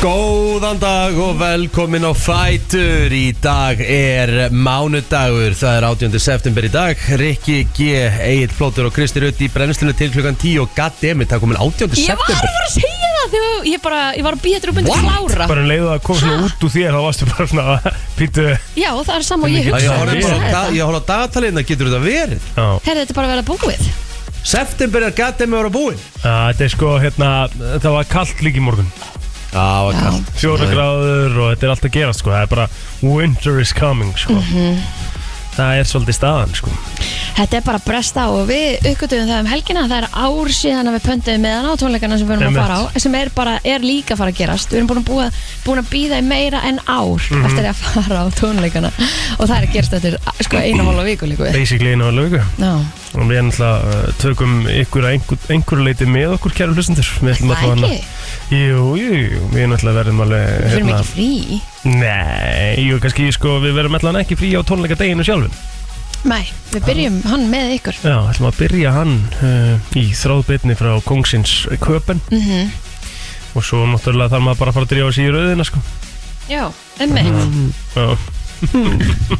Góðan dag og velkomin á Fætur Í dag er mánudagur Það er 18. september í dag Rikki G, Egil Flótur og Kristi Rutt í brennslunni til klukkan 10 og goddammit, það er komin 18. Ég var að september fara að segja það þegar ég bara, ég var að býja þetta upp undir What? klára bara um leiðu að koma svona út úr þér þá varstu bara svona pítu Já, það er sama og ég Já, hugsa Ég horfði bara á þetta. da- ég horfði á dagatalina, getur þetta verið? Herði, þetta er bara að vera búið September er goddammit ára búinn þetta er sko hérna það var kallt líka í morgun Já, var kallt fjóra gráður og þetta er allt að gera sko það er bara winter is coming sko Mhm. það er svolítið staðan sko Þetta er bara að bresta á og við uppgötum það um helgina Það er ár síðan að við pöntum með hana á tónleikana sem við erum að Einmitt. fara á sem er bara, er líka að fara að gerast Við erum búin að, búa, búin að býða í meira en ár Mhm. eftir að fara á tónleikana og það er að gerast eftir sko, eina hóla viku líku við basically inn á lögu Já, og við náttúrulega uh, tökum ykkur að einhver, einhver leiti með okkur kæru hlustendur við ætlum að fá það hana ekki, jú, jú, jú, við náttúrulega verðum alveg við hérna, fyrir mikið frí nei, jú, kannski sko við verðum allan ekki frí á tónleika deginu sjálfum Nei, við byrjum hann með ykkur Já, ætlum að byrja hann uh, í þráðbyrni frá Kongsins köpen mm og svo náttúrulega þarf maður bara að fara að drífa sig í rauðina sko. Já, emmi Mhm. Já,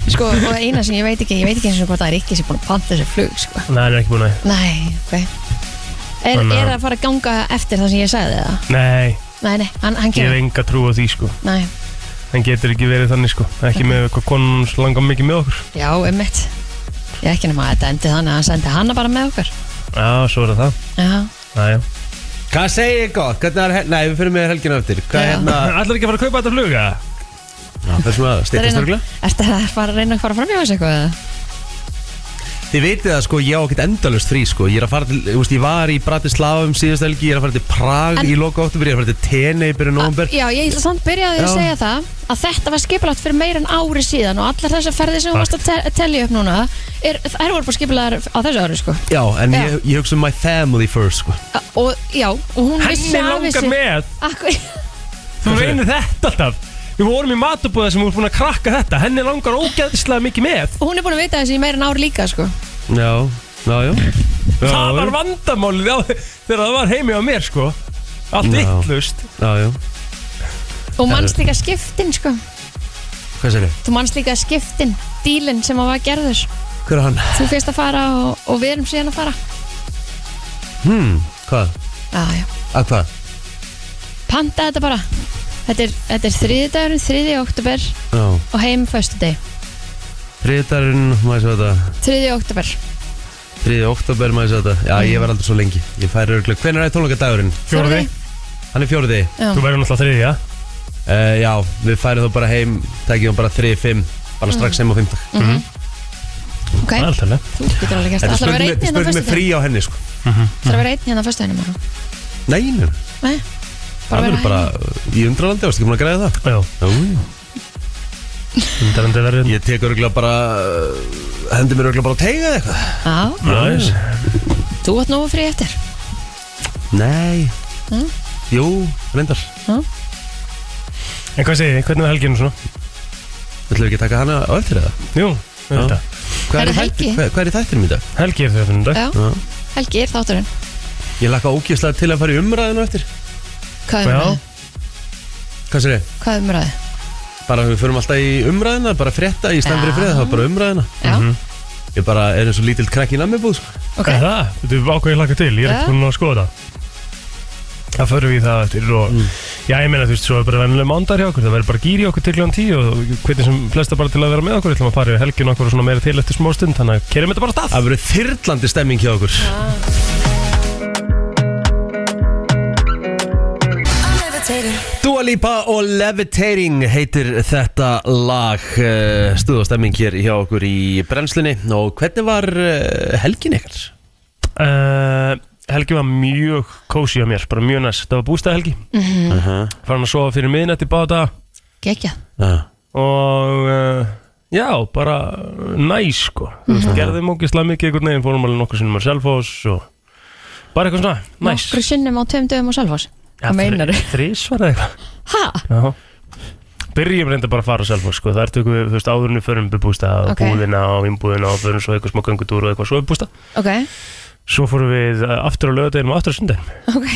Sko, og það eina sem ég veit ekki, ég veit ekki eins og hvort það er ekki sem búin að panta þessu flug, sko. það er ekki búin að Nei, ok. Er, Þannig að- er að fara að ganga eftir það sem ég sagði það? Nei, Nei, nei, hann, hann ég hef kemur. enga trú á því sko. Nei, hann getur ekki verið þannig sko. ekki með hvað konun hans langar mikið með okkur já, ummitt. Ég ekki nema að þetta endi þannig að hann sendi hanna bara með okkur. Já, svo er það það Já, Já, já. Hvað segir ég gott? Hvernig er, hel- nei, við fyrir með helgina eftir Hvað er Já. hérna? Ætlar ekki að fara að kaupa þetta fluga? Já, Það er svona að Það er styrkast örgla ertu að fara að reyna að fara fram hjá þessu eitthvað? eða? Þið vitið það sko, ég á ekkert endalust frí sko Ég er að fara til, þú veist, ég var í Bratislava um síðast helgi Ég er að fara til Prag En- í loka óttubur Ég er að fara til Tene í byrju nóvumber Já, ég ætla samt byrjaði að Já. segja það að þetta var skipilagt fyrir meira en ári síðan og allar þessar ferðir sem þú varst að te- telja upp núna er, þær voru bara skipilagar á þessu ári, sko. Já, en Já. Ég, ég hugsa um my family first sko Og, já, og hún vissi Henni af langar þessu- með Akkur, Þú reynir þetta alltaf Við vorum í matubúða sem vorum búin að krakka þetta Henni langar ógæðislega mikið með og hún er búin að vita þessi í meira en ár líka sko. Já, já, já Það var vandamálið á, þegar það var heimi á mér sko. Allt Já. vittlust Já, já, og manst líka skiptin sko. hvað segir ég? þú manst líka skiptin, dílinn sem að var gerður Hver er hann? þú fyrst að fara og, og við erum síðan að fara Hmm, hvað? já, já. Að hvað? panta þetta bara þetta er, þetta er þriði dagurinn, þriði oktober Já, og heim föstu deg, þriðdarinn, maður sé þetta þriði oktober Þriði oktober, maður sé þetta Já, ég var aldrei svo lengi Ég færi örgla Hvernig er tónleikadagurinn? Fjórði, Hann er fjóriði Já. þú verður náttúrulega þriðja uh, Já, við færum þá bara heim Tækjum bara 3-5 Bara strax heim á 5 ok, Það er alltaf leið. þú getur alveg gerst Þetta er það ætlar að spurning með- vera einn hérna á spurning með föstu frí á henni sko það ætlar að vera einn hérna á föstu deginu Nei, nei, nei, það bara verður vera bara heim í undralandi, varstu ekki búin að græða það? Já, Jú, það er verður ég tek örgulega bara, uh, hendi mér örgulega bara að teiga eða eitthvað já, Næs þú átt nógu frí eftir Nei, Mm. jú, reyndar En hvað segir þið, hvernig er helginu svona? Þú ætlum ekki að taka hana á eftir eða? Jú, þetta Hvað Það er, er í þætti, helgi. hvað, hvað er í þættinum í dag? Helgi er þau fyrir dag já, Já. helgi er þátturinn Ég lakka ógjæslega til að fara í umræðinu á eftir hvað er Já, umræði? Hvað sér ég? hvað um er umræði? Bara við förum alltaf í umræðina, bara frétta í stæmbri Já. frið, það var bara umræðina já, Ég bara er eins og lítill krakk í nammibúð sko. ok, er það, þú veit ákveð ég laka til, ég er Já. ekki búin að skoða það Það förum við í það eftir og Já, ég meina þú veist, svo er bara vennilega mándar hjá okkur Það verður bara gýr í okkur til kljóðan tíu Og hvernig sem flesta bara til að vera með okkur Þú ætlum að fara í helgin okkur og svona meira til eftir smá stund Þannig að kerjum þetta bara af stað Það verður þyrlandi stemming hjá okkur Dua Lipa og Levitating heitir þetta lag uh, stuð og stemming hér hjá okkur í brennslunni og hvernig var uh, helgin ykkar? Uh, helgi var mjög kósi á mér, bara mjög næst Það var bústæðhelgi, Uh -huh. farin að sofa fyrir miðnætti báta geggjað Ah. og uh, já, bara uh, næs sko Þú veist, Mhm. gerðum ógislega mikið einhvern veginn, fórum alveg nokkur sinnum að selfos og bara eitthvað svona, næs Nokkru sinnum á tveim dögum á Selfoss Hvað meinar þau? Þrísvar eða eitthvað Ha? Já Byrjum reynda bara að fara á Selfoss sko, þar tökum við, þú veist, áðurinn við förum búbústa Ok. okay. búðina og innbúðina og förum svo eitthvað smá göngutúr og eitthvað svo við bústa Ok, eh, Svo fórum við uh, aftur á lögadeginu og aftur á sundeginu ok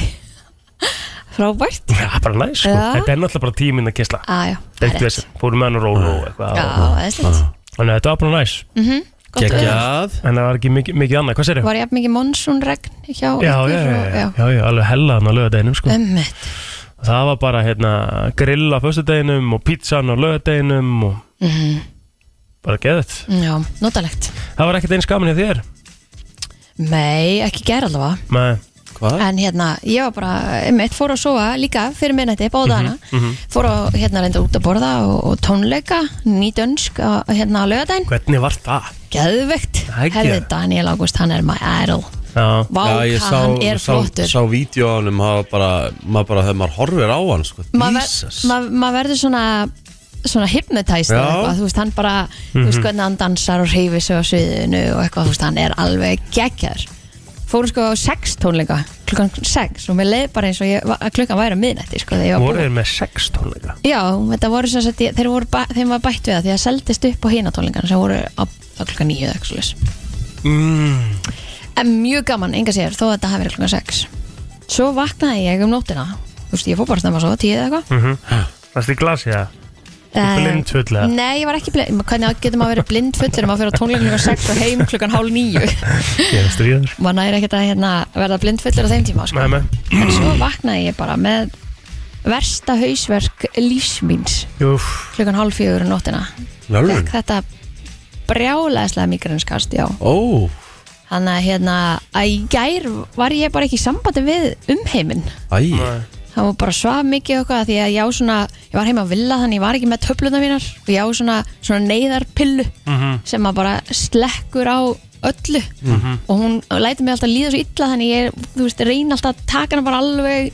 frábært Já, bara næs, sko. Já. þetta er náttúrulega bara tíminn að kessla aðja, Eitt vesen, fórum með hann og rólu og eitthvað já, og- eðslegt Þannig að þetta var bara næs Mhm. Gekkjað En það var ekki mikið, mikið annað, hvað serðu? var jafn mikið monsunregn hjá Já, já, ykkur já, og- já, já, já, alveg hellaðan á lögadeginum sko. Ömmit. Það var bara hérna, grill á föstudeginum og pizzan á lögadeginum og bara geðið Mhm. Já, notalegt. Það var ekkert eins gaman hjá þér Nei, ekki gera allavega. Nei, Hvað? En hérna, ég var bara, einmitt, fór að sofa líka fyrir minnætti, Mhm, báðana. Fór að hérna reynda út að borða og, og tónleika, nýdönsk á hérna á laugardaginn. hvernig var það? Geðvegt. Það er ekki- Herði Daniel Ágúst, hann er my idol. Já, Vá, Já, ég hvað sá, hann er sá, flottur. sá vídeo á hann maður bara, maður bara, þegar maður horfir á hann sko, maður Jesus. ver, mað, mað verður svona svona hypnotized Já. Mhm. eða eitthvað, þú veist hann bara þú veist hvernig hann dansar og hreyfir sig á sviðinu og eitthvað, þú veist hann er alveg geggjar fórum sko á sex tónleika klukkan sex og mér leið bara eins og ég, að klukkan væri að miðnætti sko þegar ég var voru búin þeir með sex tónleika já, þetta voru sem sagt, ég- þeir voru ba- þeim var bætt við það því að seldist upp á hina tónleikana sem voru á, á klukkan níu eða eitthvað svoleiðis. mm. en mjög gaman, enga sér, þó að þetta hafi verið klukkan sex svo vaknaði ég um nóttina þú veist, ég fór bara snemma að sofa, tíu eða eitthvað Mhm. Varst í glasi það? Eh, Blindfull, eða? Nei, ég var ekki blind Hvernig getur maður að vera blind full maður fyrir á tónleikinu og sex og heim klukkan hálf nýju Ég er að stríður maður næri ekkert að hérna, verða blind fullur á þeim tíma sko. Nei, nei. en svo vaknaði ég bara með versta hausverk lífsmýns Úff, klukkan hálf fjögur um nóttina Mm. Lörlun? Fekk þetta brjálæðislega migranskast já. Ó, þannig að hérna að í gær var ég bara ekki í sambandi við umheiminn æj Nei. það var bara svaf mikið og eitthvað af því að ég á svona, ég var heima að villa þannig ég var ekki með töfluna mínar og ég á svona, svona neyðarpillu Mhm. sem að bara slekkur á öllu og hún læti mig alltaf líða svo illa þannig ég, þú veist, reyna alltaf að taka hana bara alveg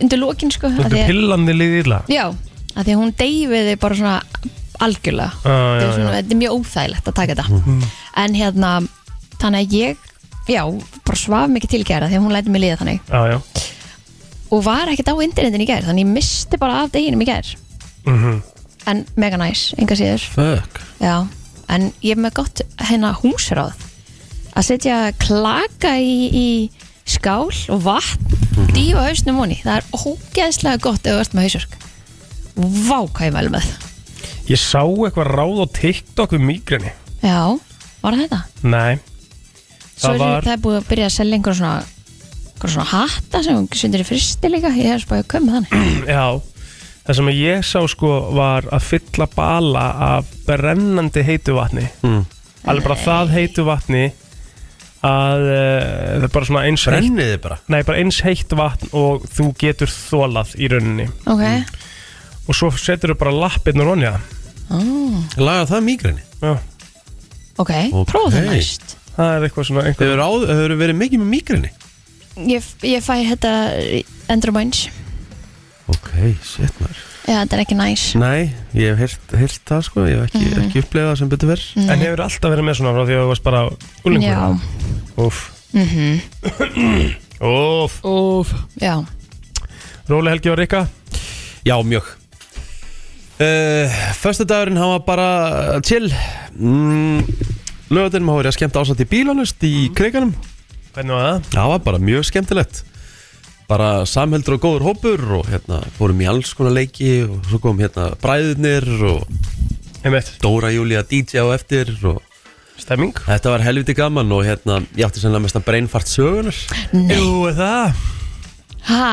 undir lokin sko af Þú því að, pillandi liðið illa já, að því að hún deyfiði bara svona algjörlega þetta, Ah, Já, er já, Mhm. svona, þetta er mjög óþægilegt að taka þetta en hérna, þannig að ég já, bara svaf mikið tilgæra því að hún læti mig líða þannig Já, já og var ekkert á internetin í gær þannig ég misti bara af deginum í gær mm en mega næs, enga síður Fuck já. en ég er með gott hérna húsráð að setja klaka í, í skál og vatn Mhm. dýfa hausnum honi, það er ógeðslega gott ef þú ert með hausverk vá hvað ég vel með Ég sá eitthvað ráð á TikTok við migrini já, var það þetta? Nei, Svo Það er var- það er búið að byrja að selja einhverjum svona einhverjum svona hatta sem hún sundir í fristi líka ég er spáðið að kömmu þannig já Það sem ég sá sko var að fylla bala af brennandi heitu vatni Mm. Alveg bara það heitu vatni að uh, það er bara svona eins heitt Brenniði bara Nei, bara eins heitt vatn og þú getur þólað í rauninni ok, og svo setur þú bara lappirnur honni Laga það mýgrinni Já, ok, Ok. prófa það næst það er eitthvað svona einhver Hefur áður verið mikið með mýgrinni Ég, ég fæ þetta endurmæns Ok, shit maður Já, þetta er ekki næs Nei, ég hef heyrt, heyrt það sko Ég hef ekki, ekki upplegað það sem betur verð En hefur alltaf verið með svona frá því að þú varst bara Mm. Já. úlingur? Úf Úf Úf Já, Róli Helgi og Rikka Já, mjög uh, Föstudagurinn hann var bara chill mm, Lögadurinn hafa verið að skemmta ásatt í bílanust Í kriganum Hvernig var það? Það var bara mjög skemmtilegt bara samheldur og góður hópur og hérna fórum í alls konar leiki og svo kom hérna bræðurnir og Einmitt Dóra Júlia DJ á eftir og Stemming þetta var helviti gaman og hérna ég átti sennilega mest að breinfart sögunar nei Jú, er það Ha,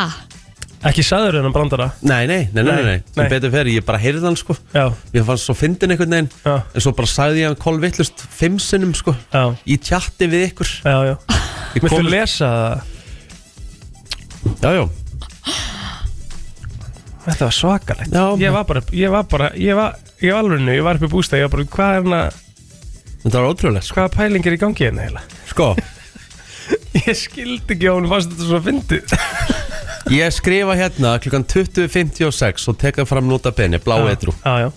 Ekki saður hennan brandara Nei, nei, nei, nei, nei, nei. sem Nei. betur fer ég bara heyrði hann sko Já, Mér fannst svo fyndin einhvern veginn Já. En svo bara sagði ég hann kolvittlust Fimm sinnum sko já, Í tjatti við ykkur já, já Ég Viltu kom- lesa það? Já, já Þetta var svakalegt Já. Ég var bara, ég var bara, ég var Ég var alveg nú, ég var upp í bústæð, ég var bara, hvað er hana, Þetta var ótrúlega sko hvaða pæling er í gangi hérna heila? Sko, Ég skildi ekki á hún, fannst þetta svo fyndið. ég skrifa hérna klukkan 20.56 og teka fram nota beni, blá eitru Já, já,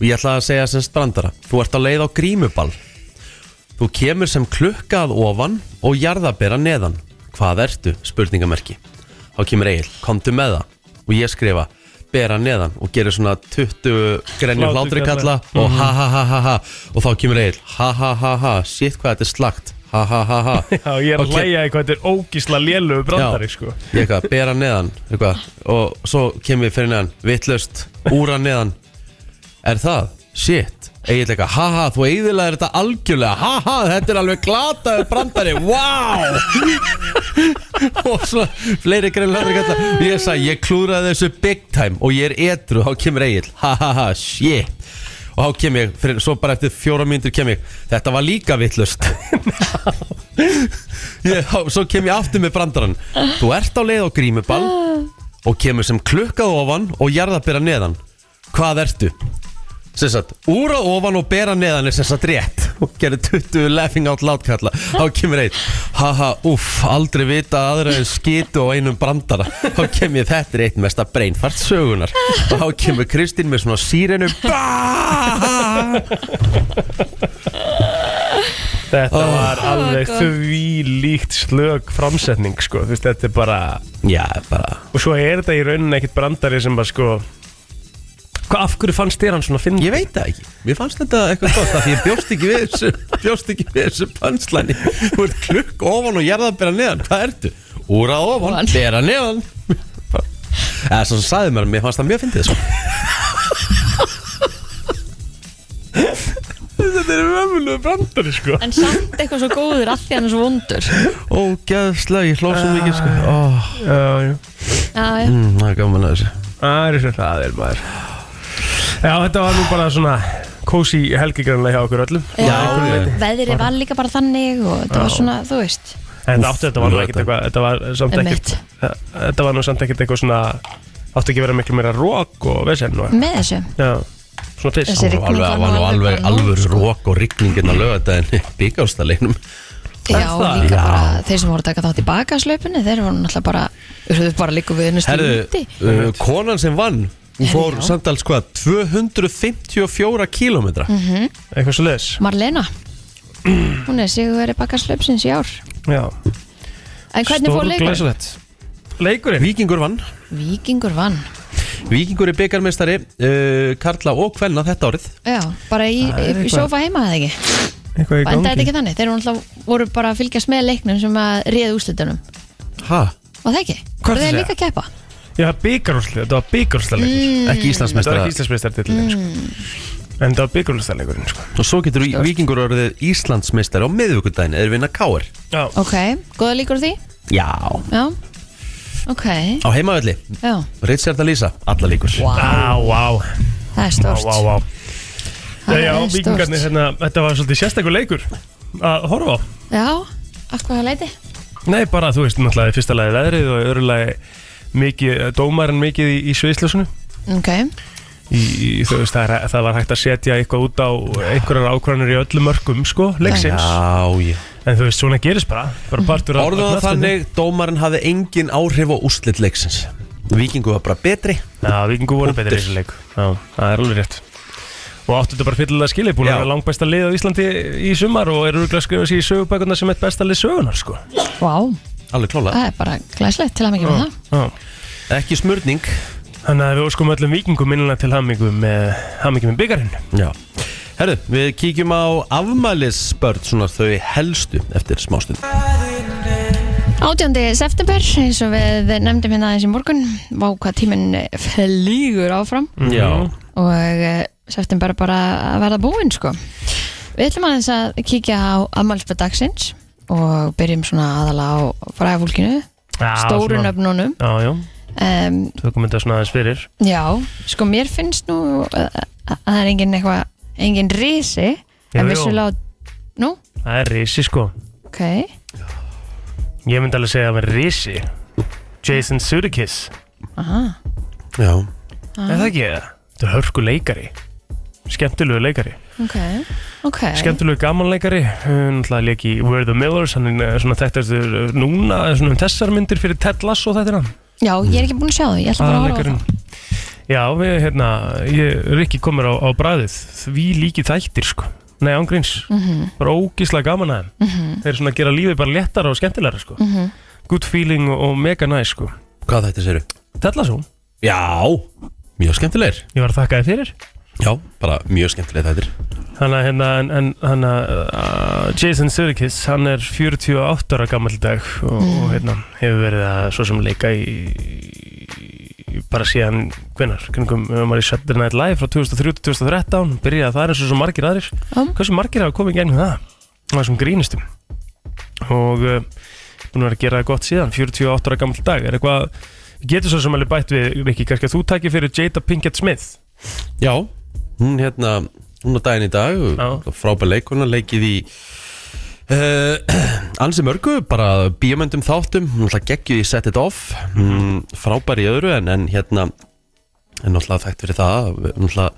Og ég ætla að segja sem strandara Þú ert á leið á grímuball Þú kemur sem klukka að ofan og jarðabera neðan Hvað ertu? Spurningamerki Þá kemur Egil, komdu með það Og ég skrifa, bera neðan Og gerir svona 20 grenjum Hláturkalla. Mhm. hlátrikalla Og ha ha ha ha ha Og þá kemur Egil, ha ha ha ha Sitt hvað þetta er slagt ha ha ha ha Já, ég er að Ok. hlæja í hvað þetta er ógísla lélugu brandari sko. Ég eitthvað, bera neðan eitthvað, Og svo kem ég fyrir neðan Vittlust, úra neðan Er það? Shit Egil eitthvað, haha, þú eigðilega þetta algjörlega Haha, þetta er alveg glataður brandari Wow Og svo fleiri greinlega Ég sagði, ég klúraði þessu big time Og ég er edru, þá kemur Egil Hahaha, shit Og þá kem ég, fyrir, svo bara eftir fjóra mínútur kem ég Þetta var líka vittlust ég, þá- Svo kem ég aftur með brandarann Þú ert á leið á grímuball Og kemur sem klukkað ofan Og jarðabera neðan Hvað ertu? Sem sagt, úra ofan og bera neðan er sem sagt rétt Og gerir 20 laughing out loud kalla Þá kemur einn Haha, uff, aldrei vita aðra en skitu og einum brandara Þá kem ég þetta er eitt mesta breinfart sögunar Og þá kemur Kristín með svona sírenu Baaaaaa Þetta var alveg God. því líkt slög framsetning sko. Þú veist, Þetta er bara Já, bara Og svo er þetta í rauninni ekkit brandari sem bara sko Hvað af hverju fannst þér hann svona að finna? Ég veit það ekki, mér fannst þetta eitthvað gott af Því ég bjóst ekki við þessu Bjóst ekki við þessu panslæni Þú ert klukk ofan og jarða að bera neðan Hvað ertu? Úra ofan, Ofan. bera neðan Eða svo sem sagði mér, mér fannst það mjög fyndið sko. Þetta er ömulegu brandari sko En samt eitthvað svo góður, allt í hann er svo vondur Ógæðslega, ég hlóð svo mikið sko. Ó, Já, já Já, já, mm, Það er gaman að þessu Það er svo hraðir maður Já, þetta var nú bara svona Kósi helgigrannlega hjá okkur öllum Já, einhverju já. leyti. veðrið var líka bara þannig og þetta var svona, þú veist En þetta átti þetta var nú ekkert þetta- eitthvað Þetta var samt ekkert Einmitt. Þetta var nú samt ekkert eitthvað svona Átti ekki að vera miklu meira rók og vesen og með þessu Já, svona fyrst Mm. Þessi- Það var alveg, var nú alveg alveg rók og hérna rigningin að löga þetta en byggástaleginum Já, það? líka Já. bara þeir sem voru að taka þátt í bakaslöpunni þeir voru náttúrulega bara Þeir voru bara líka við henni Herðu, stúndi uh, konan sem vann Hún Herðu, fór já. samtals hvað, 254 kílómetra Eitthvað svo leis Marlena Hún er sigur verið bakaslöpsins í ár Já En hvernig fór leikur? Leikurinn? Víkingur vann Víkingur vann Víkingur er byggarmeistari uh, Karla og Kvenna þetta árið Já, bara í, Það er í eitthvað. sófa heima eða ekki Eitthvað í En þetta er gangi ekki þannig, þeir voru náttúrulega voru bara að fylgjast með leiknum sem að réð úrslitunum ha, Var það ekki? Voru Hvað ertu að þeir segja? líka að keppa? Já, byggarúrslu, þetta var byggarúrsluleikur Mm. Hmm. ekki Þetta var Íslandsmeistara ekki Íslandsmeistartillin sko. En þetta var byggarúrsluleikurinn sko. og svo getur Stort. Víkingur orðið Íslandsmeistari á miðvíkudaginn eða vinna Káar Já, Ok, góða líkur á því? já, Já Ok, á heimavelli já Richard Alisa, alla líkur Á, vá, Það er vá, stort vá, vá. Það Já, er vikingarnir, stórt. hérna, þetta var svolítið sérstakur leikur að horfa á. Já, af hvað leiti? Nei, bara þú veist, náttúrulega í fyrsta lagi veðrið og í öðru lagi mikið, eh, dómarinn mikið í, í sviðslösunu. Ok, Í, í, þú veist, það, er, það var hægt að setja eitthvað út á einhverjar ákvarðanir í öllum mörgum, sko, leiksins. já, já En þú veist, svona gerist bara, bara partur af- Orðuð af það knattspyrnu. þannig, dómarinn hafði engin áhrif á úslit leiksins Víkingur var bara betri Já, vikingu voru betri í þessu leik. Já, það er alveg rétt. Og áttu þetta bara fyllilega skilið, búin Já. að vera langbæsta lið á Íslandi í sumar og eru örugglega að skrifa sér í sögubækuna sem eitt besta lið sögunar, sko. vá, Alveg klála, það er bara glæslegt til að mikið með það Já. ekki smurning Þannig að við óskum öllum vikingum minnulega til hamingu með, hamingu með byggarinn. Já Herðu, við kíkjum á afmælisbörn svona þau helstu eftir smástund 18. september, eins og við nefndum hérna aðeins í morgun, vá hvað tíminn eh, flýgur áfram Já, og eh, september er bara að verða búinn sko. Við ætlum aðeins að kíkja á ammálspöð dagsins og byrjum svona aðalega á fræðafólkinu, Já, stóru svona- nöfnunum. Já, já, Um, tökum þetta svona aðeins fyrir. já, sko mér finnst nú að, að það er engin eitthvað, engin risi, Jú, jú. en vissulega, á- nú, Það er risi, sko. ok, Ég myndi alveg segja að hann er risi. Jason Sudeikis. aha, já Er það ekki það? Þetta er hörku leikari. Skemmtilegu leikari. ok, ok, Skemmtilegu gamanleikari. Hún ætlaði leik í We're the Millers. Hann er eh, svona þekktastur eh, núna, eh, svona um þessar myndir fyrir Ted Lasso þetta er hann. já, ég er ekki búin að sjá það, ég ætla bara að horfa á aðalegurinn það. Já, við, hérna, ég, Rikki komur á, á bræðið því líki þættir, sko Nei, ángríns, Mhm. bara ógíslega gaman að þeim Þeir eru svona að gera lífið bara léttara og skemmtilegra, sko Mhm. Good feeling og, og mega næs, sko Hvað þetta séru? Tella svo, Já, mjög skemmtilegir ég var að þakka þið fyrir Já, bara mjög skemmtilega þetta Hanna, hérna, en, en hanna, uh, Jason Sudeikis, hann er 48 ára gammal dag og, og hérna, hefur verið að svo sem leika í, í bara síðan, hvenar, hvernig við varum í Saturday Night Live frá 2003-2013, byrjaði þar eins og svo margir aðrir. Já. Hversu margir hafa komið í gegnum það? Það var sem grínistum. Og uh, búin að vera að gera það gott síðan, 48 ára gammal dag, er eitthvað, getur svo sem alveg bætt við, Rikki, kannski að þú takir fyrir Jada Pinkett Smith. Já, hún hérna hún á daginn í dag, Já. frábær leikona leikið í Uh, ansi mörgu, bara bíomöndum þáttum, hún ætla geggjuð í Set It Off mm, frábær í öðru en, en hérna, en náttúrulega þekkt fyrir það, náttúrulega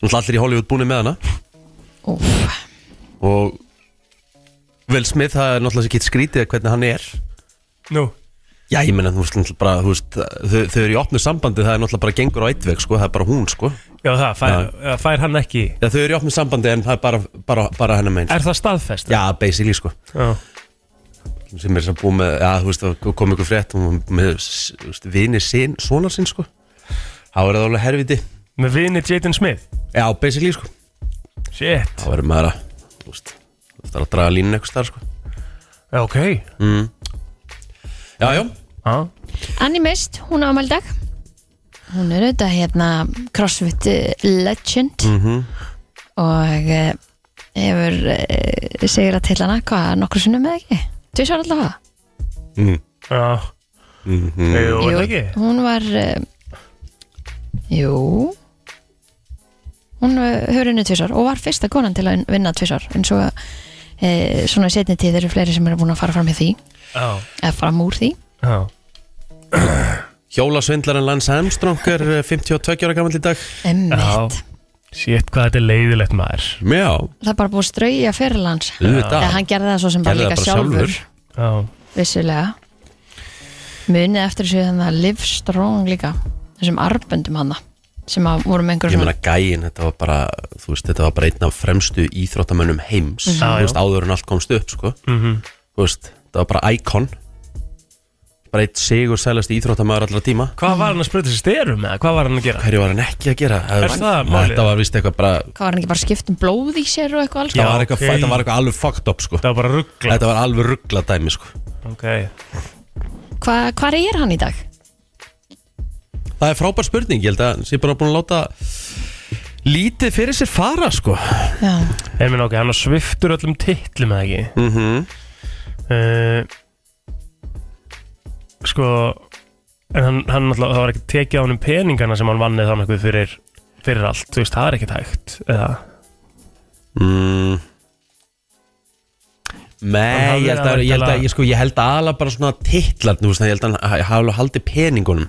náttúrulega allir í Hollywood búinu með hana Úf, og Will Smith, það er náttúrulega sér gett skrítið hvernig hann er Nú. Já, ég menna, þú veist, náttúrulega bara, þú veist, þau, þau eru í opnu sambandi, það er náttúrulega bara gengur á eitt veg, sko, það er bara hún, sko. Já, það fær, fær hann ekki Já, þau eru í opnu sambandi en það er bara, bara, bara hennar sko. meins. Er það staðfest? Já, basically, sko. Já. Sem er sem búið með, já, þú veist, það kom ykkur frétt og með, þú veist, vini sin, svona sinn, sko. Þá er það alveg herfiti. Með vini Jaden Smith? Já, basically, sko. Shit. Þá verður maður að, þú veist, það er að draga línu eitthvað starf, sko. Já, ok. Já, já. Já. Annie Mist, hún á afmæli í dag Hún er auðvitað hérna CrossFit eh, legend Mhm. og eh, hefur uh, segir að til hana hvað nokkur sinnum eða ekki Tvísvar allavega Mm. Já. Mm Jú, er það ekki? hún var uh, Jú Hún eh, hefur unni tvísvar og var fyrsta konan til að vinna tvísvar en svo uh, svona setni tíð eru fleiri sem eru búin að fara fram í því Já. eða fram úr því Já. Hjólasvindlarinn Lance Armstrong er eh, 52 ára gammal í dag. Emmitt Shit, hvað þetta er leiðilegt maður. Já, Það er bara búið að strauja fyrir hans auðvitað. Eða hann gerði það svo sem bara Gerði líka það bara sjálfur, sjálfur. Já. Vissulega Munið eftir þessu þannig að Liv Strong líka Þessum arböndum hana Sem að voru með ég einhverjum meina gæin, þetta var bara þú veist, þetta var bara einn af fremstu íþróttamönnum heims, Mhm. Já, þú veist, já. áður en allt komst upp sko, Mhm. þú veist, þetta var bara íkon bara einn sigur sælast íþróttamöður allra tíma, Hvað var hann að spruta sér styrum eða hvað var hann að gera? hverju var hann ekki að gera Er það málið? þetta var vist eitthvað bara Hvað var hann ekki bara skipt um blóð í sér og eitthvað alls það Já. var eitthvað, ok. þetta var eitthvað alveg fucked up sko, Það var bara ruggla. þetta var alveg ruggla dæmi sko, Ok. Hva, Hvar er hann í dag? það er frábær spurning ég held að hann sé bara búin að láta lítið fyrir sér fara sko Já, Ég minn ok, hann á sviftur öllum titlum eða ekki? mhm Uh, sko, en hann, hann alltaf, það var ekki tekið á hann um peningana sem hann vannið þannig eitthvað fyrir, fyrir allt. Þú veist, það er ekkert hægt. Eða, Mm. Nei, hafði ég held að, ég held að, væntanlega- ég sko, ég held að ala bara svona titlarni, þú veist, ég held að hann hafa alveg haldið peningunum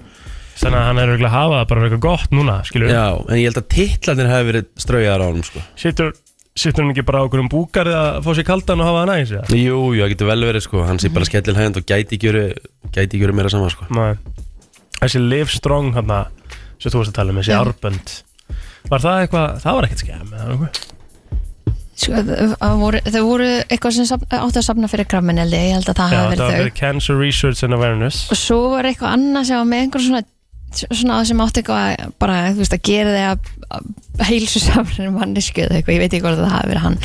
þannig að hann er auðvitað að hafa það bara eitthvað gott núna, skilur Já, en ég held að titlarnir hafi verið straujaðar á honum, sko Sittur, sittur hann ekki bara á okkur um búkar eða fá sér kaldan og hafa það næs eða? Jú, jú, það getur vel verið, sko, hann sé bara skellilhægand og gæti ekki verið, gæti ekki verið meira saman, sko Nei. Þessi Liv Strong hann sem þú varst að tala um, þessi Já. árbönd Var það eitthvað, það var ekkert skemm eða nokkuð? sko, þau- það voru, þau voru eitthvað sem safna, átti að safna fyrir krafmin held ég, ég held að Já, það hafi það var verið Ah, fyrir þau Cancer Research and Awareness Og svo var eitthvað annað sem var með einhverjum svona svona sem átti eitthvað að- bara, þú veist, að gera þig að- að heilsu samrinn mannesku eða eitthvað, ég veit ekki hvort það hafi verið hann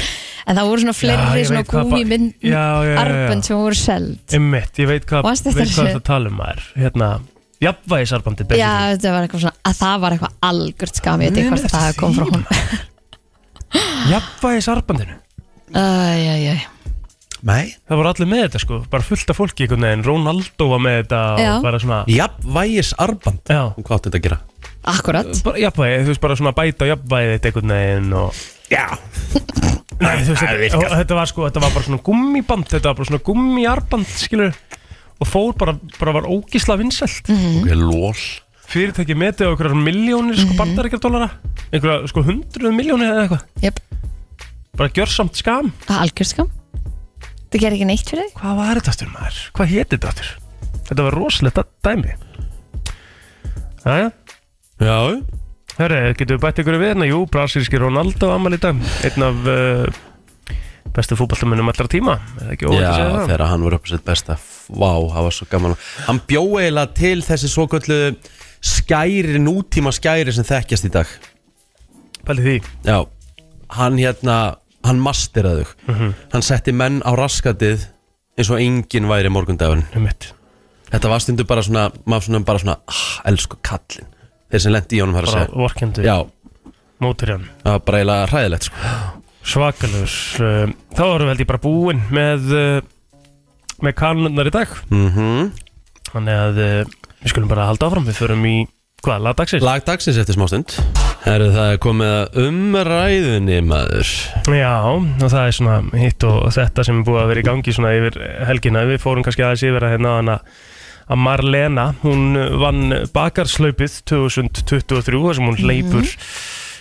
en það voru svona Já, fleiri ég svona veit hvað ba- gúmimynd Já, já, já, já. arbönd sem voru seld Einmitt, ég veit hvað, Manstu veit eftir hvað þessu? það tala um maður Hérna, jafnvægisarbandi Já, þetta var eitthvað svona, að það var eitthvað algjört skam, ég veit ekki Munið hvort eftir það því, kom frá hún Jafnvægisarbandinu Æj, æj, æj Nei Það voru allir með þetta sko, bara fullt af fólki einhvern veginn Ronaldo var með þetta Já. og bara svona Jafnvægis arband Já, Hvað átti þetta að gera? Akkurat, bara jafnvægi, þú veist bara svona bæta á jafnvægi þetta einhvern veginn og Já Nei, þú veist, Það þetta, virkar. og þetta var sko, þetta var bara svona gummiband, þetta var bara svona gummiarband, skilur og fór bara, bara var ógísla vinsælt Ok, lól fyrirtæki metið á einhverjar miljónir sko bandaríkjardólara, einhverja sko hundruð miljónir eða eitthvað, jöp, bara gjörsamt skam það er algjört skam Það gerir ekki neitt fyrir þig hvað var þetta aftur maður, hvað héti þetta aftur þetta var rosalegt dæ- dæmi Jæja, Já, hörru, getum við bætt ykkur við hérna, jú, brasilíski Ronaldo amal í dag, einn af uh, bestu fútballtamennum allra tíma er það ekki óvægt Já, að segja það? þegar hann var upp á sitt besta Vá, það var svo gaman Hann bjó eiginlega til þessi svo köllu skæri, nútíma skæri sem þekkjast í dag Pæli því Já, hann hérna hann masteraði þau Mhm. hann setti menn á raskatið eins og enginn væri morgundagurinn um mitt þetta var stundu bara svona maður svona bara svona, ah, elsku kallinn þeir sem lendi í honum þar að Bara hérna. segja vorkendu Já, mótur hann það var bara eiginlega hræðilegt sko. Svakalur um, Þá erum við held ég bara búin með uh, með kanunnar í dag mm Þannig að uh, við skulum bara halda áfram Við förum í hvað, lagdagsins? Lag dagsins eftir smástund Herðu það er komið að umræðunni maður Já, og það er svona hitt og þetta sem er búið að vera í gangi svona yfir helgina Við fórum kannski aðeins yfir að hérna hana að Marlena, hún vann bakarslaupið 2023 þar sem Mhm. hún hleypur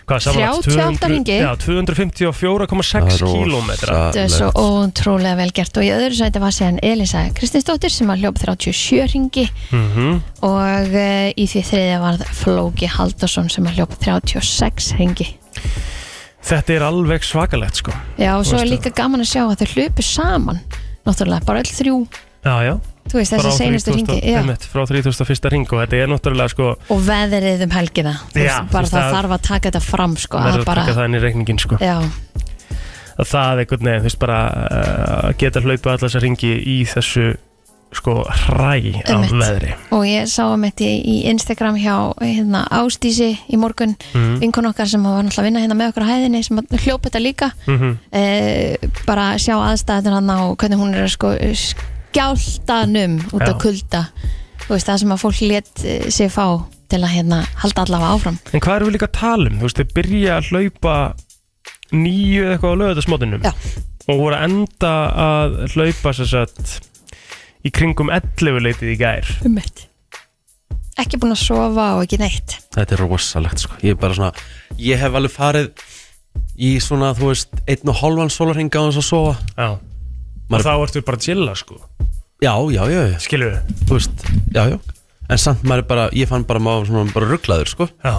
hvað, samanlagt 38 hringi. Já, 254,6 kílómetra Þetta er svo ótrúlega vel gert og í öðru sæti var síðan Elisa Kristinsdóttir sem var hljóp 37 ringi Mhm. og uh, í því þriðja var Flóki Haldarsson sem var hljóp 36 ringi. Þetta er alveg svakalegt sko Já og svo er Veistu. líka gaman að sjá að þau hljópu saman, náttúrulega bara öll þrjú, Já, já, þú veist frá þessi seinustu 3000 ringi. Já. einmitt, frá 31. ring og þetta er náttúrulega sko Og veðrið um helgina, þú Já, veist, bara þú veist, það það- þarf að taka þetta fram sko, að verður að taka bara, það inn í reikningin sko já, að það einhvern veginn, þú veist bara uh, að geta hlaupa allar þessar ringi í þessu sko hræ af Einmitt. veðri og ég sá að mitt í, í Instagram hjá hérna, Ástísi í morgun, mm. vinkun okkar sem var náttúrulega að vinna hérna með okkur á hæðinni sem hljóp þetta líka Mm e, bara sjá aðstæðan hann á hvernig hún er að sko skjáltanum út Já. á kulda þú veist það sem að fólk let sig fá til að hérna halda allavega áfram en hvað erum við líka að tala um, þú veist, þau byrja að hlaupa nýju eða eitthvað á lögðasmótinum Já. og voru að enda að hlaupa sér satt í kringum 11 leitið í gær ummitt ekki búin að sofa og ekki neitt Þetta er rosalegt sko Ég er bara svona Ég hef alveg farið í svona þú veist einn og hálfan sólarhing á þess að sofa Já. og Maður- þá ertu bara að chilla sko Já, já, já, já, skilur við þú veist Já, já En samt maður er bara Ég fann bara maður svona bara rugglaður sko Já.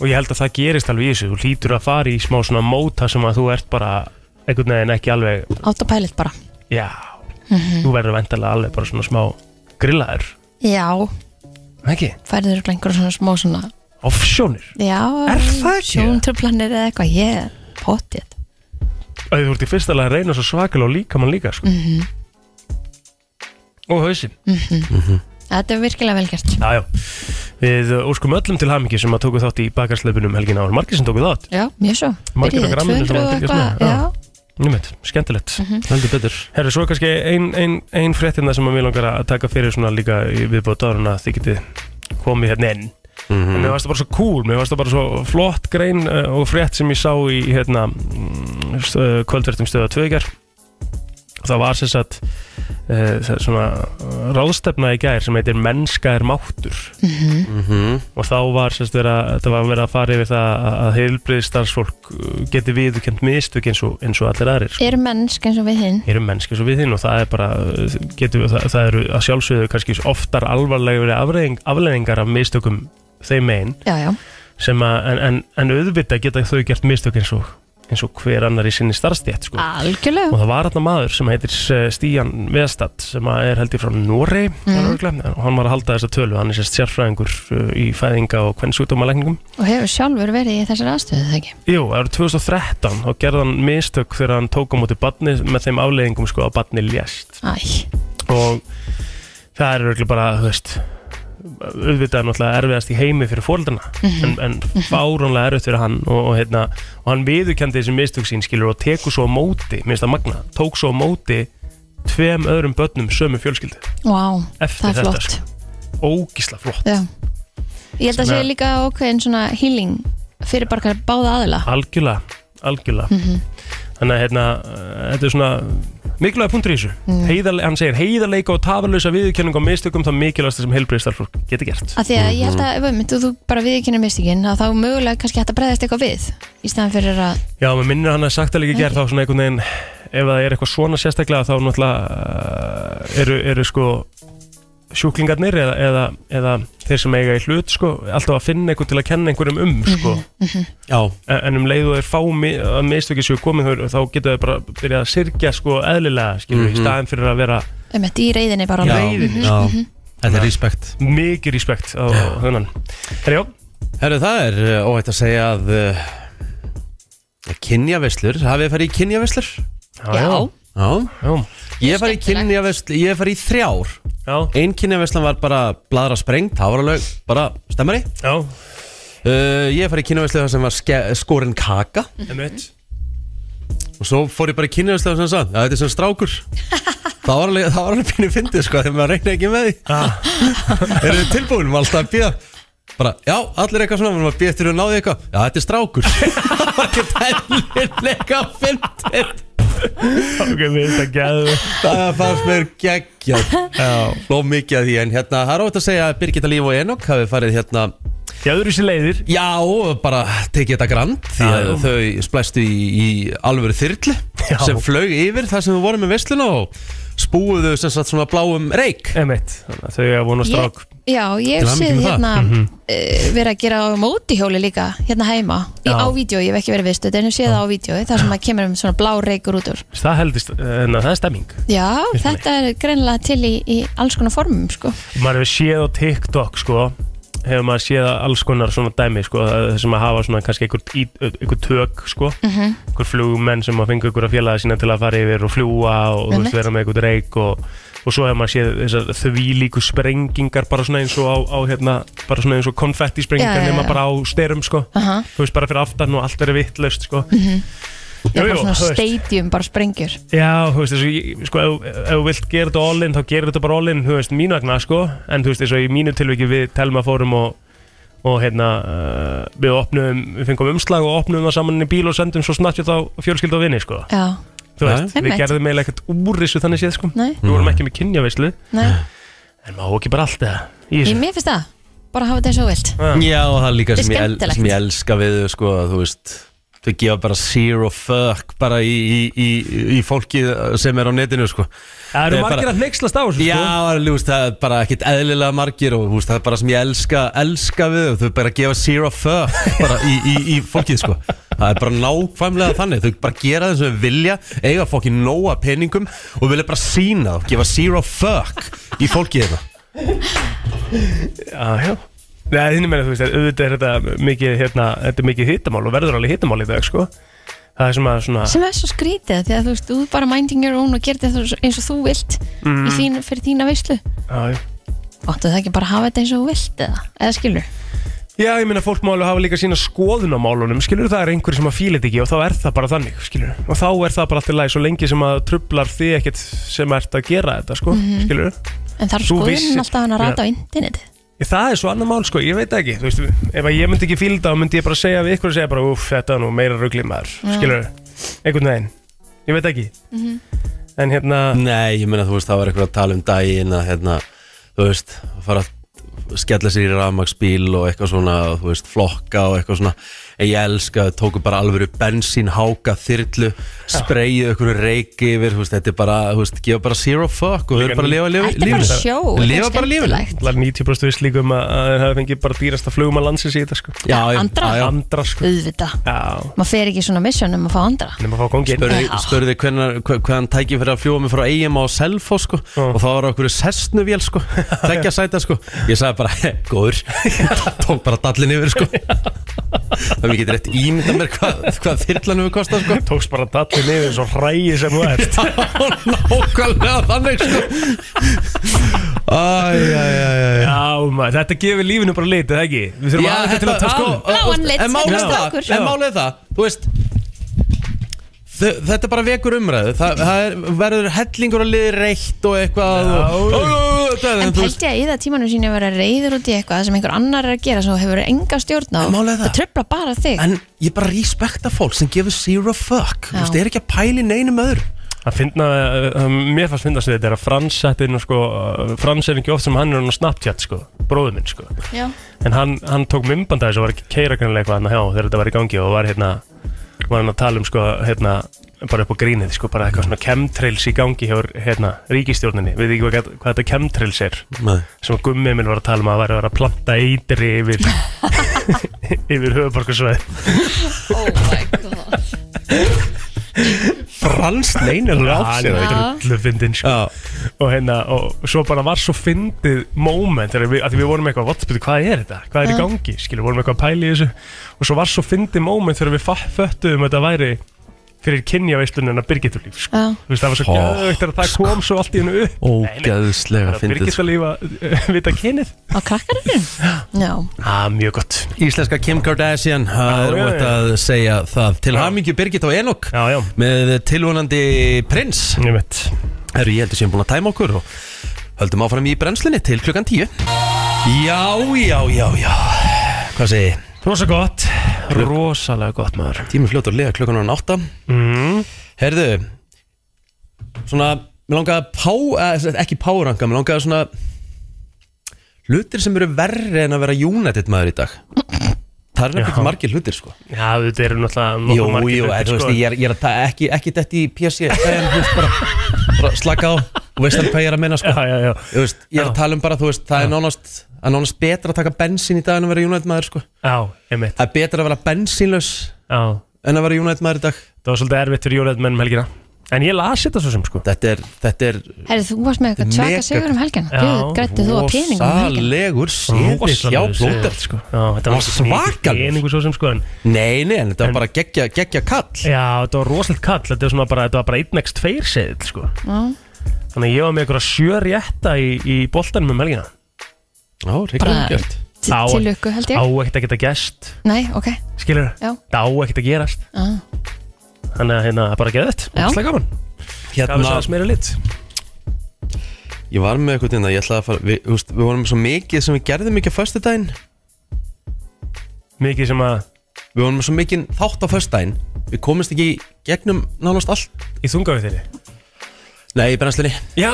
Og ég held að það gerist alveg í þessu. Þú hlýtur að fara í smá svona móta sem að þú ert bara einhvern veginn ekki alveg, autopilot bara já, þú verður vendalega alveg bara svona smá grillaður. já, Ekki? færður örugglega einhverja svona smá svona Offsjónir. já, Er það ekki? sjóntruflanir eða eitthvað ég yeah, potið Að þú ert í fyrsta lega að reyna svo svakal og líka mann líka, sko. Mm Og hausinn. þetta er virkilega vel gert Já, já. Við uh, óskum öllum til hamingi sem að tóku þátt í bakarslöpunum helgina og margir sem tóku þátt. já, mjög svo Margir Byrjuðu okkar ammenni sem 200 var að og fylgjast með, eitthvað, já. já. Númið, skemmtilegt. Mhm. Heldur betur Herru, svo er kannski ein, ein, ein fréttina sem að mér langar að taka fyrir svona líka í viðbót áður en að þið getið komið hérna inn mm en Mér varst það bara svo cool, mér varst það bara svo flott grein uh, og frétt sem ég sá í hérna, uh, kvöldvertum stöða tvögar og það var sem sagt uh, svona uh, ráðstefna í gær sem heitir Mennska er máttur Mhm. og þá var semst vera, þetta var verið að fara yfir það að- að heilbriðstarfsfólk geti viðkjönd mistök eins og, eins og allir aðrir sko eru mennsk eins og við hinn erum mennski svo við þín og það er bara getum, það, það eru að sjálfsögðu kannski oftar alvarlegur afleðing, afleðingar af mistökum þeim megin já, já, sem að, en, en, en auðvitað geta þau gert mistök eins og, eins og hver annar í sinni starfstjætt Ah. sko. algjörlega og það var þarna maður sem heitir eh, Stían Veðstad sem að er heldur frá Norei mm. og hann var að halda þessa tölu, hann er sérst sérfræðingur eh, í fæðinga og kvennsjúkdómalækningum og hefur sjálfur verið í þessari aðstöðu það ekki Jú, það eru 2013 og gerði hann mistök þegar hann tók á móti badni með þeim afleðingum sko að badni ljast Æ, og það er örgulega bara, þú veist auðvitað er náttúrulega erfiðast í heimi fyrir fóreldrana Mhm. en, en fáránlega erfitt fyrir hann og, og, hérna, og hann viðurkendi þessi mistök sín skilur og tekur svo á móti, minnst að magna tók svo á móti tveim öðrum börnum sömu fjölskyldu vá, eftir það er þetta flott sko. ógísla flott, Já. Ég held að Sem sé að- líka ákveðin svona healing fyrir bara báða aðila algjörlega algjörlega, Mhm. þannig að hérna, eh, þetta er svona mikilvæg punktur í þessu, mm. hann segir heiðarleika og tafarlösa viðurkenning á mistökum það mikilvægsta sem heilbreyðstarflokk getur gert Af því að ég held Mhm. að, um, þú, þú bara viðkynir mistikinn að þá mögulega kannski hægt að bregðast eitthvað við í staðan fyrir að, Já, maður minnir hann að sagt að líka gerð þá svona einhvern veginn ef það er eitthvað svona sérstaklega þá náttúrulega uh, eru, eru sko sjúklingarnir eða, eða, eða þeir sem eiga í hlut sko alltaf að finna einhvern til að kenna einhverjum um sko Mhm. Já, en en um leið og þeir fá mi- að mistöki séu komið þau, þá geta þau bara byrjað að sirkja sko eðlilega skilur Mhm. í staðin fyrir að vera um þetta í reyðinni bara já, alveg. leiðinni, já. Mhm. Þetta er respekt mikið respekt á þennan Herjó, Herðu það er uh, óhætt að eh, segja að uh, Kynjaveslur, hafið þið farið í kynjaveslur? Já, Já Já, Ég hef farið í Skemmtilegt. kynjaveslur, ég hef farið í þrjár já, Einn kynjaveslun var bara bladra sprengt, það var alveg bara stemmari já, uh, Ég hef farið í kynjaveslur þar sem var ske, skorin kaka emitt Og svo fór ég bara í kynjaveslun sem sagði, að þetta er sem strákur Það var alveg, það var alveg pínu fyndið sko, þegar maður reyna ekki með því Eru þið tilbúin, maður alltaf að býða bara, já, allir eitthvað svona, maður var að býða eftir að náði eitthvað já, þetta er strákur það var ekki tælilega fyndir Ok, þetta gæðu það fannst mér geggja hló mikið að því, en hérna það er óvægt að segja að Birgitta Líf og Enok hafi farið hérna, Gæður þessi leiðir já, bara tekið þetta grand, því að Já. þau splæstu í, í alvöru þyrlu Já. sem flög yfir þar sem við vorum með vesluna og spúuðu sem sagt svona bláum reik Emitt, þannig að þau er að vona ég, strák já, ég Til hef hamingju séð með það. hérna mm Mhm. verið að gera á mótihjóli líka hérna heima, í, Já. á vídeo, ég hef ekki verið viðstu en ég séð það á vídeo, þar sem að kemur um svona blá reykur út úr Það heldist, en það er stemming Já, Finnst mér. þetta er greinilega til í, í alls konar formum sko. Maður hefur séð á TikTok, sko hefur maður séð alls konar svona dæmi sko, það sem að hafa svona kannski einhver, í- einhver tök sko, Mhm. einhver flugmenn sem að fengu einhverja félaga sína til að fara yfir og fljúa og þú veist, Einmitt. vera með einhver reik og, og svo hefur maður séð þessar því líku sprengingar bara svona eins og á, á hérna, bara svona eins og konfetti sprengingar Já, já, nema já. bara á styrum sko Aha. þú veist bara fyrir aftan og allt verið vittlaust sko Já, bara svona þú veist. stadium, bara sprengjur Já, þú veist, þessu, ég- sko, ef, ef þú vilt gera þetta all-in, þá gerir þetta bara all-in, þú veist, mínu vegna, sko, en þú veist, eins og í mínu tilviki við telma fórum og, og hérna, uh, við opnum, við fengum umslag og opnum það saman inn í bíl og sendum svo snartjótt á fjölskyld og vinni, sko, Já, þú veist, Já. við Einmitt. gerðum eiginlega ekkert úr þessu þannig séð, sko, nei, við Mm. vorum ekki með kynjaveislu, nei en má ekki bara allt það, í Ég, þessu, mér finnst það, bara hafa þetta eins og þú vilt Ah. Já, og það er líka Þetta er sem ég, el, skemmtilegt. sem ég elska við þau, sko, að þú veist þau gefa bara zero fuck bara í, í, í, í fólki sem er á netinu sko. það eru Ég bara- margir að neykslast á þessu, Já, sko, það er, þú veist, það er bara ekkit eðlilega margir og þú veist, það er bara sem ég elska, elska við þau, þau bara gefa zero fuck bara í, í, í fólkið sko. það er bara nákvæmlega þannig þau bara gera það sem þau vilja, eiga fólki nóa peningum og vilja bara sína gefa zero fuck í fólkið hérna. þetta já, já. Nei, þínum meina, þú veist, auðvitað er þetta mikið, hérna, þetta er mikið hittamál og verður alveg hittamál í dag, sko. Það er sem að svona... sem er svo skrítið því að þú veist, þú bara minding your own og gerir þetta eins og þú vilt Mhm. í þín, fyrir þína veislu Já, já. óttu það ekki bara að hafa þetta eins og þú vilt eða, eða skilur Já, ég meina fólk má alveg hafa líka sína skoðun á málunum, skilur það er einhverju sem að fíla þetta ekki og þá er það bara þannig, skilur og þá er það bara alltaf læg, svo lengi sem að trublar þið ekkert sem ert að gera þetta, sko, mm en þarf Þú skoðunin vissir- alltaf hann að rata á interneti Það er svo annað mál, sko, ég veit það ekki, þú veist, ef að ég myndi ekki fíla þetta, þá myndi ég bara segja við ykkur og segja bara, uff, þetta er nú meira ruglið maður, skilur einhvern veginn, ég veit ekki, en hérna, Nei, ég meina þú veist, það var eitthvað að tala um daginn að hérna, þú veist, að fara að skella sér í rafmagsbíl og eitthvað svona, og, þú veist, flokka og eitthvað svona en ég elska, þau tóku bara alvöru bensín, háka, þyrlu spreyið ykkur reiki yfir, þú veist, þetta er bara þú veist, gefa bara zero fuck og þau eru bara að lifa lifa- Þetta er bara sjó, þetta er lifa bara lífinu skemmtilegt. allar 90% viss líka um að að þeir hafi fengið bara dýrasta flugum að landsins í þetta, sko, Já, já, Andra. já, já. andra, sko, auðvitað, já, maður fer ekki í svona mission um að fá andra nema að fá kongin. Spurði, Já. spurði hvernar, hva- hvaðan tæki fyrir að fljúa mig frá eigum á Selfo sko, og það var okkur sessnuvél sko, þekkja sæta sko ég sagði bara, "He, góður tók bara dallin yfir sko það mér getur rétt ímynda mér hvað, hvað þyrlan hefur kostað sko tókst bara dallin yfir svo hræði sem þú ert Það var nákvæmlega þannig sko Æ, já, já, já, já Já maður, þetta gefur lífinu bara lit, eða ekki? Við þurfum Já, aðeins til að þetta- tala sko Bláan lit, En málið er þetta það, strákur. en málið er það Þú veist þe- Þetta bara vekur umræðu Þa, Það er, verður hellingur að liði reitt og eitthvað Já. og, og, og, það, en en þú veist pælti að í það tímanum sín að vera reyður út í eitthvað sem einhver annar er að gera sem þú hefur enga stjórn á En málið er það. það tröfla bara þig En ég bara respekta fólk sem gefur zero fuck Þú Já. veist, ég er ekki að pæli neinum öðru Að finna, uh, mér fannst finnast við þetta er að Frans þetta er nú sko uh, Frans er ekki oft sem hann er nú Snapchat sko Bróður minn sko Já. En hann, hann tók mymband að þessu og var ekki keira grannlega eitthvað hann hjá þegar þetta var í gangi og var hérna Var hann að tala um sko hérna bara upp á grínið sko bara eitthvað svona chemtrails í gangi hjá hérna ríkistjórninni Við ekki hvað, hvað þetta chemtrails er Nei. sem að gummið minn var að tala um að væri að vera að planta eitri yfir yfir höfuborgarsvæði Oh my god franst leynilega af sér Já. drullu fyndin sko. Já, og, hérna, og svo bara var svo fyndið moment, þegar við, að því við vorum eitthvað "What, byrju, hvað er þetta, hvað er í Já. gangi skilur, vorum eitthvað að pæla í þessu og svo var svo fyndið moment þegar við fa- föttuðum að þetta væri fyrir kynjaveislunin að Birgitulíf sko. Já. Þú veist, það var svo Ó, gæðvegt að það kom svo allt í hennu upp ógæðslega fyndið sko. Birgitulíf að eh, vita kynið á krakkarunum Já, ah, mjög gott Íslenska Kim Kardashian Það er Já, já, ótt já. að segja það Til Já. hamingju Birgit og Enok já, já, Með tilvonandi prins mjög mitt Herru, ég heldur sem búin að tæma okkur og höldum áfram í brennslinni til klukkan 10 Já, já, já, já Hvað segi? Rosa gott, rosalega gott maður Tímum fljótur lega klukkan án 8 mm. Herðu Svona, mér langaði að pá, eh, ekki páranka, mér langaði svona hlutir sem eru verri en að vera United maður í dag Það er nefnilega Já. ekki margir hlutir sko Já, þetta eru náttúrulega Jú, nokkuð margir jú, hlutir, sko. en þú veist, ég er, ég er að ta- ekki, ekki þetta í PSG en þú veist bara, bara slaka á og veist alveg hvað ég er að minna sko Já, já, já Þú veist, ég er að Já. tala um bara, þú veist, það er nánast það er nánast betra að taka bensín í dag en að vera United maður, sko. Já, einmitt Það er betra að vera bensínlaus Já, en að vera United maður í dag. það var svolítið erfitt fyrir jólæðum ennum helgina En ég las þetta svo sem sko Þetta er, þetta er herri þú varst með eitthvað Mega- tvaka sigur um helgina Já. Guð, grætti þú að peningum um helgina rosalegur séði hjá Rosalegur sigur, blóðar, sko. sko. Já, þetta var Hann svakalegur. Eningu svo sem sko en, Nei, nei, en þetta var bara geggja, geggja kall. Já, þetta var rosalega kall Þetta var svona bara, þetta var bara 1x2 seðil sko Já. Þannig að ég var með einhverja sjö rétta í, í boltanum um helgina Já, reyngjum Bara- gert. Til Á- til lukku held Á ég ekkert að geta gæst, Nei, ok skilur Já. Þetta á ekkert að gerast Ah. Þannig að hérna, bara geða þetta Já. Ógeðslega gaman Gaf þess Hérna, aðeins meira lit ég var með eitthvað innan, ég ætlaði að fara, við, þú veist, við vorum með svo mikið sem við gerðum ekki á föstudaginn. Mikið sem að Við vorum með svo mikið þátt á föstudaginn. Við komist ekki í gegnum nánast allt. Í þunga við þeirri Nei, í brennslunni. Já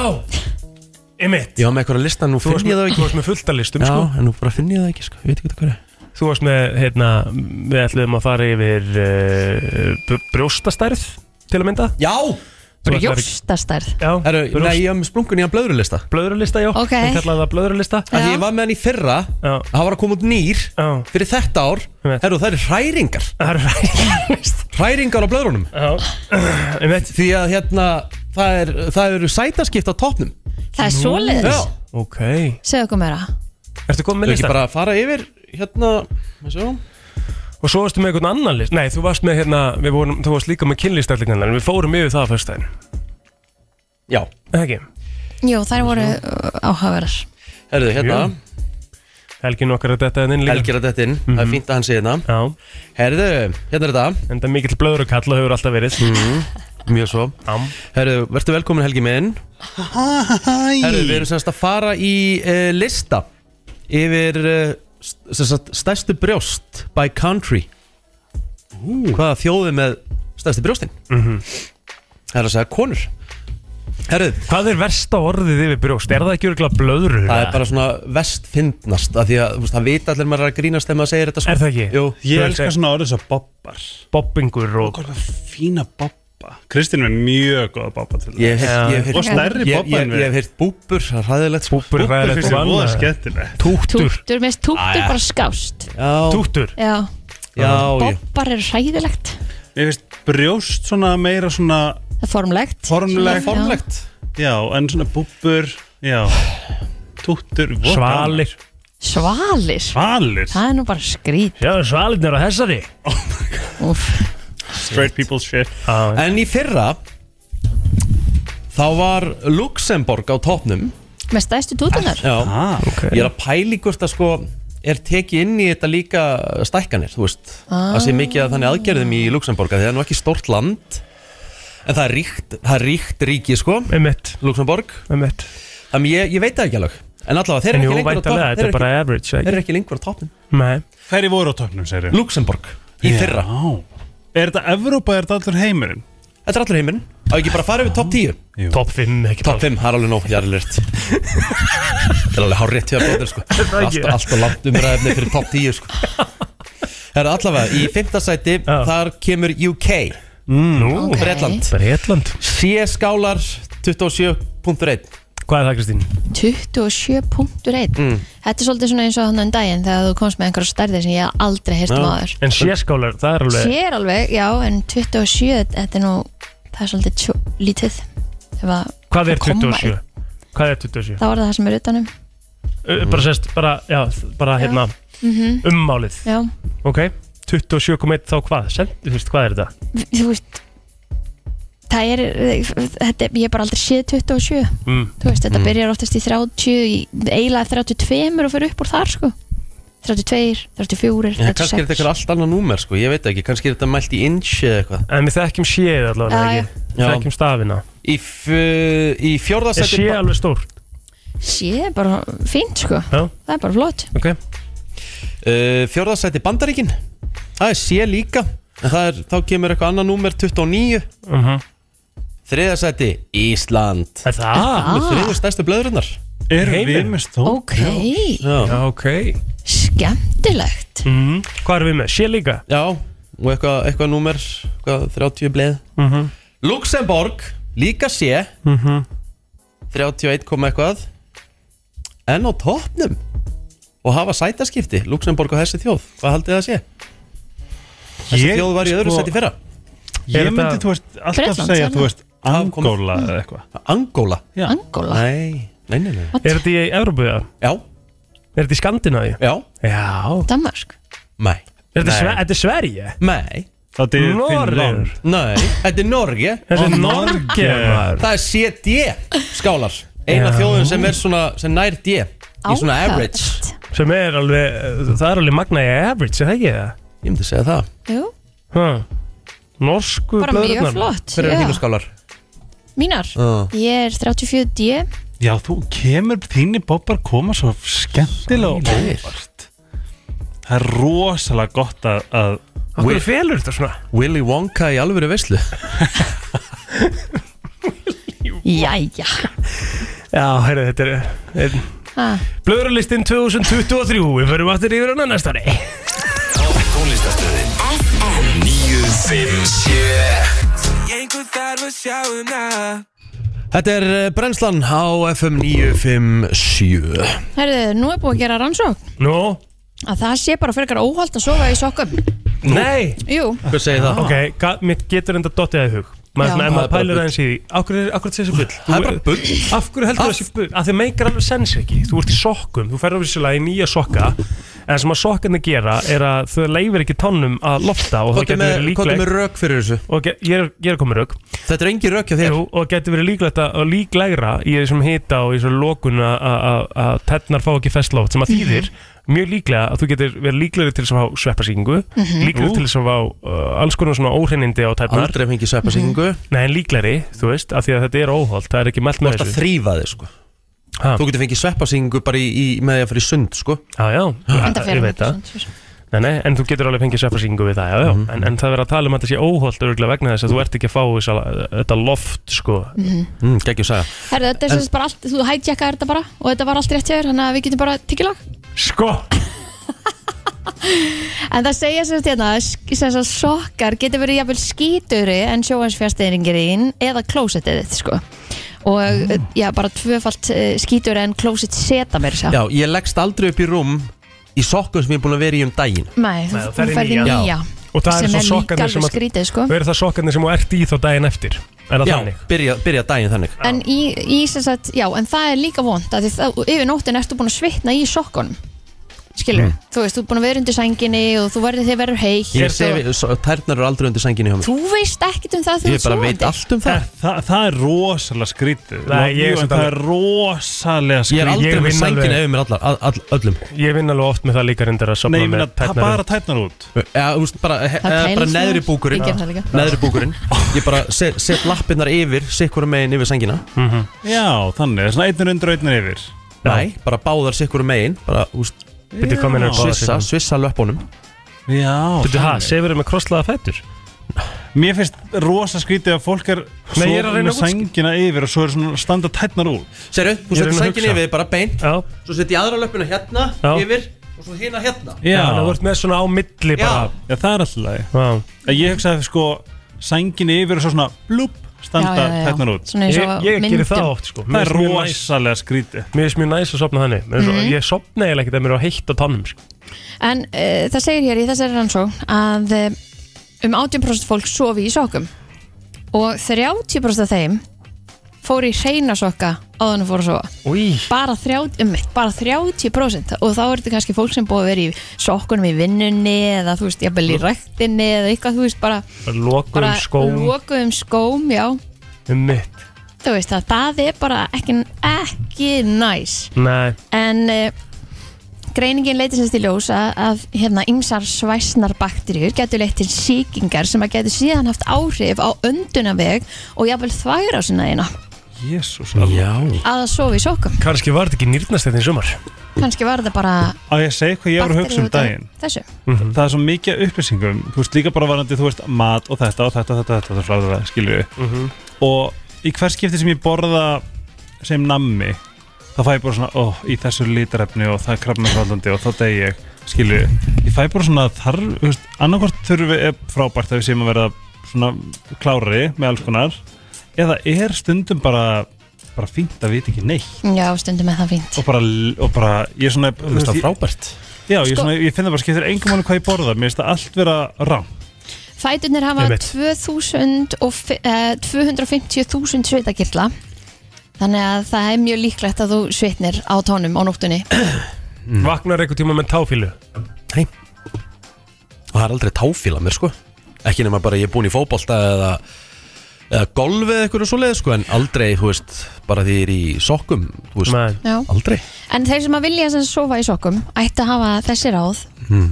Einmitt Ég var með eitthvað að lista, nú Þú varst finn ég með, það þú ekki. varst með fullt af listum Já, sko en nú bara finn ég það ekki, sko. Ég veit ekki hvað það er. Þú varst með, hérna, við ætlum að fara yfir uh, brjóstastærð til að mynda Já! Þú ætlaðir- Brjóstastærð Já, Herru, nei, brjóst, ég hef með splungun í að blöðrulista. blöðrulista, já Ok. Hún kallaði það blöðrulista Af því Já. ég var með hann í fyrra, Já, það var að koma út nýr já, fyrir þetta ár. Einmitt. Herru, það eru hræringar. það er ræðist Hræringar á blöðrunum. Já, einmitt Því að hérna, það, er, það eru sætaskipt á toppnum. Það er Já. svoleiðis Ok Segðu okkur meira Ertu Þau komið með ekki lista? bara að fara yfir, hérna, maður sjá. Og svo varstu með einhvern annan list Nei, þú varst með, hérna, við vorum, þú varst líka með kynlistællingan En við fórum yfir það á föstudaginn Já. Er það Ekki, Jú, þær voru uh, áhugaverðar Herru, hérna, Jú. Mhm. helgin okkar að þetta er inn líka Helgi er að þetta inn. Það er fínt að hann sé hérna. Já, Herru, hérna er þetta. en það er mikill blöðrukall og hefur alltaf verið Mm. Mjög svo. Am. Herru, verður velkomin Helgi minn Herru, við erum semst að fara í uh, lista yfir uh, semst, stærstu brjóst by country uh. Hvaða þjóði með stærstu brjóstin Mhm. Það er að segja konur Herru, Hvað er versta orðið yfir brjóst? Er það ekki örgulega blöðru? það er bara svona vestfindnast af því að þú veist, það vita allir maður er að grínast þegar maður segir þetta sko. Er það ekki? Jú, Þú Ég veist, elskar eh, svona orðið svo bobbar Bobbingur og Hvað fína bobba Kristín er mjög góða bobba til ég hef Já. heyrt- ég hef heyrt- Og stærri ég- bobba en ég- við. Ég hef heyrt búbur, það er hræðilegt sko. Búbur er Bobba ræðilegt finnst ég og voða annað skemmtilegt Túttur Túttur, mér finnst túttur bara skást Já, Túttur Já, já, já bobbar eru hræðilegt Mér finnst brjóst svona meira svona Það er formlegt formlegt Svona formlegt. Formlegt Já, en svona bubbur Já Túttur voða gaman. Svalir Svalir Svalir Það er nú bara skrít Sjáðu svalirnir á þessari Úf. Straight people shit Já, En í fyrra Þá var Luxemborg á topnum Með stæstu tútunar Já, ah, Ég er að pæli hvort að sko er tekið inn í þetta líka stækkanir Þú veist, það sé mikið að þannig aðgerðum í Luxemborg af því Það er nú ekki stórt land En það er ríkt, það er ríkt ríki sko Einmitt Luxemborg Einmitt Þannig ég, ég veit það ekki alveg En allavega, þeir En eru jú, ekki lengur á væntalega, topnum þetta er bara average Þeir ekki? eru ekki lengur á topnum Nei Hverju voru á toppnum, segir Luxemborg, í fyrra Er þetta Evrópa, er þetta allur heimurinn? Þetta er allur heiminn Á ekki bara að fara yfir top 10 Top 5 ekki Top 5, það er alveg nóg, ég er alveg rétt Það er alveg hár rétt hjá bróðir sko það ekki? Alltaf allt langt umræðinni fyrir top 10 sko Það er allavega, í fimmta sæti Já. Þar kemur UK, Nú Ok. Bretland Bretland C-skálar 27.1 Hvað er það Kristín? 27.1 Þetta er svolítið svona eins og þannig um daginn Þegar þú komst með einhverja stærðir sem ég hef aldrei heyrt um Já. maður En sérskálar, það er alveg Sér alveg, já, en 27 Þetta er nú, það það er svolítið tjó, lítið Ef að- Hvað er að koma 27? einn- Hvað er 27? Þá er það það sem er utanum Ö, Bara sérst, bara, já, bara hérna mm ummálið Já, Ok, 27,1 þá hvað? Send, þú veist, hvað er þetta? þú veist Það er, þetta, er- ég hef bara aldrei séð 27 Mm. Þú veist, þetta Mm. byrjar oftast í 30 í, eiginlega 32 og fyrir upp úr þar sko 32, 34, En kannski er 36 þetta eitthvað allt annað númer sko, ég veit ekki, kannski er þetta mælt í inch eða eitthvað En við þekkjum séð allavega Já, ekki Við þekkjum stafina Í, f- í Er fjórðasætti sé alveg stórt? Sé, bara fínt sko Já, Það er bara flott ok uh, Fjórðasætti Bandaríkin Það er sé líka En það er, þá kemur eitthvað annað númer 29 uh -huh. Þriðasætti Ísland Er það? Með þriðu stærstu blöðrunar Erum Heimir. við með stór? Ok, Já, Já, ok skemmtilegt mm. Hvað erum við með? Sé líka? Já og eitthvað, eitthvað númer, eitthvað 30 bleið Mm -hmm. Luxemborg, líka sé 31 kom eitthvað En á toppnum Og hafa sætaskipti Luxemborg og þessi þjóð, hvað haldið það sé? Þessi Ég, þjóð var í öðru sko- sæti í fyrra Ég Er myndi, þetta- þú veist, alltaf Bretland, segja, sagði þú veist, hann. Angola eða eitthvað Angola? Já. Angola Nei, nei, nei, nei. Er þetta í Evrópu eða? Já, Er þetta í Skandinavíu? já, Já Danmark nei Er þetta Nei. Sve- þetta er Sverige? Nei, Það er Norður nei, þetta er Norge Þetta er Og Norge Norge. maður. Það er CD skálar Eina Já. þjóðin sem er svona, sem nær D Í svona average Áhugavert. Sem er alveg Það er alveg magna í average, er það ekki það? Ég myndi segja það Jú, Huh. Norsku bara mjög blöðrurnar. flott Hver er já. þínu skálar? Mínar, Já. ég er 34D Já, þú kemur, þínir bobbar koma svo skemmtilega og Sælir. óvart Það er rosalega gott að, að Af hverju Weird. felur þetta svona? Willy Wonka í alvöru veislu Jæja Já, heyrðu, þetta er, er ha. Blöðurlistin 2023 Við förum aftur yfir hana næsta ári Tónlistastöðin FM 957 Þetta er eh, brennslan á FM 957 Herðu, nú er búið að gera rannsókn Nú? að það sé bara frekar óholt að sofa í sokkum Nei Jú, Hvað segir það? Ok, ga- mér getur enda dottið að í hug Já. Maður svona, Það ef er maður bara pælir bull. aðeins í því Akkur er akkur þessi bull Það er bara bull Af hverju heldur þessi bull? Af því það meikar alveg sens ekki Þú ert í sokkum, þú ferður vissulega í nýja sokka En það sem að sokkarnir gera er að þau leifir ekki tannum að lofta og það Hvað er getur með, verið hvað er með líklegt rauk fyrir þessu? og ge- ég er, ég er komið rauk Þetta er engin rauk hjá þér Jú, og getur verið líklegt að og líklegra í þessum hita og í þessum lokun að- að að- að tennnar fá ekki festloft sem að þýðir mjög líklega að þú getur verið líklegri til þess að fá sveppasíkingu líklegri til þess að fá uh, alls konar svona óhreinindi á tennnar Aldrei fengið sveppasíkingu Nei, en líklegri, þú veist, af því að þetta er óholt það er ekki mælt Þú með ert að þessu þrýfa þig sko Ha. Þú getur fengið sveppasíkingu bara í, í, með því að fyrir sund sko Já, já, enda ég fyrir veit það það Nei, nei, en þú getur alveg fengið sveppasíkingu við það, já, já en, en það verður að tala um að þetta sé óholt örgulega vegna þess að þú ert ekki að fá þess þetta loft, sko mm, Gekki að segja Herðu, þetta er sem sagt bara allt, þú hætjekkaðir þetta bara og þetta var allt rétt hjá þér, þannig að við getum bara tikkilag Sko! En það segja sem sagt hérna að sk- sem sagt sokkar getur verið jafnvel skíturi en sjóhansfjasteyringir þín eða klósettið þitt, sko og Mm. já, bara tvöfalt uh, skíturi en klósett seta mér sér Já, ég leggst aldrei upp í rúm í sokkum sem ég er búin að vera í um daginn Nei, Nei, þú þú þú ferð í ferð í nýja. nýja Og það er sem svo er líka sokkarnir sem alveg að skrítið, sko Verður það sokkarnir sem þú ert í þá daginn eftir Er það Já, þannig? byrja, byrja daginn þannig En í, í sem sagt, já, en það er líka vond að því þá, yfir nóttin ertu búin að svitna í sokkunum skilur, þú veist, þú ert búin að vera undir sænginni og þú verður þig verður heitt Hmm. Ég og- segi, so- tærnar eru aldrei undir sænginni hjá mér Þú veist ekkit um það þegar Ég bara þú ert veit allt um það Það, það, það er rosalega skrítið Nei, ég er Jú, en samt Það alveg- er rosalega Ég er skrítið aldrei Ég með vinn alveg. sænginni yfir mér allar, all, all, öllum Ég vinn alveg oft með það líka reyndar að sopna Nei, ég meina, ta- tærnar bara tætnar út Já, þú veist, bara, he- eh, Það bara kælist neðri maður. búkurinn Ég ger það líka. Neðri búkurinn Ég bara set, set lappirnar yfir, sikkur megin yfir sængina Já, þannig, það er svona einnir undir og einnir yfir Já. Nei, bara báðar sikkur megin Bara, þú veist, Bíddu, hvað meinar Já. Báðar svissa, sikkur. svissa löpunum Já, Þú ha, þannig sefur með krosslaða fætur Mér finnst rosa skrítið að fólk er Nei, Svo ég er að reyna með að útský- sængina yfir og svo er svona standa tætnar út Serðu, þú Ég er setur að reyna að sængina hugsa. yfir, bara beint Já, Svo set ég aðra löpuna hérna, Já. yfir Og svo hérna hérna já. Já, þú ert með svona á milli bara Já, það er alltaf lagi Já. Að Ég hugsaði sko sængina yfir og svo svona blúp Já, um standa já, já. hérna tætnar út Svona eins Ég, og á ég gerir myndum. það oft sko Það Mér er finnst mjög næs- rosalega skrítið Mér finnst mjög næs að sopna þannig mm Mhm. -hmm. Ég sopna eiginlega ekkert að mér er á heitt á tannum sko. En uh, eh, það segir hér í þessari rannsókn að uh, um 18% fólk sofi í sokkum og 30% af þeim fór í hreinasokka áðan að fóra að sofa Új, bara 30, um, bara 30% og þá er þetta kannski fólk sem búið að vera í sokkunum í vinnunni eða þú veist, jafnvel í ræktinni eða eitthvað, þú veist, bara, bara lokuðum bara skóm lokuðum skóm, já um mitt þú veist að það er bara ekki, ekki næs Nei, en uh, greiningin leytir sérst í ljós að, að hérna ymsar svæsnar bakteríur getur leitt til sýkingar sem að getur síðan haft áhrif á öndunaveg og jafnvel þværa á sinna eina jésús Já að það sofi í sokkum Kanski var þetta ekki nýrnastættin sumar kannski var þetta bara Á ég að segja hvað ég var að hugsa um bakteríur út af daginn þessu það er svo mikið af upplýsingum þú veist líka bara varandi, þú veist, mat og þetta og þetta og þetta, þetta, þetta, þetta skilju mm Mhm. og í hvers skipti sem ég borða sem nammi þá fæ ég bara svona, ó, í þessu litarefni og það er krafnarfaldandi og þá degi ég skilju, ég fæ bara svona þar, þú veist, annarkvort þurfi er frábært að við séum að verða svona klárari með alls konar eða er stundum bara bara fínt að vita ekki neitt já, stundum er það fínt og bara, og bara ég er svona, þú Þú veist það ég- frábært Já, ég, Sko- svona, ég finn það bara skiptir engum máli hvað ég borða Mér finnst það allt vera rám fæturnir hafa Einmitt. 2000 og fi- eh, 250.000 svitakirla þannig að það er mjög líklegt að þú svitnir á tónum á nóttunni Mm. Vaknar einhver tíma með táfílu Og það er aldrei táfíla mér sko Ekki nema bara ég er búin í fótbolta eða eða golf eða eitthvað svo leið sko en aldrei, þú veist, bara því ég er í sokkum þú veist, Nei. já aldrei En þeir sem að vilja sem sofa í sokkum ætti að hafa þessi ráð mm.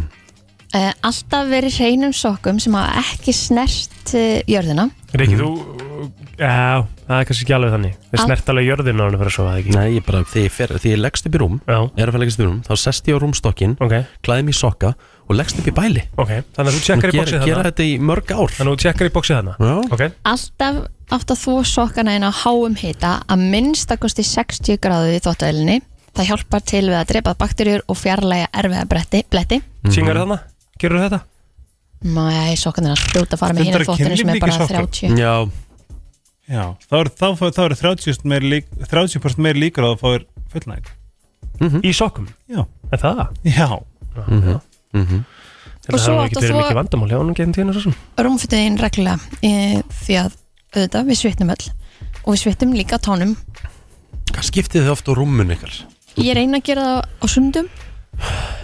Alltaf verið hreinum sokkum sem hafa ekki snert eh, jörðina Mm. Riki, þú Já, það er kannski ekki alveg þannig Þið Al- snert alveg jörðin á hann að fara að sofa það ekki Nei, ég bara, því ég, fer, því ég leggst upp í rúm Já, er að fara leggst upp í rúm, þá sest ég á rúmstokkin ok, klæði mig í sokka og leggst upp í bæli ok Þannig að þú tjekkar í gera, bóksið gera þarna þetta í mörg ár Þannig að þú tjekkar í bóksið þarna Já. Ok, Alltaf átt að þú sokkana inn á háum hita að minnstakosti 60 gráðu í þóttavölinni Það hjálpar til við að drepa bakterjur og fjarlæga erfiða bretti, bletti Mhm. tjengar þarna, gerur þetta Mæ, sokkarnir að fljóta að fara með Stundar hinn þóttunni sem er kynlíf líka í bara sokkum? 30 Já, Já, þá eru þá, þá, þá er 30% meir, lík, 30 meir líkur á að fá þér fullnæg Mhm. Í sokkum, Já, er það? já Og Þetta svo átt hefur ekki að verið þvo- mikið vandamál hjá honum geðin tíðinu svo sem Rúmfuttiðin reglulega e, því að auðvitað við svitnum öll og við svitnum líka á tánum hvað skiptið þið oft á rúmun ykkar? Ég reyna að gera það á sundum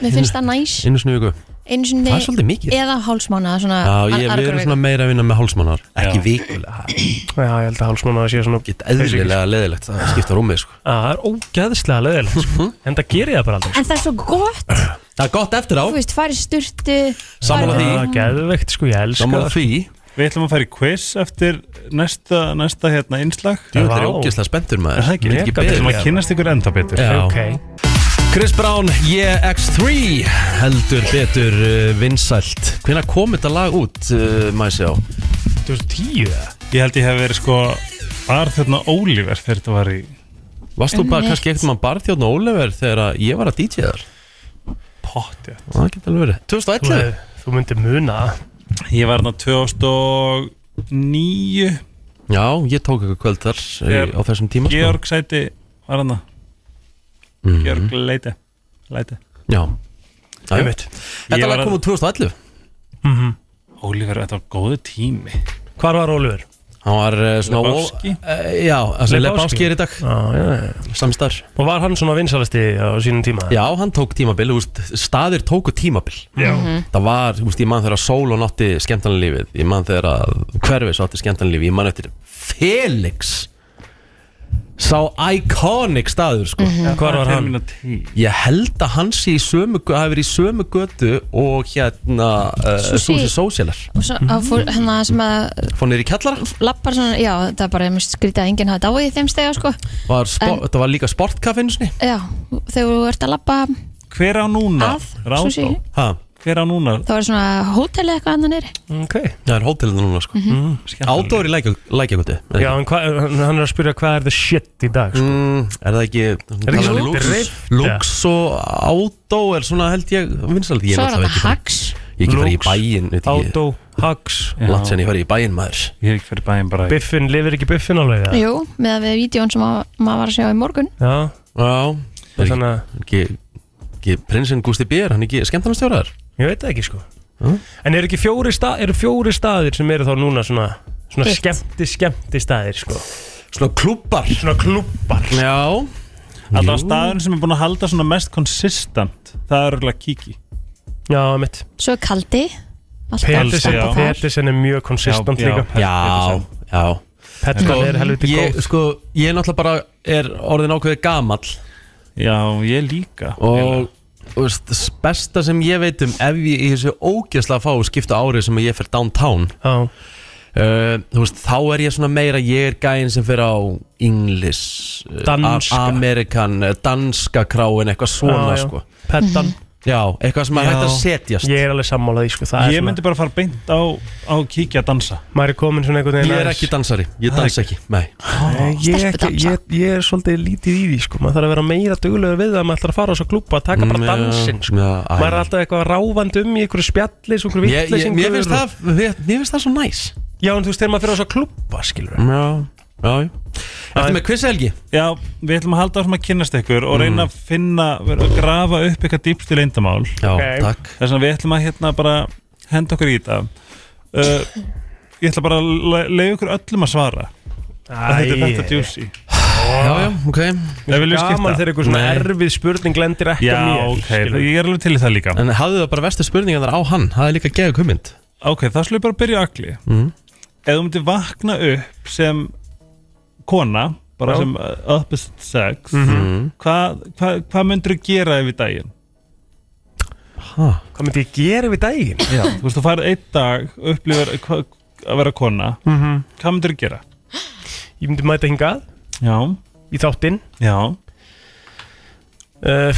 Mér finnst það næs Einu sinni í viku? Einu Það er sinni svolítið mikið eða hálsmána svona Já, ég, ar- við argur erum viku. svona meira að vinna með hálsmannar Ekki Já. vikulega, það Já, ég held að hálsmána sé svona get eðlilega leðilegt að skipta rúmið sko. Á, Það er ógeðslega leðilegt sko. Mhm. En það gerir það bara aldrei En það er svo gott, Það er gott eftir á, þú veist, farið sturtu Sammála farið- því. Það er geðveikt sko, ég elska saman það að því Við ætlum að fara í quiz eftir næsta, næsta hérna innslag Jú, þetta er Vá. ógeðslega spenntur Er maður það ekki? Ég get Mega beðið. Við ætlum að kynnast ykkur enda betur Já. Ok, Chris Brown, yeah, X3 heldur betur uh, vinsælt Hvenær kom þetta lag út, uh, maður sé á? 2010 eða? Ég held ég hef verið sko Arþjóðna Ólíver þegar þetta var í Varst þú bara Einmitt. kannski eitthvað mann barþjóðn og Oliver þegar að ég var að DJ þar? potti Það getur alveg verið Þú 2011? hefði- Þú myndir muna það. Ég var hérna 2009 Já, ég tók eitthvað kvöld þar Þegar yeah. á þessum tíma sko. Georg sæti var hérna Mhm. Georg leiti, leiti. Já Já, já. Einmitt. Þetta Ég lag var- kom úr 2011 Mhm. Ólíver, þetta var góðu tími Hvar var Ólfur? Hann var uh, svona Lebowski? Ah. uh, Já, þessi Lebowski. Lebowski er í dag Já, já, já. Samstar Og var hann svona vinsalasti á sínum tíma? Já, hann tók tímabil, þú veist, staðir tóku tímabil Já. Það var, þú veist, ég man þegar að Sólon átti skemmtanlífið Ég man þegar að Hverfis átti skemmtanlífið Ég man eftir Felix Sá iconic staður, sko Hvar var hann? Ég held að hans í sömu Það hefur verið í sömu götu Og hérna uh, Sushi. Susi Sósjalar og svo að fór Mhm. hérna sem að Fónir í kjallara lappar svona, já, það er bara einmitt skrítið að enginn hafi dáið í þeim stega, sko var spor, En- Þetta var líka sportkaffinu sinni Já, þegar þú ert að lappa Hver á núna? að, sushi, Ráðó Ha, Hver á núna? þá er svona hótel eða eitthvað annan er Ok. það er hótelinu núna, sko Mhm. mm -hmm. Ádóri lækjagötu Já, en hva, hann er að spyrja hvað er the shit í dag? Sko. Mm, er það ekki, um Er ekki svolítið lux, reift, lux og átó er svona held ég vinsaldi ég Svo er náttúrulega þetta ekki farið- hags ég ekki farið í Lux, bæinn veit ekki, Átó, Hags, langt sen ég farið í bæinn maður Ég er ekki fyrir bæinn bara í- Biffin, lifir ekki Biffin alveg það? Jú, með að við vídjón sem að, maður var að sjá í morgun Já, já, er þannig að, ekki, ekki prinsinn Gústi Bér, hann er ekki skemmtarnastjórar ég veit það ekki sko. Mm. En eru ekki fjóri, sta, eru fjóri staðir sem eru þá núna svona Svona Hitt. skemmti, skemmti staðir sko. Svona klubbar Svona klubbar Já Alltaf staðurinn sem er búin að halda svona mest konsistant Það er örgulega Kiki Já, mitt Svo er kaldi Alltaf Petersen- alltaf þar. Petersen er mjög konsistant Já, já. líka Já, já Petersen er helviti ég, góð sko, ég náttúrulega bara er orðin ákveðið gamall Já, ég líka og þú veist, besta sem ég veit um ef ég í þessu ógeðslega fá að skipta árið sem ég fer downtown Já, uh, þú veist, þá er ég svona meira ég er gæinn sem fer á English uh, Danska. a- Amerikan, uh, danska kráin eitthvað svona Já, já. sko Pettan já, eitthvað sem maður Já. hægt að setjast Ég er alveg sammálað í sko Það er Ég svona myndi bara fara beint á, á Kiki að dansa Maður er komin svona einhvern veginn Ég er aðeins- ekki dansari, ég dansa ekki Nei, Nei, ég, er ekki, Stelpudansa. ég, ég er svolítið lítið í því sko. maður þarf að vera meira duglegur við það maður ætlar að fara á svo klúpa að taka bara Mm, já, dansinn sko. já, æ. maður er alltaf eitthvað ráfandi um í einhverju spjalli svo einhverju ég, ég, vitleysingur mér, finnst það, mér, mér finnst það svo næs já en þú veist þegar maður fyrir á svo klúpa skilur við Já, já, já Ertu Æ. með quiz Helgi? Já, við ætlum að halda áfram að kynnast ykkur og reyna að finna, vera að grafa upp eitthvað dýpst í leyndamál Já, Ok. takk Þess vegna við ætlum að hérna bara henda okkur í þetta uh, Ég ætla bara að leiða ykkur öllum að svara Þetta er þetta djúsi Ah. Já, já, ok Ef við gaman skipta þegar einhver svona Nei. erfið spurning lendir ekki Já, að mér ok, skilurðu. ég er alveg til í það líka En hafðu það bara vestu spurningar á hann Það er líka geðu kummind Ok, þá slúið bara að byrja á agli Mm. Mhm. Ef þú myndir vakna upp sem kona Já. bara Mhm. sem uh, opposite sex mm. hvað hva, hva myndir þú gera yfir daginn? hvað myndi ég gera við daginn Já. Þú veist, þú farið einn dag og upplifir hva, að vera kona hvað myndir þú gera? ég myndi mæta hingað Já, í þáttinn já uh,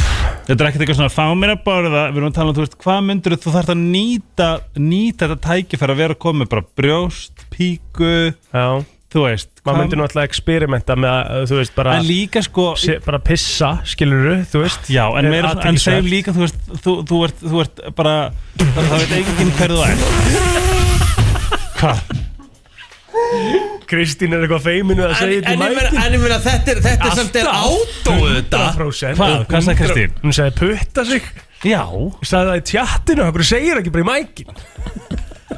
Þetta er ekkert eitthvað svona fá mér að borða við erum að tala um, þú veist, hvað myndir þú þarft að nýta nýta þetta tækifæri að vera komið bara brjóst, píku já þú veist, maður myndi náttúrulega experimenta með að eh, þú veist bara en líka sko se, bara pissa skilur við þú veist Já, en, Er meira, svona- en athyglisvert. segjum líka, þú veist, þú, þú, ert, þú ert bara, það, það veit enginn hver þú ert. Hvað? Kristín er eitthvað feiminu að segja þetta í mæti en ég meina þetta er, þetta er samt er ádóð þetta 100% Hvað? Hvað sagði Kristín? Hún sagði putta sig Já. Ég sagði það í tjattinu, okkur segir ekki bara í mækin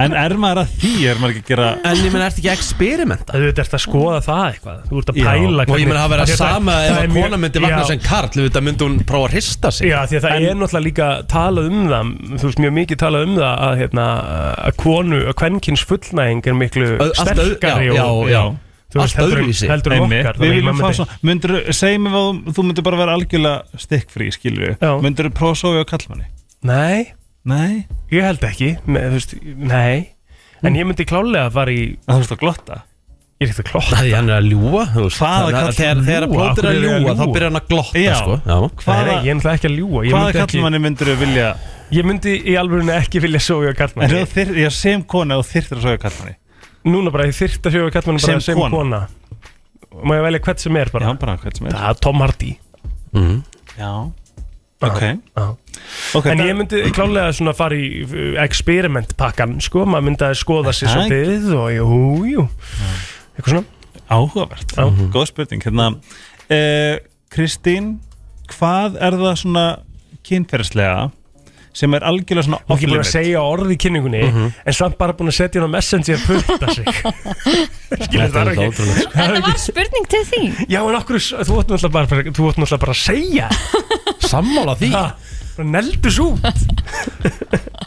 En er maður að því, er maður ekki að gera, En ég meina, ertu ekki að experimenta? Það er þetta að skoða það eitthvað Þú ert að Já. pæla Og ég meina, það verið Af því að sama það- ef það er að mjög- kona myndi vakna já, sem karl Þú veit að myndi hún prófa að hrista sig Já, því að það er náttúrulega líka talað um það Þú veist, mjög mikið talað um það að, hérna, að konu, að kvenkins fullnæðing er miklu Ö- allt öð- sterkari já, já, og, já. Þú veist, Allt heldur en- öðruvísi. Heldur en Einmitt. okkar við þannig að viljum maður fá myndi- svona, myndir, segjum við að þú- þú myndir bara vera algjörlega stikkfrí, skilur við, Já. myndir þú prófa að sofa á kallmanni? Nei, Nei. ég held ekki með, þú veist, Nei En ég myndi klálega að fara í En þú veist að glotta? Ég er ekkert að klokka Það er hann er að ljúa þú veist. Hvaða Þannig að karl- Þegar, þegar ljúga? plótir Af að hverju er ég að ljúa, þá ljúga? byrjar hann að glotta Já. sko. Já. Nei, Hvaða, nei, ég er náttúrulega ekki að ljúa Ég hvaða myndi ekki- kallmanni myndir þú vilja, Ég myndi í alveg ekki vilja sofa hjá en þú kallmanni þyr, já, sem kona þú þyrftir að sofa á kallmanni? Núna bara ég þyrft að sofa hjá kallmanni bara Sem sem kona. kona Má ég velja hvert sem er Já, bara bara hvern sem er. Það er Tom Hardy Mm. Já. Ok. Já. Ok, En það- ég myndi klálega svona fara í uh, experiment pakkan sko Maður myndi að skoða sig Það svolítið og jú, jú Eitthvað svona Áhugavert, Mhm. góð spurning hérna, eh, Kristín, hvað er það svona kynferðslega sem er algjörlega svona Og ekki búin að off-limit? segja orð í kynningunni En samt bara búin að setja hann á messenger að putta sig Skilur Þetta það er ekki alltaf ótrúlega Þetta var spurning til þín Já en okkur, þú vart náttúrulega bara, þú vart náttúrulega bara að segja Sammála því Ha, bara Neldus út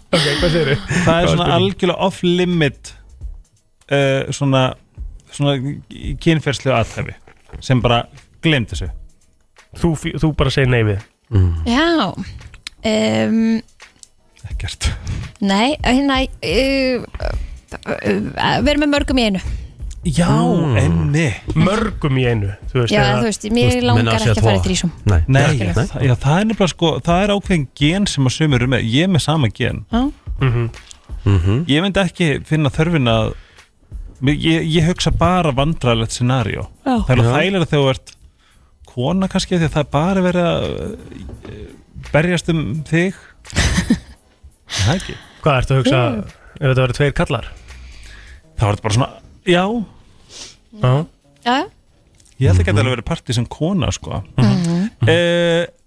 Ok, hvað segir þau? Hvað er Góð svona spurning. algjörlega off-limit eh, svona, svona kynferðslega aðhæfi sem bara glemt þessu? Þú, fí- þú bara segir nei við Já um, Ekkert Nei, hérna uh, Við erum með mörgum í einu Já, enni Mörgum í einu Þú veist, Já, eða- þú veist, mér Minna langar að segja ekki að fara tvo. í þrísum Nei, Nei, Nei. það, já, það er nefnilega sko, það er ákveðin gen sem að sömur með, ég er með sama gen Já. Mhm. Ég myndi ekki finna þörfin að Mér- ég, ég hugsa bara vandræðilegt scenario Já. Það er alveg þægilega þegar þú ert kona kannski því að það er bara verið að eh, berjast um þig Er Það ekki Hvað ertu að hugsa ef þetta verður tveir kallar? Það var þetta bara svona, já Já Já, Ég held ekki að það alveg verið partí sem kona sko mm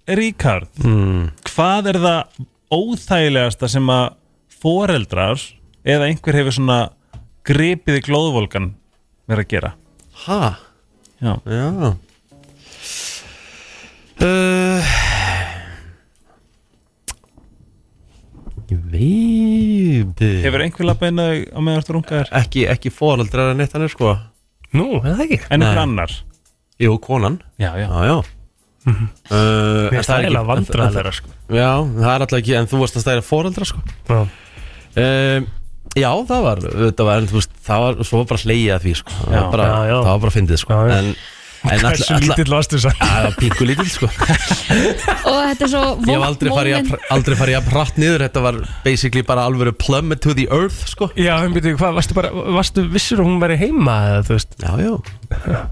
Ríkard Mhm. Mm. hvað er það óþægilegasta sem að foreldrar eða einhver hefur svona gripiði glóðvolgan vera að gera Ha? Já. Já uh, Ég veit Hefur einhver labbað inn á þig á meðan þú rungaðir? Ekki, ekki fóraldrar en eitt hann er sko Nú, er það ekki? En einhver Nei. annar? Jú, konan Já, já Já, já uh, Mhm. Mér en er það eiginlega vandrað en- þeirra sko en- Já, það er alltaf ekki En þú varst að stæra fóraldra sko Já. um, Já, það var, það var, en þú veist, það var, svo var bara hleyja því, sko, það var Já, bara, já, já. Það var bara fyndið, sko, Já, já. en, en alla, Hversu alla, lítill varstu sann? það var pingu lítill, sko, og þetta er svo Ég hef aldrei farið að, aldrei farið að pratt niður Þetta var basically bara alvöru plummet to the earth sko. Já, en byrju, hvað, varstu bara, varstu vissur að hún væri heima eða þú veist? Já, já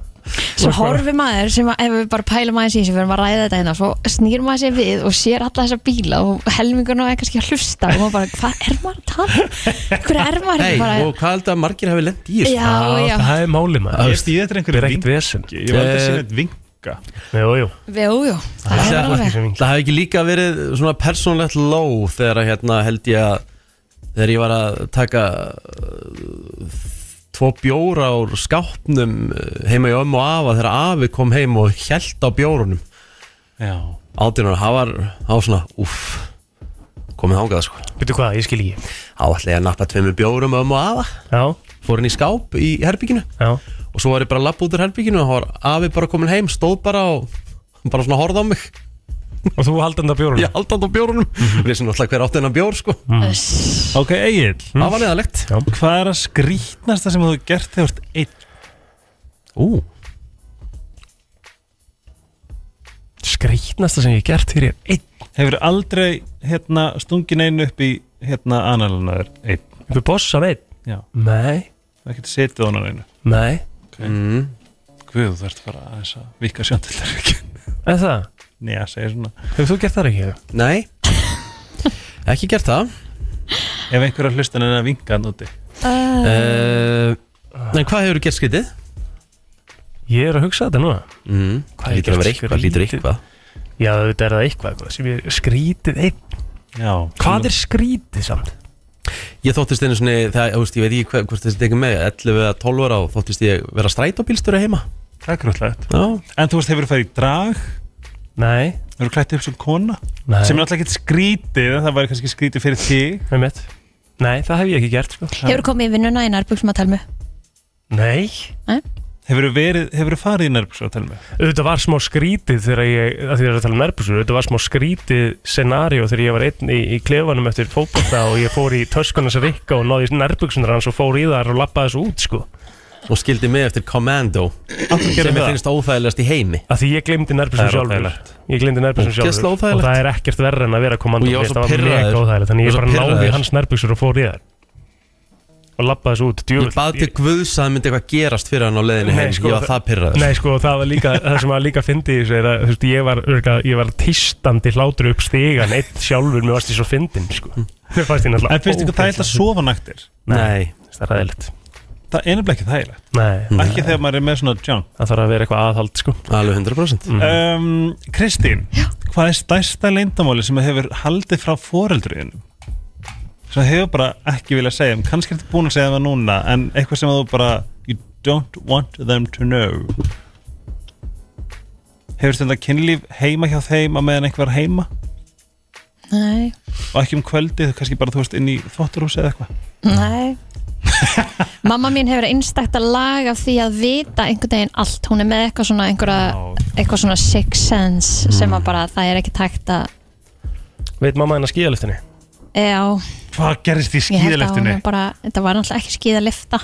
svo horfi maður sem að ef við bara pælum aðeins í sem við erum að ræða þetta hérna svo snýr maður sér við og sér alla þessa bíla og helmingun og kannski að hlusta og maður bara, hvað er maður að tala um? hver er maður Hei, ekki bara og hvað held að margir hafi lent í þessu? já, já, Ah, Það er málið maður Ég stýði þetta Það einhverju er ekkert vingi vesen Ég var aldrei Eh, að sína eitt vinga Jú, jú jú, jú það Ætli er að- alveg Það hafi ekki líka verið svona persónlegt low Þegar að, hérna held ég að Þegar ég var að taka uh, Tvo bjóra úr skápnum uh, Heima í ömmu og afa Þegar afi kom heim og hjælt á bjórunum Já Átjánur, það var, það var svona Úff, komið þangað sko Byrju hvað, ég skil ekki Þá ætla ég að nappa tveimur bjórum ömmu og afa Já, Fór inn í skáp í herbygginu já og svo var ég bara að lappa út úr herbygginu og þá var afi bara komin heim, stóð bara og bara svona horfði á mig Og þú haldandi að bjórunum ég haldi hann á bjórunum við sem alltaf hver átti hennar bjór sko Mm. veist. Ok, Egil Hm? það var neðalegt Hvað er að skrýtnasta sem þú hefur gert þegar þú ert einn? ú, Skreitnasta sem ég hef gert fyrir einn Hefur aldrei hérna, stungin einu upp í hérna, analanaður einn? Byrju bossa einn Já, Nei, það getur setið á hann einu nei Guð, þú ert bara aðeins að vika sjóndildar Er það? Já, segir svona Hefur þú gert það ekki? nei ekki gert það Ef einhverja hlustan er að vinga hann úti uh, en hvað hefur gert skytið? Ég er að hugsa þetta núna Mm. Hvað hef ég lítur að vera gert eitthvað, lítur skrítið? eitthvað Já, þetta er það eitthvað, eitthvað sem ég skrítið einn Já Hvað er skrítið samt? ég þóttist einu svona, það, þú veist, ég veit ekki hver, hvort þessi tekur með 11 eða 12 ára og þóttist ég vera strætóbílstöru heima Það er grútlegt já, En þú veist, hefur þú farið í drag Nei, Hefur þú klætt upp sem kona nei Sem er alltaf ekkert skrítið en Það væri kannski skrítið fyrir þig Einmitt. Nei, það hef ég ekki gert sko. hefur komið í vinnuna í nærbuksum að tala með Nei Hefur þú verið, hefur þú farið í nærbús og tala með Auðvitað var smá skrítið þegar ég að Því það er að tala um erbúsur Auðvitað var smá skrítið scenario Þegar ég var einn í, í klefanum eftir fótbolta Og ég fór í töskunars rikka og náði nærbuksunar hans Og fór í þar og lappaði þessu út sko. og skildi mig eftir Commando sem ég finnst óþægilegast í heimi Af því ég glemdi Það nærbúsum er sjálfur óþægilegt. Ég glemdi nærbúsum sjálfur Ógeðslega Og Hm. óþægilegt. það er ekkert verra en að vera Og komandum ég var svo Það var mega pirraður. óþægilegt Ég Þannig ég var bara svo náði pirraður. hans nærbúsur og fór í þar Og lappaði þessu út Ég bað til Guðs að það myndi eitthvað gerast fyrir hann á leiðinni heim, ég var það pyrraður Nei sko, það var líka, það sem var líka fyndið í þessu er að, þú veist, ég var, örga, ég var tístandi hlátur upp stegan einn sjálfur, mér varst því svo fyndin, sko Hm. Mér fannst því náttúrulega En finnst ykkur þægilegt að sofa naktir? Nei. Nei, það er ræðilegt Það er nefnilega ekki þægilegt Nei, Hm. Ekki þegar maður er með svona junk það þarf að vera eitthvað aðhald, sko Alveg 100% um, Kristín, hvað er stærsta leindamáli sem hefur haldið frá foreldriðinum? Sem hefur bara ekki viljað segja um, kannski ertu búin að segja það núna en eitthvað sem þú bara you don't want them to know Hefur stundar kynlíf heima hjá þeim að meðan einhver var heima nei, og ekki um kvöldið, kannski bara þú veist inn í þvotturhúsi eða eitthvað nei mamma mín hefur einstakta lag af því að vita einhvern veginn allt, hún er með eitthvað svona einhverja, eitthvað svona sixth sense sem að bara það er ekki takt að Veit mamma hennar skíðaliftinni? já, Hvað gerist í Ég held að hún skíðaleftinni? er bara, þetta var náttúrulega ekki skíðalifta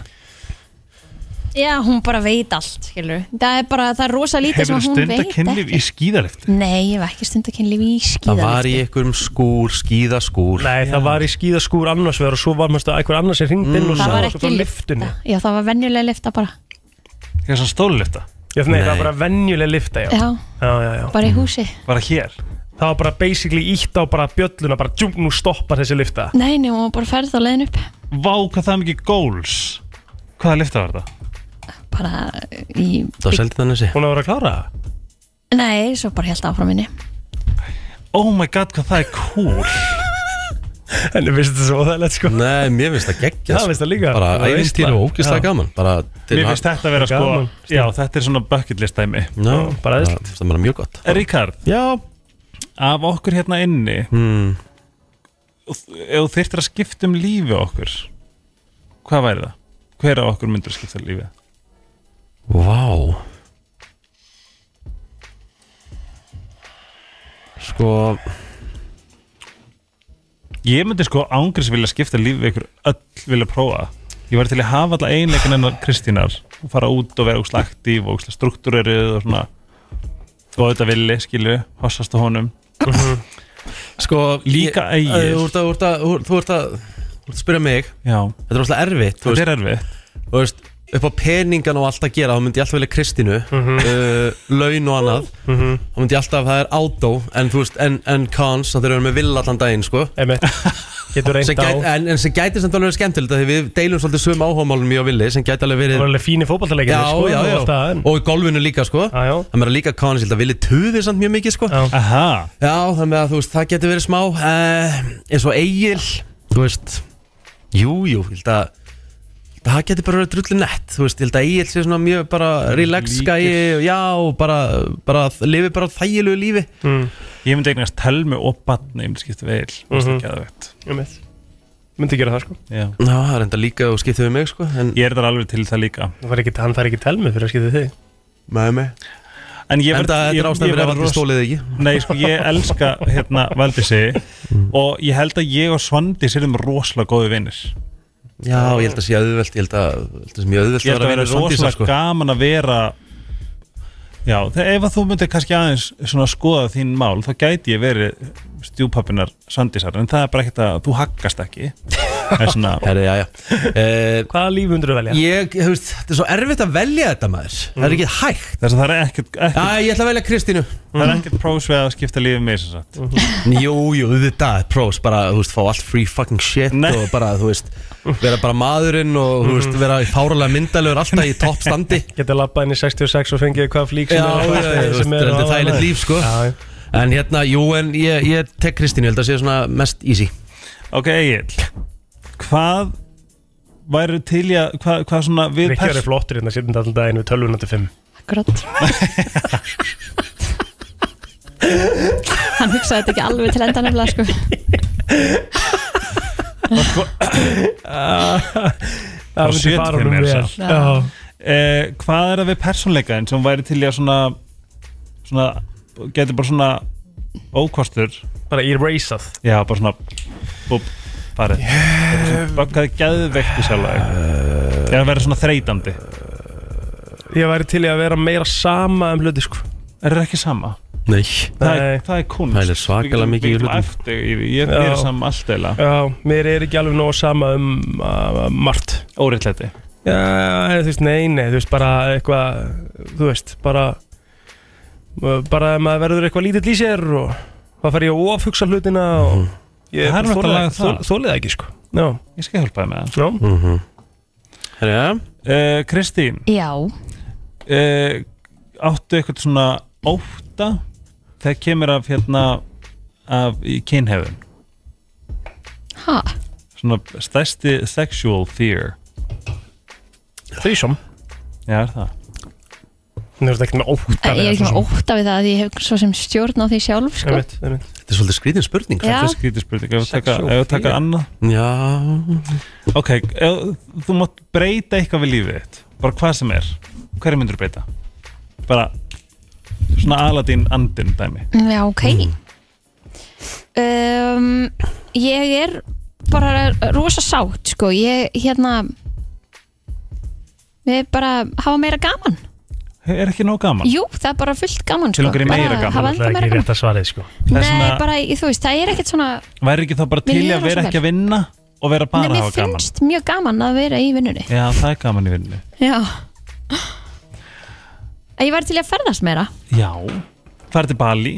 Já, hún bara veit allt, skilur Það er bara, það er rosa lítið sem Hefur að hún stundar veit kynlíf ekki í skíðalefti? Nei, ég hef ekki stundakynlíf í Það var í skíðalifti einhverjum skúr, skíðaskúr Nei, það var í skíðaskúr annars vegar og svo var mjög eitthvað annars sem hringdi Hm. inn og Það sá var okkur ekki frá lifta lyftunni Já, það var venjulega lifta bara Ég er svona stólulefta, Já, nei, það var Nei. bara venjuleg lifta, já Mm. Já, Já, já, já bara í húsi bara hér Það var bara basically ítt á bara bjölluna, bara djúm, nú stoppar þessi lifta Nei, nei, hún var bara ferð á leiðin upp Vá, hvað það er mikið góls Hvaða lifta var það? Bara í Það var seldið þannig sé Hún á að vera að klára það? Nei, svo bara held áfram minni Oh my god, hvað það er cool En ég finnst þetta svo óþægilegt sko Nei, mér finnst það geggja Já, finnst það líka. Bara Það er ævintýr veistla. og ógislega Já. gaman Bara til Mér finnst þetta að vera sko Gaman. Já, þetta er svona bucket list dæmi Já, bara æðislegt. Það finnst það mjög gott Ríkard, Já af okkur hérna inni mm. ef þú þyrftir að skipta um lífi okkur hvað væri það? Hver af okkur myndir skipta lífið? Vá Sko Ég myndi sko ángriðs vilja skipta lífið við ykkur öll vilja prófa Ég var til að hafa alla einleikin enn Kristínar og fara út og vera ógslag aktív og ógslag struktúrerið og svona og þetta villi, skilju, hossast á honum Sko Líka ég- Egill. Þú ert að, þú ert að, þú ert- þú ert að Þú ert að spyrja mig Já, Þetta er alltaf erfitt Þú þetta veist, er erfið þú veist upp á peningan og allt að gera þá myndi ég alltaf vilja Kristínu Mhm. uh, laun og annað þá myndi ég alltaf það er átó en þú veist en, en cons þá þurfum við með vill allan daginn sko Emmett, getur sem reynd á gæti, en, en sem gæti samt alveg verið skemmtilegt af því við deilum svolítið söm áhugamálum mjög villi sem gæti alveg verið Það var alveg fínir fótballtaleikir já, sko, já, já, og allt það, en- Ah. og í golfinu líka sko Já, já. það með líka cons ég held að villi tuði samt mjög mikið sko Já. Aha, já þannig að þú veist það getur verið smá uh, eins og eigil þú veist jú jú ég held að ég held að það getur bara verið drullu nett þú veist ég held að eigil sé svona mjög bara relax Líkir. gæi og já og bara, bara lifi bara þægilegu lífi Mm, ég myndi eignast telmi og batni, ég myndi skipta við eil mm Mhm. -hmm. einmitt. Myndi gera það sko Já. já það er enda líka og skiptið við mig sko en Ég er þar alveg til það líka Það var ekki, hann fær ekki telmið fyrir að skipta þig með mig En ég enda þetta er ástæðan fyrir að valdi stólið ekki Nei, sko, ég elska hérna Valdísi Mm. og ég held að ég og Svandi sérum rosalega góði vinnir Já, ég held að sé auðvelt, ég held að, ég held að sé mjög auðvelt Ég held vera sko. að vera vinur Svandísar, rosalega gaman að vera Já, þegar ef að þú myndir kannski aðeins svona skoða þín mál þá gæti ég verið stjúpappinar Svandísar en það er bara ekkert að þú haggast ekki Það er svona, Herri, já, já. Hvaða líf hundur þú velja? Uh, ég, þú veist, þetta er svo erfitt að velja þetta maður Það er ekki hægt þess að það er ekkert, Já, ekkert Mm. ég ætla að velja Kristínu það Mm. er ekkert prós við að skipta lífið mér sem sagt Jú, jú, þetta er prós bara, þú veist, fá allt free fucking shit Nei. og bara, þú veist, vera bara maðurinn og, þú veist, vera fáralega myndalegur alltaf í toppstandi Geta labbað inn í 66 og fengið hvað flík Já, sem já, er já, þú veist, þetta er heldur þægilegt líf, sko Já, já. En hérna, jú, en ég, ég tek Kristínu, ég held að sé svona mest easy Ok, Egil Hvað væru til í að hvað, hvað svona við Rikki er pers- flottur hérna, sittum alltaf daginn við 12.5 Grátt Hann hugsaði þetta ekki alveg til enda nefnilega sko Það myndi 70 fara honum meira vel sagt. Já, eh, hvað er að við persónleikaðin sem væri til í að svona svona, getur bara svona ókostur, bara erasað já bara svona búb, farið yeah. bakaði geðveikt í sjálfa þig? eða verið svona þreytandi Ég væri til í að vera meira sama um hluti, sko er það ekki sama? Nei Það er, Nei. það er kunst Það er svakalega Við getum- mikið í Við getum hlutum. eftir í því, ég Já. er saman allt eila Já, mér er ekki alveg nóg sama um uh, margt óreittlæti Já, eða, þú veist, nei, nei, þú veist, bara eitthvað, þú veist, bara uh, bara ef maður verður eitthvað lítill í sér og þá fær ég að ofhugsa hlutina og ég Það er nú hægt að laga það. þólið ekki, sko Já, ég skal hjálpa þér með það já, Mhm. Herri, já eh, Kristín Já, uh, áttu eitthvað svona óta þegar kemur af hérna af í kynhefun ha, svona stærsti sexual fear þrísom já er það Þú veist, ekkert með ótt ég er ekki með óta við það að ég hef svo sem stjórn á því sjálf sko ótt Þetta er svolítið skrítin spurning Já. það er skrítið spurning ef við taka, Sexual ef við taka fear. annað já. ok, ef, þú mátt breyta eitthvað við lífið þitt bara hvað sem er hverju myndur breyta bara svona Aladin andin dæmi Já, ok Mm. um, Ég er bara rosa sátt sko Ég hérna Við bara hafa meira gaman er ekki nóg gaman Jú, það er bara fullt gaman Til sko okkur í meira Bara gaman, hafa enda meira gaman rétt að svarið, sko Það er Nei, svona- bara, þú veist, það er ekkert svona væri ekki þá bara til í líður að vera rosa ekki að vinna og vera Nei, bara að mér hafa gaman finnst mjög gaman að vera í vinnunni já, það er gaman í vinnu Já Ég var til í að ferðast meira já, fara til Bali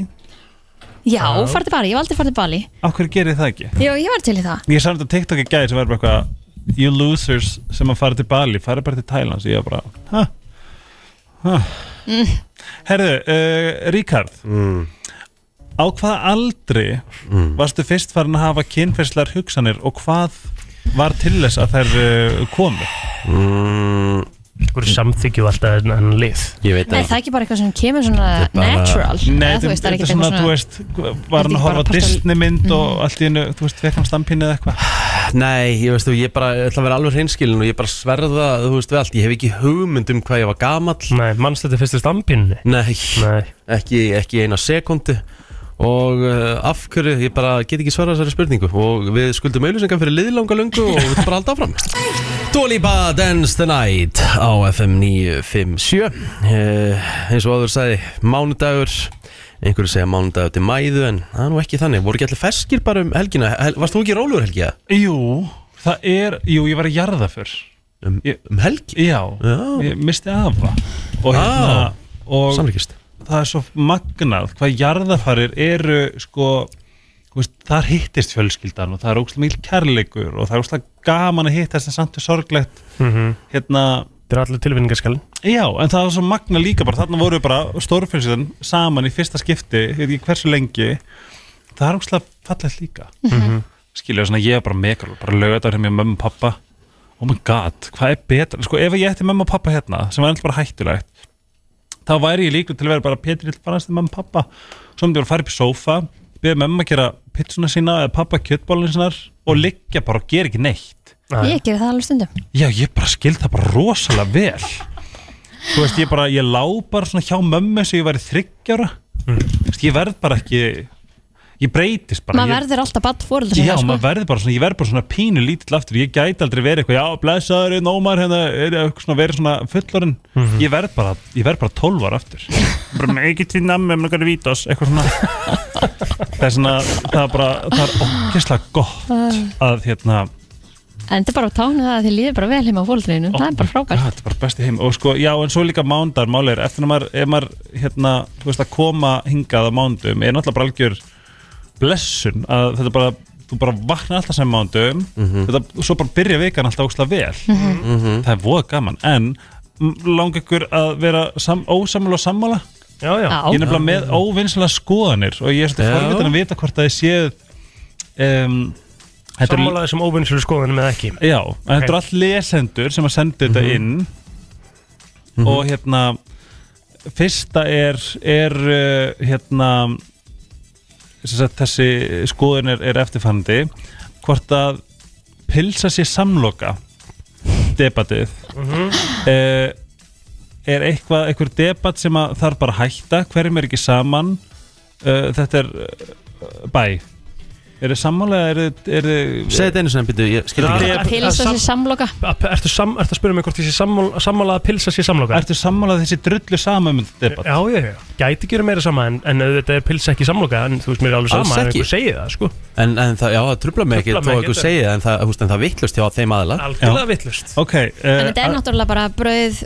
Já, farið til Bali, ég hef aldrei farið til Bali Af hverju gerir þið það ekki? Jú, ég var til í það Ég sá þetta á TikTok í gæði sem var bara eitthvað You losers sem að fara til Bali fara bara til Thailand Ég var bara, hæ? Mm. Hæ? Herðu, uh, Ríkard á hvaða aldri varstu fyrst farin að hafa kynferðslar hugsanir og hvað var til þess að þær uh, komu mm, Hverju samþykju alltaf en, en lið Ég veit Nei, það er ekki bara eitthvað sem kemur svona Þetta er bara- natural Nei, Eða, þú veist, það er þetta ekki er svona, eitthvað þú svona veist, Þetta er var hann að ekki bara horfa partur á Mm. af- Disney mynd og allt í hennu, þú veist, fekk hann stampinni eða eitthvað Nei, ég veist þú, ég bara, ég ætla að vera alveg hreinskilin og ég bara sverða, þú veist við allt, ég hef ekki hugmynd um hvað ég var gamall Nei, mannst þetta fyrstu stampinni Nei, Nei, Ekki, ekki eina sekundu og uh, af hverju, ég bara get ekki svarað þessari spurningu og við skuldum auðlýsingar fyrir liðlanga lungu og við ætlum bara að halda áfram Dolipa Dance the Night á FM 957 uh, eins og áður sagði, mánudagur einhverju segja mánudagur til mæðu en það er nú ekki þannig, voru ekki allir feskir bara um helgina, Hel varst þú ekki rólugur helgja? Jú, það er, jú, ég var að jarða fyrr Um, Ég- um helgi? Já, Já. ég misti afa og hérna Ah. og Samlíkist það er svo magnað hvað jarðafarir eru sko þú veist, þar hittist fjölskyldan og það er ógslag mikil kærleikur og það er ógslag gaman að hittast en samt er sorglegt hérna, Mhm. þetta er allir tilvinningarskallin já, en það er svo magnað líka bara, þarna voru bara stórfjölskyldan saman í fyrsta skipti, ég veit ekki hversu lengi það er ógslag fallegt líka skilja, svona ég er bara megar bara lögðar hjá mér mömmu og pappa oh my god, hvað er betra sko, ef ég ætti mömmu og pappa hérna, sem var alltaf bara hættulegt þá væri ég líklega til að vera bara Pétur, ég ætla að fara aðeins til mamma og pappa svo myndi ég bara fara upp í sófa beða mamma að gera pitsuna sína eða pappa kjötbólun sínar og liggja bara og gera ekki neitt Ég gerir það alveg stundum já, ég bara skil það bara rosalega vel þú veist, ég bara, ég lá bara svona hjá mömmu eins og ég væri þryggjára þú veist, ég verð bara ekki ég breytist bara Maður ég, verður alltaf badd fóreldra Já, maður verður bara svona, ég verður bara svona pínu lítill aftur Ég gæti aldrei verið eitthvað, já, blessaður, nómar hérna, er eitthvað svona, verið svona fullorinn Ég verð bara, ég verð bara 12 ára aftur Mhm. Bara með ekki til nammi, með nokkar vítos, eitthvað svona Það er svona, það er bara, það er ógeðslega gott að hérna En þetta er bara að tánu það að þið líður bara vel heima á fóreldreinu Oh Það er bara frábært Það er bara besti heim og sko, já, en svo líka mándar, máli er, eftir að maður, ef maður, hérna, þú veist, að koma hingað á mándum er náttúrulega bara algjör blessun að þetta bara, þú bara vakna alltaf sem mándum, þetta, svo bara byrja vikan alltaf óslega vel, það er voða gaman, en m- langa ykkur að vera sam, ósammála og sammála, Já, já, Já. ég er nefnilega með óvinnslega skoðanir og ég er svolítið Já. forvitin að vita hvort að ég séð, um, þetta er sammála þessum óvinnslu skoðunum eða ekki Já, en þetta eru allt lesendur sem að senda þetta inn og hérna fyrsta er, er uh, hérna sem sagt, þessi skoðun er, er eftirfandi hvort að pilsa sér samloka debatið uh, er eitthvað, einhver debat sem að þarf bara að hætta, hverjum er ekki saman uh, þetta er uh, bæ Er þið sammála eða er þið- er þið Segð þetta einu sinni, býttu, ég skil ekki Að- að- Pilsa að- sér samloka að- Ertu sam- ertu að spyrja mig hvort ég sé sammála sammála að pilsa sér samloka? Ertu sammálað þessi drullu sama um þetta Eh, debatt? Já, já, já, gæti gera meira sama en, en auðvitað er pilsa ekki samloka en þú veist mér er alveg Alls sama en ekki. einhver segir það sko En, en það, já, það trubla mig ekki Truflar þó mig að ekki, ykkur segja það, en það, húst, en það vittlust hjá þeim aðla Algjörlega vittlust eh. Ok, En uh, þetta er náttúrulega bara brauð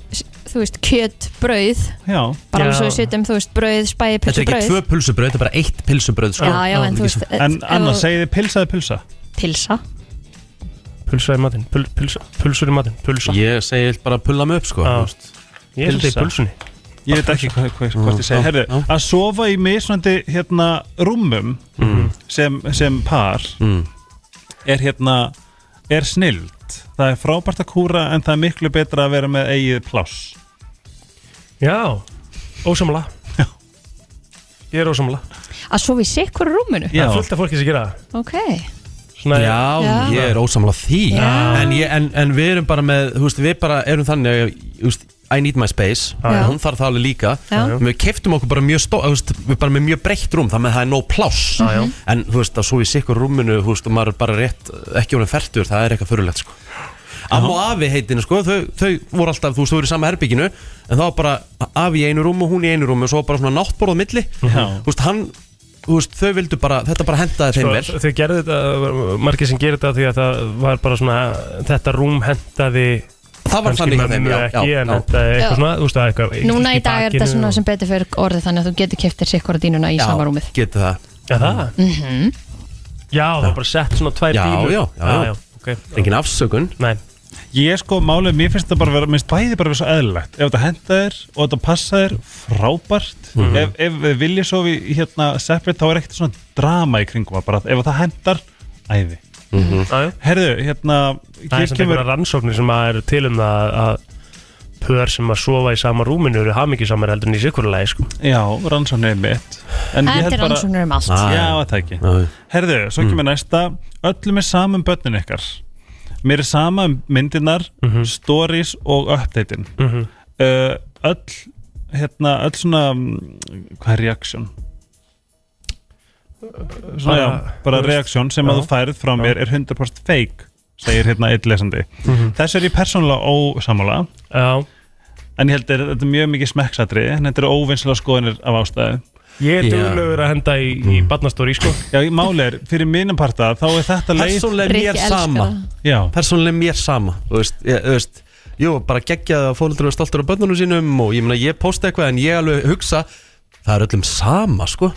Þú veist, kjöt, brauð já, Bara alveg Já. svo við setjum, þú veist, brauð, spæði, Þetta pilsu, er ekki brauð tvö pulsubröð, þetta er bara eitt pulsubröð sko. Já, já, en þú veist en ef- annars ef- segið þið pilsa eða pilsa? Pilsa Pulsa í matinn, pul, pulsa, pulsur í matinn, pulsa Ég segi bara að pulla mig upp sko, Já. þú veist. Ég er svolítið í pilsa. pulsunni Ég veit ekki hvað, hvað, hvað þið segið. Mm, já, Herðu, já. að sofa í mismunandi hérna rúmum Mm-hmm. sem, sem par Mm. er hérna, er snild. Það er frábært að kúra en það er miklu betra að vera með eigið pláss. Já, ósamla Ég er ósamla Að sofa í sikkur rúminu Það Já. er fullt af fólki sem gera það Ok Svona, Já, Já. ég er ósamlega því Já. en, ég, en, en við erum bara með, þú veist, við bara erum þannig þú veist, I need my space, Já. hún þarf það alveg líka Já. En Við keftum okkur bara mjög stó, þú veist, við bara með mjög breytt rúm, þannig að það er nóg pláss Já, já. En þú veist, að svo í sikkur rúminu, þú veist, og maður er bara rétt, ekki orðin fertur, það er eitthvað förulegt sko Amma og afi heitinu sko, þau, þau voru alltaf, þú veist, þau voru í sama herbygginu En það var bara afi í einu rúm og hún í einu rúm Og svo var bara svona náttborð á milli Já. Þú veist, hann, þú veist, þau vildu bara, þetta bara hendaði þeim vel Sko, þau gerðu þetta, margir sem gerðu þetta því að það var bara svona, þetta rúm hendaði Það var þannig hjá þeim, já, ekki, já, en já. hendaði Já. eitthvað svona, þú veist það eitthvað í- Núna í í dag er þetta bakinu svona og- sem betur fyrir orðið Þannig að þú getur keftir sikkur dínuna í sama rúmið getur það Já, það? -hmm. Mhm. Já, það var bara sett svona tvær Já, bílur já, já, já. ok Engin afsökun Nei, Ég sko, málið, mér finnst það bara vera, mér finnst bæði bara vera svo eðlilegt Ef þetta henda þér og þetta passa þér, frábært Ef, ef við viljum svo við hérna separate, þá er ekkert svona drama í kringum það bara Ef það hendar, æði Aðjó. Herðu, hérna, Það er hér samt einhverja kemur rannsóknir sem að eru til um það að pör sem að sofa í sama rúminu eru hamingisamar heldur en í sikkurlega sko. Já, rannsóknir mitt En ég Þetta held er bara, rannsóknur um allt Ah. já, það ekki Já. Herðu, Mm. svo kemur næsta Öllum er sama um börnin ykkar Mér er sama um myndirnar, Mhm. stories og update-in uh, Öll, hérna, öll svona mm, Hvað er reaksjón? Svona, já, Bara- bara þú veist, reaksjón sem að já. þú færið frá mér er 100% fake segir hérna eitt lesandi Þessu er ég persónulega ósamála Já, en ég held að þetta er mjög mikið smekksatriði en þetta er óvinnslega skoðanir af ástæðu ég er Já. Mm. duglögur að henda í, í barnastóri sko. Já, í máli er, fyrir mínum parta þá er þetta leið Persónlega Rikki mér elskar sama það. Já, Persónlega mér sama Þú veist, ég, þú veist Jú, bara geggjaði að fólundur er stoltur á börnunum sínum og ég meina, ég posta eitthvað en ég alveg hugsa það er öllum sama, sko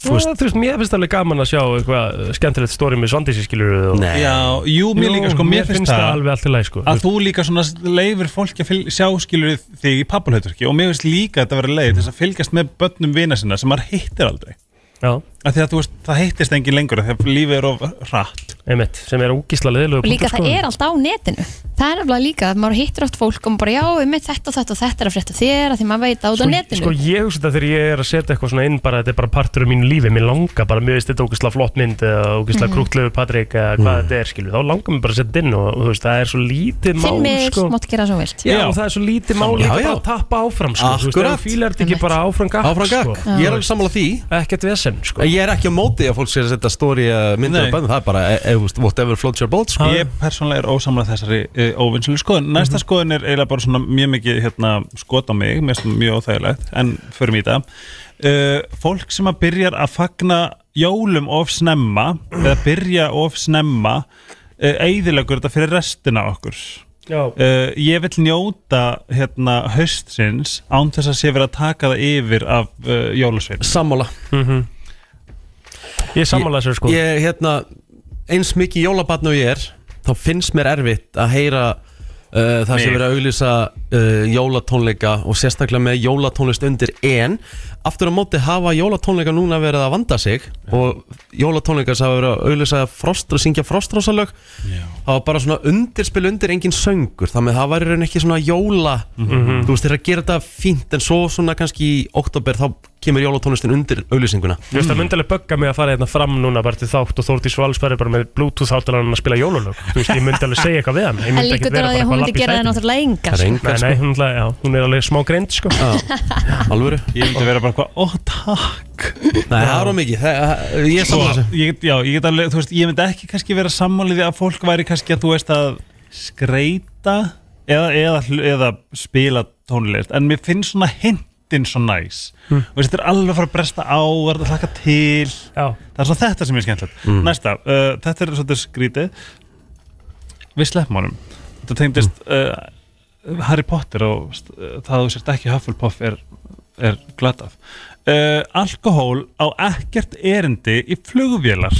Þú veist, þú veist, mér finnst alveg gaman að sjá eitthvað skemmtilegt stóri með svandísi skilur og... Nei, já, jú, mér líka sko, mér finnst það alveg allt í lagi sko. að þú líka svona leifir fólki að fylg, sjá skilur þig í pappalhauturki og mér finnst líka að þetta verið leið til þess að fylgjast með börnum vina sinna sem maður hittir aldrei Já, af því að þú veist, það hittist engin lengur af því að lífið er of hratt einmitt, sem er ógísla leðilegu og líka það er allt á netinu það er alveg líka að maður hittir oft fólk og maður bara já, um þetta og þetta og þetta er að frétta þér að því maður veit á þetta á netinu Sko ég hugsa þetta þegar ég er að setja eitthvað svona inn bara þetta er bara partur af mínu lífi, mér langar bara mér veist þetta ógæslega flott mynd eða ógæslega Mhm. mm. krútlegu Patrik eða hvað Mhm. þetta er skilur þá langar mér bara að setja þetta inn og, og þú veist það er svo lítið mál Finn mig, sko. mátt gera svo vilt Já, og það er svo lítið mál Já, líka já. bara að tappa áfram sko. þú veist, Akkurat. ef fílar þetta ekki Einmitt. bara áfram gakk áfram gakk, sko. ég er alveg sammála því ekkert vesen sko. En ég er ekki á móti að fólk sé að setja stóri myndir Nei. af börnum, það er bara e- e- þú veist, whatever floats your boat, sko Ég persónlega er ósamlega þessari uh, óvinnslu skoðun Næsta skoðun er eiginlega bara svona mjög mikið hérna, skot á mig, mér finnst mjög óþægilegt en förum í það uh, Fólk sem að byrjar að fagna jólum of snemma eða byrja of snemma uh, eigðilegur þetta fyrir restina af okkur Já, uh, Ég vil njóta hérna, haustsins án þess að sé verið að taka það yfir af uh, jólasveinu Sammála ég sammála þessu sko Ég, hérna, eins mikið jólabatn og ég er þá finnst mér erfitt að heyra uh, það sem Mig. verið að auglýsa uh, jólatónleika og sérstaklega með jólatónlist undir en aftur á móti hafa jólatónleika núna verið að vanda sig og jólatónleika sem hafa verið að auglýsa frostra, syngja frostrósalög það var bara svona undirspil undir engin söngur þannig að það var í raun ekki svona jóla þú veist þeir eru að gera þetta fínt en svo svona kannski í oktober þá kemur jólatónlistin undir auglýsinguna Þú veist það myndilega bögga mig að fara hérna fram núna bara til þátt og Þórdís Valls verður bara með Bluetooth hátalarinn að spila jólulög Þú veist, ég myndi alveg segja eitthvað við hann Ég en myndi líka ekkert til vera að því að bara eitthvað hún lapp myndi í gera það sætinu það er engar náttúrulega engar sko. Nei, nei, hún, ætla- já, hún er alveg smá greind sko Ah. alvöru Ég vildi vera bara eitthvað, ó takk Nei, það er á mikið það, það- Ég Sko, sammála þessu ég, get- já, ég get alveg, þú veist, ég myndi ekki kannski vera sammáliði að fólk væri kannski að þú veist að skreita eða, eða, hl- eða spila tónlist en mér finnst svona hintin svo næs Hm. og veist, þetta er alveg að fara að bresta á það er að hlaka til Já, það er svona þetta sem er skemmtilegt næsta, uh, þetta er svona skrítið við sleppmánum þetta tengdist uh, Harry Potter og st- uh, það að þú sért ekki Hufflepuff er, er glatað uh, alkohól á ekkert erindi í flugvélar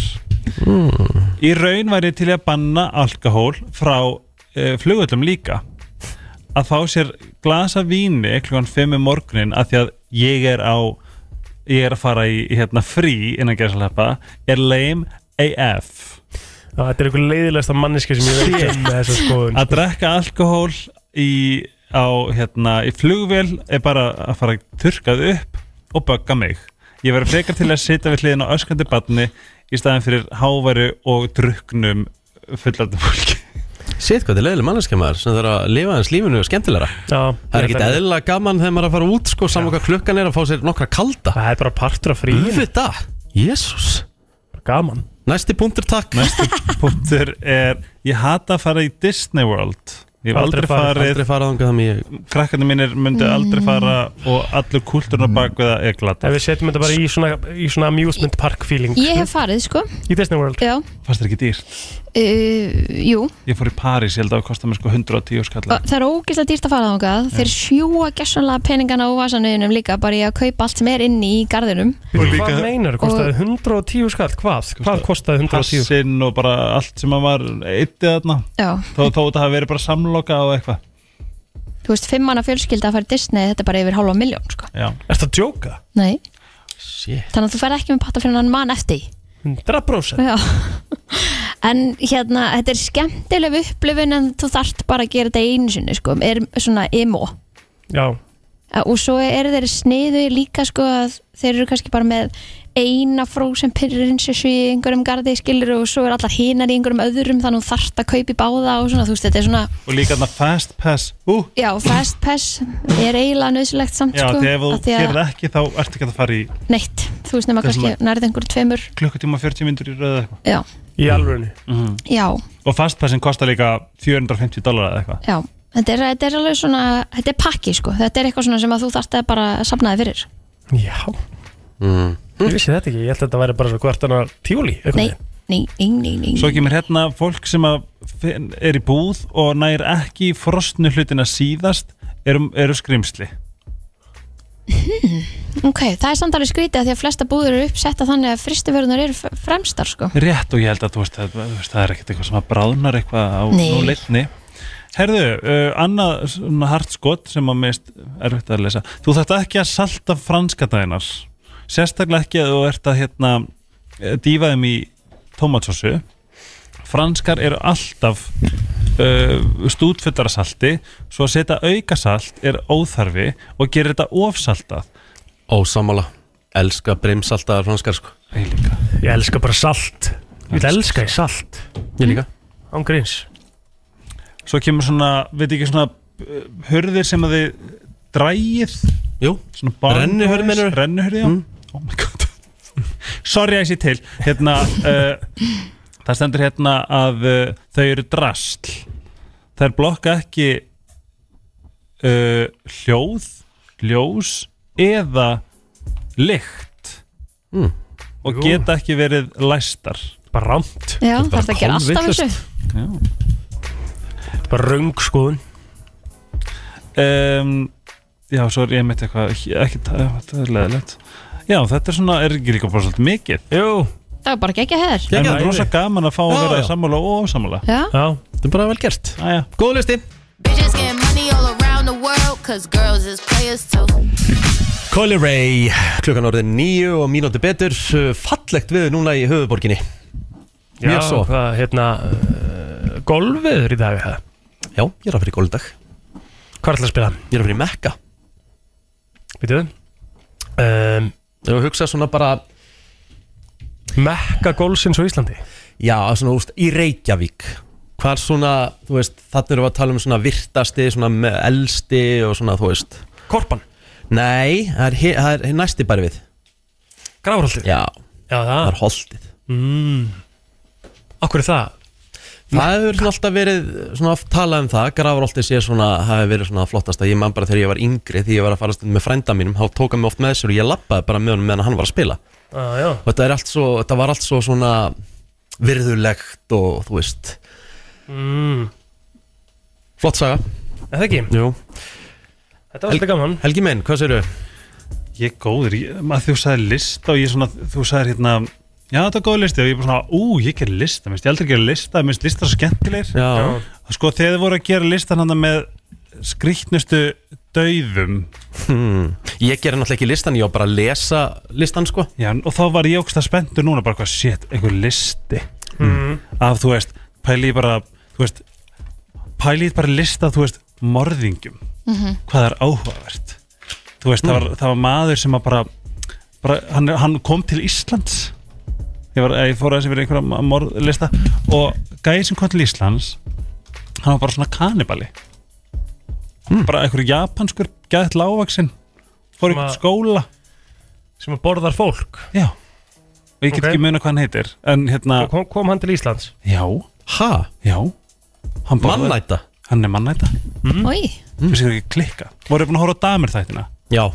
í raun væri til að banna alkohól frá uh, flugvöllum líka að fá sér glasa víni klukkan 5 um morgunin að því að ég er á ég er að fara í, í hérna frí innan gerðslepa er lame AF Já, þetta er einhver leiðilegsta manneski sem ég veit um með þessu skoðun að drekka alkohól í, á, hérna, í flugvél er bara að fara að þurrkað upp og bögga mig ég verður frekar til að sitja við hliðin á öskandi batni í staðin fyrir háværu og druknum fullandi fólki Sitt hvað þetta er leiðileg manneskja maður sem þarf að lifa hans lífinu og skemmtilegra Já, Það er ekkit eðlilega gaman þegar maður er að fara út sko saman hvað klukkan er að fá sér nokkra kalda Það er bara partur af fríin, Þetta, jésús gaman Næsti punktur takk næstu punktur er ég hata að fara í Disney World Ég hef aldrei farið, Aldrei farað þangað þannig ég krakkarnir mínir myndi aldrei fara og allur kúlturinn á baku það er glata Ef við setjum þetta bara í svona, í svona amusement park feeling Ég hef farið sko Í Disney World Já, Fannst þér ekki dýrt? uh, jú Ég fór í París, ég held að það kosti mér sko 110 skall Það er ógeðslega dýrt að fara þangað Þeir sjúa gessanlega peningana á vasanauðinum líka bara í að kaupa allt sem er inni í garðinum Hvað líka- meinar, kostaði 110 skall, hvað? Hvað kostaði 110 skall? Hassinn og bara allt sem að var eittið þarna Já, Þó þó þetta hafi verið bara samloka og eitthvað þú veist, fimm manna fjölskylda að fara í Disney þetta er bara yfir hálfa miljón sko Já, Ertu að djóka? Nei, Shit þannig að þú ferð ekki með patta fyrir hann mann eftir því. 100% Já En hérna, þetta er skemmtileg upplifun en þú þarft bara að gera þetta einu sinni sko, er svona emo Já, Uh, og svo eru þeir sniðu líka sko að þeir eru kannski bara með eina frósen pyrrinsessu í einhverjum gardi skilur og svo eru allar hinar í einhverjum öðrum þannig að þú þarft að kaupi báða og svona þú veist þetta er svona, og líka þarna fast pass Ú, já fast pass er eiginlega nöðsilegt samt já, sko þegar þú af því gerir að, það ekki þá ertu ekki að fara í neitt, þú veist nema Það er kannski nærið einhverjum tveimur, klukkutíma 40 myndur í röðu eitthvað já, í alvörunni Mhm. já, Og fastpassin kostar líka 450 dólar eða eitthvað já þetta er, þetta er alveg svona, þetta er pakki sko þetta er eitthvað svona sem að þú þarft að bara sapna þið fyrir Já Mm. Ég vissi þetta ekki, ég held að þetta væri bara svo hvert annar tíuli nei, nei, nei, nei, nei, Svo kemur hérna fólk sem að fin- er í búð og nær ekki í frostnu hlutina síðast eru, eru skrimsli ok, það er samt alveg skrítið að því að flesta búður eru uppsetta þannig að fristiförunar eru f- fremstar sko Rétt og ég held að þú veist, það, þú veist, það er ekkert eitthvað sem að bráðnar eitthvað á Nei. núleitni Herðu, uh, annað svona hartskott sem að mist erfitt að lesa Þú þarft ekki að salta franska dænar Sérstaklega ekki að þú ert að hérna eh, dýfa þeim í tómatsósu Franskar eru alltaf uh, stútfullar af salti Svo að setja aukasalt er óþarfi og gerir þetta ofsaltað Ósamála Elska brimsaltaðar franskar sko Ég líka Ég elska bara salt Ég vil elska í salt Ég líka Án gríns Svo kemur svona, veit ekki svona uh, hurðir sem að þið drægið Jú svona barn- Rennihurð, meinarðu? Mm. Rennihurð, já Oh my god Sorry að ég sé til hérna, uh, Það stendur hérna að uh, þau eru drasl Þær blokka ekki uh, hljóð ljós eða lykt Mm. og Jú. geta ekki verið læstar Bara ramt Já, Þetta er þarf bara að gera alltaf kolvitlaust. þessu Já Bara raung skoðun um, Já, svo er ég meitt eitthvað ekki, þetta er leðilegt Já, þetta er svona, er ekki líka bara svolítið mikið Jú Það er bara ekki ekki heður En Geggjað. það er rosa gaman að fá að Já, vera já. sammála og ósammála Já, Já, Þetta er bara vel gert Æja, Góð listi Bitches getting money all around the world, cause girls is players too. Colly Ray Klukkan orðið nýju og mínúti betur Uh, Fallegt við núna í höfuborginni já Mjög svo. hvað, hérna uh, Golfiður í dag ha? Já, ég er að fyrir góldag Hvað er alltaf að spila? Ég er að fyrir mekka Veitu um, Ég var að hugsa svona bara Mekka golfsins á Íslandi Já, svona úst Í Reykjavík Hvar svona, þú veist, þarna erum við að tala um svona virtasti, svona me- elsti og svona, þú veist Korpan Nei, það er, hi- það er næsti bara við Grafarholtið Já, Já, það það er holtið mm. Akkur er það? Það hefur svona alltaf verið svona oft talað um það Grafarolti sé svona, það hefur verið svona flottasta Ég man bara þegar ég var yngri Því ég var að fara stund með frænda mínum Þá tók hann mig oft með sér og ég lappaði bara með honum meðan hann var að spila Og Ah, já, þetta, er allt svo, þetta var allt svo svona virðulegt og þú veist mm. Flott saga, Er það ekki? jú Þetta var alltaf gaman Helgi minn, hvað séru? ég er góður, ég, að þú sagði lista og ég svona, þú sagði hérna Já, þetta er góð listi og ég er bara svona, ú, ég ger lista, minnst, ég aldrei ger lista, minnst lista svo skemmtilegir Já, Já. Og sko, þegar þið voru að gera listan hann með skrýtnustu dauðum Hmm. Ég gerði náttúrulega ekki listan, ég var bara að lesa listan sko Já, og þá var ég ógst að spenntu núna bara hvað, shit, einhver listi Mm. af, þú veist, pæli í bara þú veist, pæli í bara lista þú veist, morðingjum hvað er áhugavert þú veist, það, var, það var maður sem að bara, bara hann, hann kom til Íslands ég, var, ég fór aðeins yfir einhverja ma- morðlista og gæði sem kom til Íslands hann var bara svona kanibali bara einhverju japanskur gæðið lágvaksinn fór í Sem að- skóla Sem að borðar fólk já og ég get Ok. ekki muna hvað hann heitir en hérna, Sko, kom, kom hann til Íslands já, Ha? já hann borðaði- Mannæta? Mm. hann er mannæta Ói, finnst ykkur ekki klikka voru búin að horfa á damir þættina Já,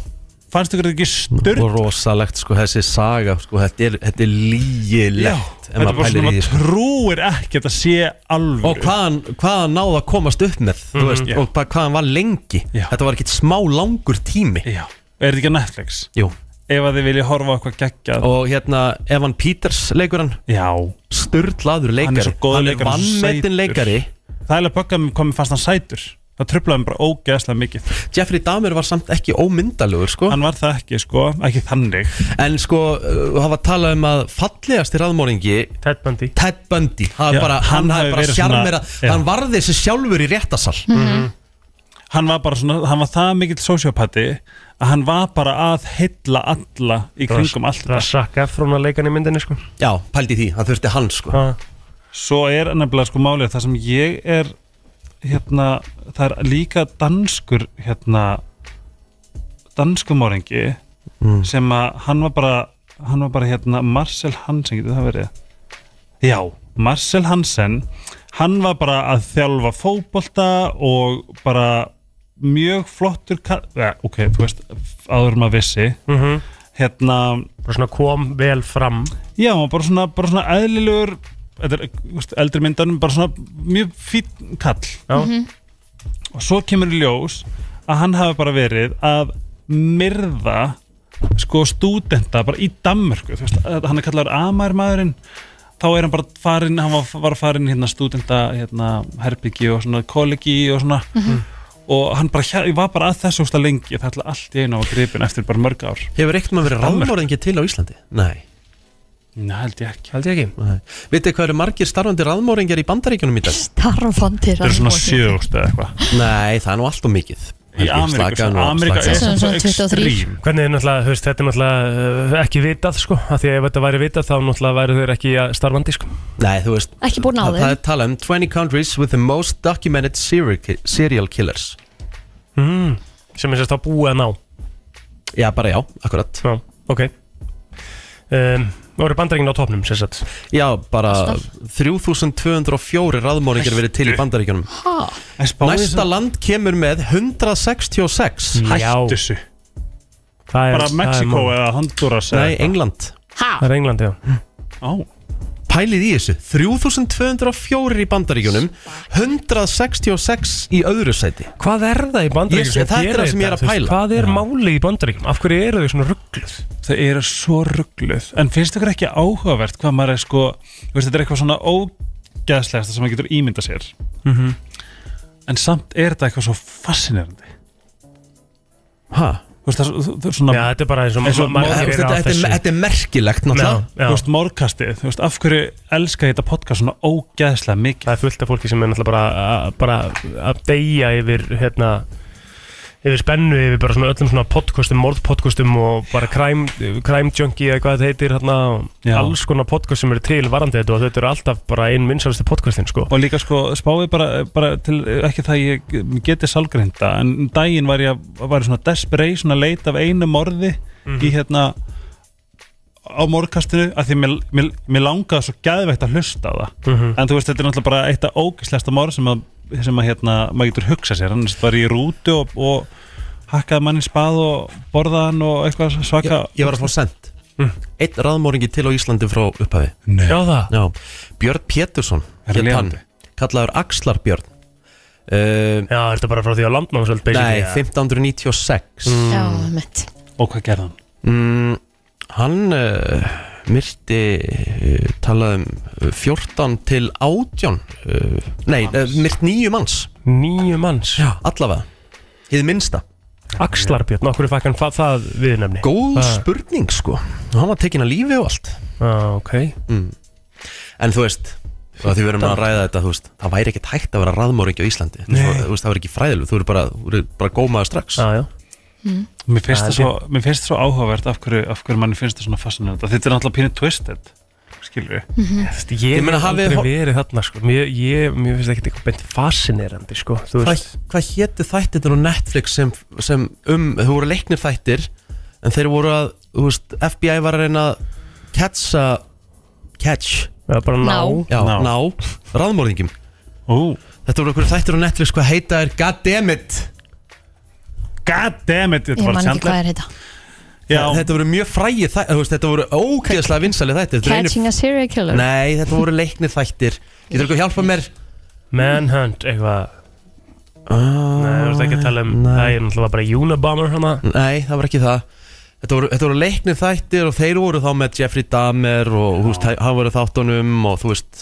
fannst ykkur þetta ekki styrn og rosalegt sko þessi saga sko, þetta er, þetta er lígilegt þetta er bara svona maður trúir ekki að þetta sé alvöru sko. Og hvaðan, hvaðan náða að komast upp með þú veist, Mhm, Já. og bara hvaðan var lengi Já. Þetta var ekkert smá langur tími Já. er þetta ekki á Netflix Jú. ef að þið vilja horfa á eitthvað geggjað Og hérna Evan Peters leikur hann já Sturlaður leikari Hann er svo góður Hann er leikari, hann er svo sætur. vannmetinn leikari það er að bögga mér komið fast hann sætur það tröflaði mér bara ógeðslega mikið Jeffrey Dahmer var samt ekki ómyndalugur sko. hann var það ekki sko ekki þannig En sko, uh, hafa talað um að fallegasti raðmóringi Ted Bundy Ted Bundy hann, Já, bara, hann, hann hafi hann, bara verið sjarmera, svona- já. hann varði þessi sjálfur í Mm. réttasal hann var bara svona hann var það mikill sociopati að hann var bara að heilla alla í kringum allt Það er þetta Zac Efron að leika hann í myndinni sko Já, pældi í því, hann þurfti hann sko Ha. svo er nefnilega sko málið að það sem ég er hérna það er líka danskur hérna danskumoringi sem að hann var bara hann var bara hérna Marcel Hansen getur það verið já Marcel Hansen hann var bara að þjálfa fótbolta og bara mjög flottur kall, ja, ok, þú veist áður maður vissi Mhm. hérna Bara svona kom vel fram Já, hann var bara svona, bara svona eðlilegur þetta er, þú veist, eldri myndanum bara svona mjög fínn kall Já. og svo kemur í ljós að hann hafi bara verið að myrða sko stúdenta bara í Danmörku þú veist, að hann er kallar Amær maðurinn þá er hann bara farin, hann var, var farin hérna stúdenta, hérna herbyggi og svona kollegi og svona Mhm. og hann bara, hér- var bara að þessu ósla lengi það ætla allt í einu á gripin eftir bara mörg ár Hefur eitt maður verið Danmörk. raðmóringi til á Íslandi? Nei Nei, held ég ekki Held ég ekki Nei. Vitið hvað eru margir starfandi raðmóringjar í bandaríkjunum í dag? starfandi Það eru svona raðmorðingi. sjögust eða eitthvað Nei, það er nú alltof mikið í Ameríku Ameríka er Þess vegna svo svona 23. ekstrím Hvernig er náttúrulega, þú veist, þetta er náttúrulega uh, ekki vitað sko, af því að ef þetta væri vitað þá náttúrulega væri þeir ekki að starfandi sko. Nei, þú veist Ekki búin á það, það þeim er tala um 20 countries with the most documented serial, ki- serial killers Mhm. sem er sérst að búið að ná. Já, bara já, akkurat Já, ok. Um, Nú eru bandaríkin á topnum, sérst að. Já, bara 3204 raðmóringjar verið til í bandaríkjunum En spáðu Næsta þessu- land kemur með 166 hættu þessu Það er, bara það er Mexiko mál. eða Honduras eða Nei, e- eitthvað. England Það er England, já. Á, Pælið í þessu 3204 í bandaríkjunum 166 í öðru sæti Hvað er það í bandaríkjum Ég sé- það er það sem ég er að pæla. Hvað er málið í bandaríkjum? Af hverju eru þau svona ruggluð? þau eru svo ruggluð en finnst ykkur ekki áhugavert hvað maður er sko þú veist, þetta er eitthvað svona ógeðslegasta sem maður getur ímyndað sér Mhm. en samt er þetta eitthvað svo fascinerandi Hæ? þú veist það er svo- þú- þú- svona Já, þetta er bara eins og Eins og margir mál- eru Þetta að þetta er, þetta er merkilegt Já, náttúrulega þú já. veist mórkastið þú veist af hverju elska ég þetta podcast svona ógeðslega mikið Það er fullt af fólki sem er náttúrulega bara, að- bara að deyja yfir hérna yfir spennu, yfir bara svona öllum svona podcastum, morðpodcastum og bara crime, crime junkie eða hvað þetta heitir hérna, og Já. alls konar podcast sem eru til varandi þetta og þetta eru alltaf bara einn vinsalastu podcastin sko. og líka sko spáði bara, bara til, ekki það ég geti salgrinda en um daginn var ég var ég svona desperation að leita af einu morði Mhm. í hérna á morgkastinu að því mér, mér, mér langaði svo gæðveikt að hlusta á það Mhm. en þú veist þetta er náttúrulega bara eitt af ógislesta morð sem að, sem að hérna, maður getur hugsað sér annars var ég í rútu og, og hakkaði mann í spað og borðaði hann og eitthvað svaka ég, ég var að fá send Hmm. Einn raðmóringi til á Íslandi frá upphafi Nei. Já það, Já. Björn Pétursson Hmm. Er hét lifandi? hann, Kallaður Axlar Björn uh, já þetta er bara frá því að landnámsöld Nei, basically. 1596 Hmm. Já, mitt og hvað gerði hann? mm, Hann uh, myrti uh, talað um uh, 14 til 18 uh, Nei, uh, myrt nýju manns Nýju manns, Já, allavega Hið minnsta Axlarbjörn, okkur fæk hann fa- það viðnefni Góð Það- spurning sko Hann var tekinn að lífi og allt ah, ok, Mm. En þú veist, að því við erum að ræða þetta þú veist, það væri ekkert hægt að vera raðmóringi á Íslandi Þetta er svo, þú veist, það væri ekki fræðilu, þú eru bara, þú eru bara gómaður strax ah, já Mér finnst, Það það er svo, mér finnst það svo áhugavert af hverju, af hverju manni finnst það svona fascinandi þetta er náttúrulega pínu twisted skilur við Þú veist, Ég Ég meina, hef hafið- aldrei verið þarna sko. mér, ég, mér finnst ekkert eitthvað beint fascinerandi sko. Þú Hvað, veist, hvað hétu þættir á Netflix sem, sem um, þú voru leiknir þættir en þeir voru að, þú veist, FBI var að reyna að catcha catch, það er bara ná Ná. já, Ná. ná, ná raðmóringjum Ó, Þetta voru okkur þættur á Netflix hvað heita er Goddammit god damn it, þetta Ég var man ekki Chandler hvað er þetta Já, Þetta voru mjög frægi þættir veist, Þetta voru ógeðslega vinsali þættir Þetta eru einir- Catching a serial killer Nei, þetta voru leiknir þættir Getur þú hjálpa mér? Manhunt, eitthvað Nei, þú ert ekki að tala um nei. Það er náttúrulega bara Unabomber hana Nei, það var ekki það Þetta voru, þetta voru leiknir þættir og þeir voru þá með Jeffrey Dahmer og þú veist, hann voru þáttunum og þú veist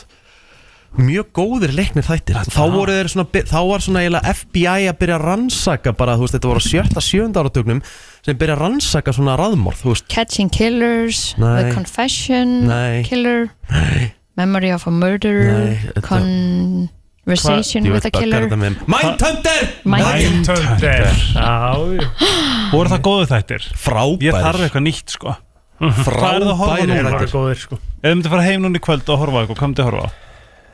mjög góðir leiknir þættir þá, voru þeir svona, þá var svona eiginlega FBI að byrja að rannsaka bara, þú veist, þetta voru á sjötta, sjönda áratugnum sem byrja að rannsaka svona raðmorð, þú veist Catching killers Nei. The confession Nei. Killer Memory of a murderer Nei, þetta- Conversation with a killer Mindhunter! Mind Mindhunter Já, voru það góðu þættir? Frábær Ég þarf eitthvað nýtt, sko Hvað er það að horfa Frábæri núna? það þættir er góður sko Ef þú myndir fara heim núna í kvöld og horfa á eitthvað, hvað myndir horfa á?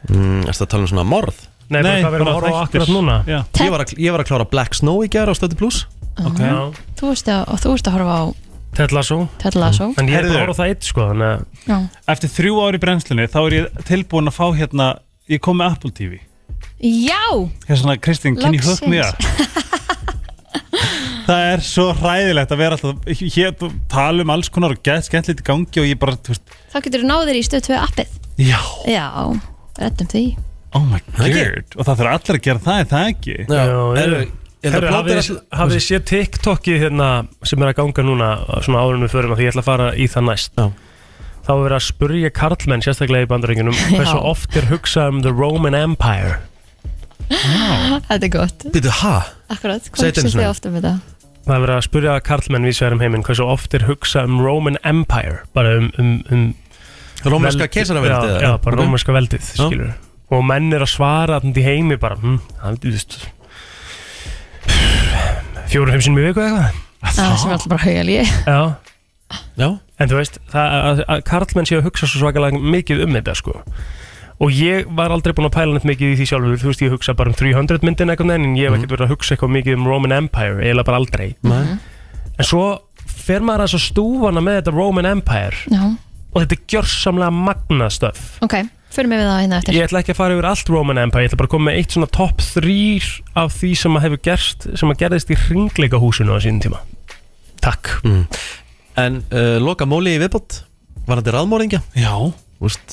Mm, Erstu að tala um svona morð? Nei, bara hvað við erum að horfa á þættir. akkurat núna Já, Ég var, að, ég var að klára Black Snow í gær á Stöðu Plus Ah. ok Já, Þú veist að, og þú veist að horfa á Ted Lasso Ted Mm. Lasso En ég er bara Heyrðu. að horfa á það eitt sko Þannig að Já. Eftir þrjú ár í brennslunni, þá er ég tilbúin að fá hérna Ég kom með Apple TV Já, Hér svona, Kristín, can you hook me Loksins. up? Það er svo hræðilegt að vera alltaf Hér þú tala um alls konar og gett skemmtilegt í gangi Og ég bara, þú veist, þá getur þú náðir í stöð 2 appið já, Já, reddum því oh my Það ekki? god Og það þarf allir að gera það, er það ekki? Já, Herru, eru- er það Herru, plott er hafið að- hafið þið séð TikTokið hérna sem er að ganga núna svona árunum við förum að því ég ætla að fara í það næst Já. þá er verið að spurja karlmenn sérstaklega í bandarengjunum hversu Já. oft er hugsað um the Roman Empire Þetta er gott Býtu, ha? Akkurat, Segðu þetta hvað einu finnst sinni. þið ofta með það? það er verið að spurja karlmenn vísverðum heiminn hversu oft er hugsað um Roman Empire bara um, um, um Rómerska veldi- keisaraveldið já, eða? já, bara Ok. rómerska veldið skilur og menn er að svara þannig í heimi bara hm, það er veist fjórum-fimm sinnum í viku eða eitthvað Það sem er alltaf bara haugal ég já Já, En þú veist, það, að, að karlmenn séu að hugsa svo svakalega mikið um þetta sko Og ég var aldrei búinn að pæla neitt mikið í því sjálfur Þú veist, ég hugsa bara um 300 myndin eitthvað En ég hef Mhm. ekkert verið að hugsa eitthvað mikið um Roman Empire Eða bara aldrei Nei. Mhm. En svo fer maður að stúfana með þetta Roman Empire Já, Og þetta er gjörsamlega magnað stöf ok, fyrir mig við það hérna eftir Ég ætla ekki að fara yfir allt Roman Empire Ég ætla bara að koma með eitt svona top 3 Af því sem að hefur gerst Sem að gerðist í hringleika húsinu á sínum tíma Takk En uh, loka móli í viðbót Var hann til raðmóringja? Já Úst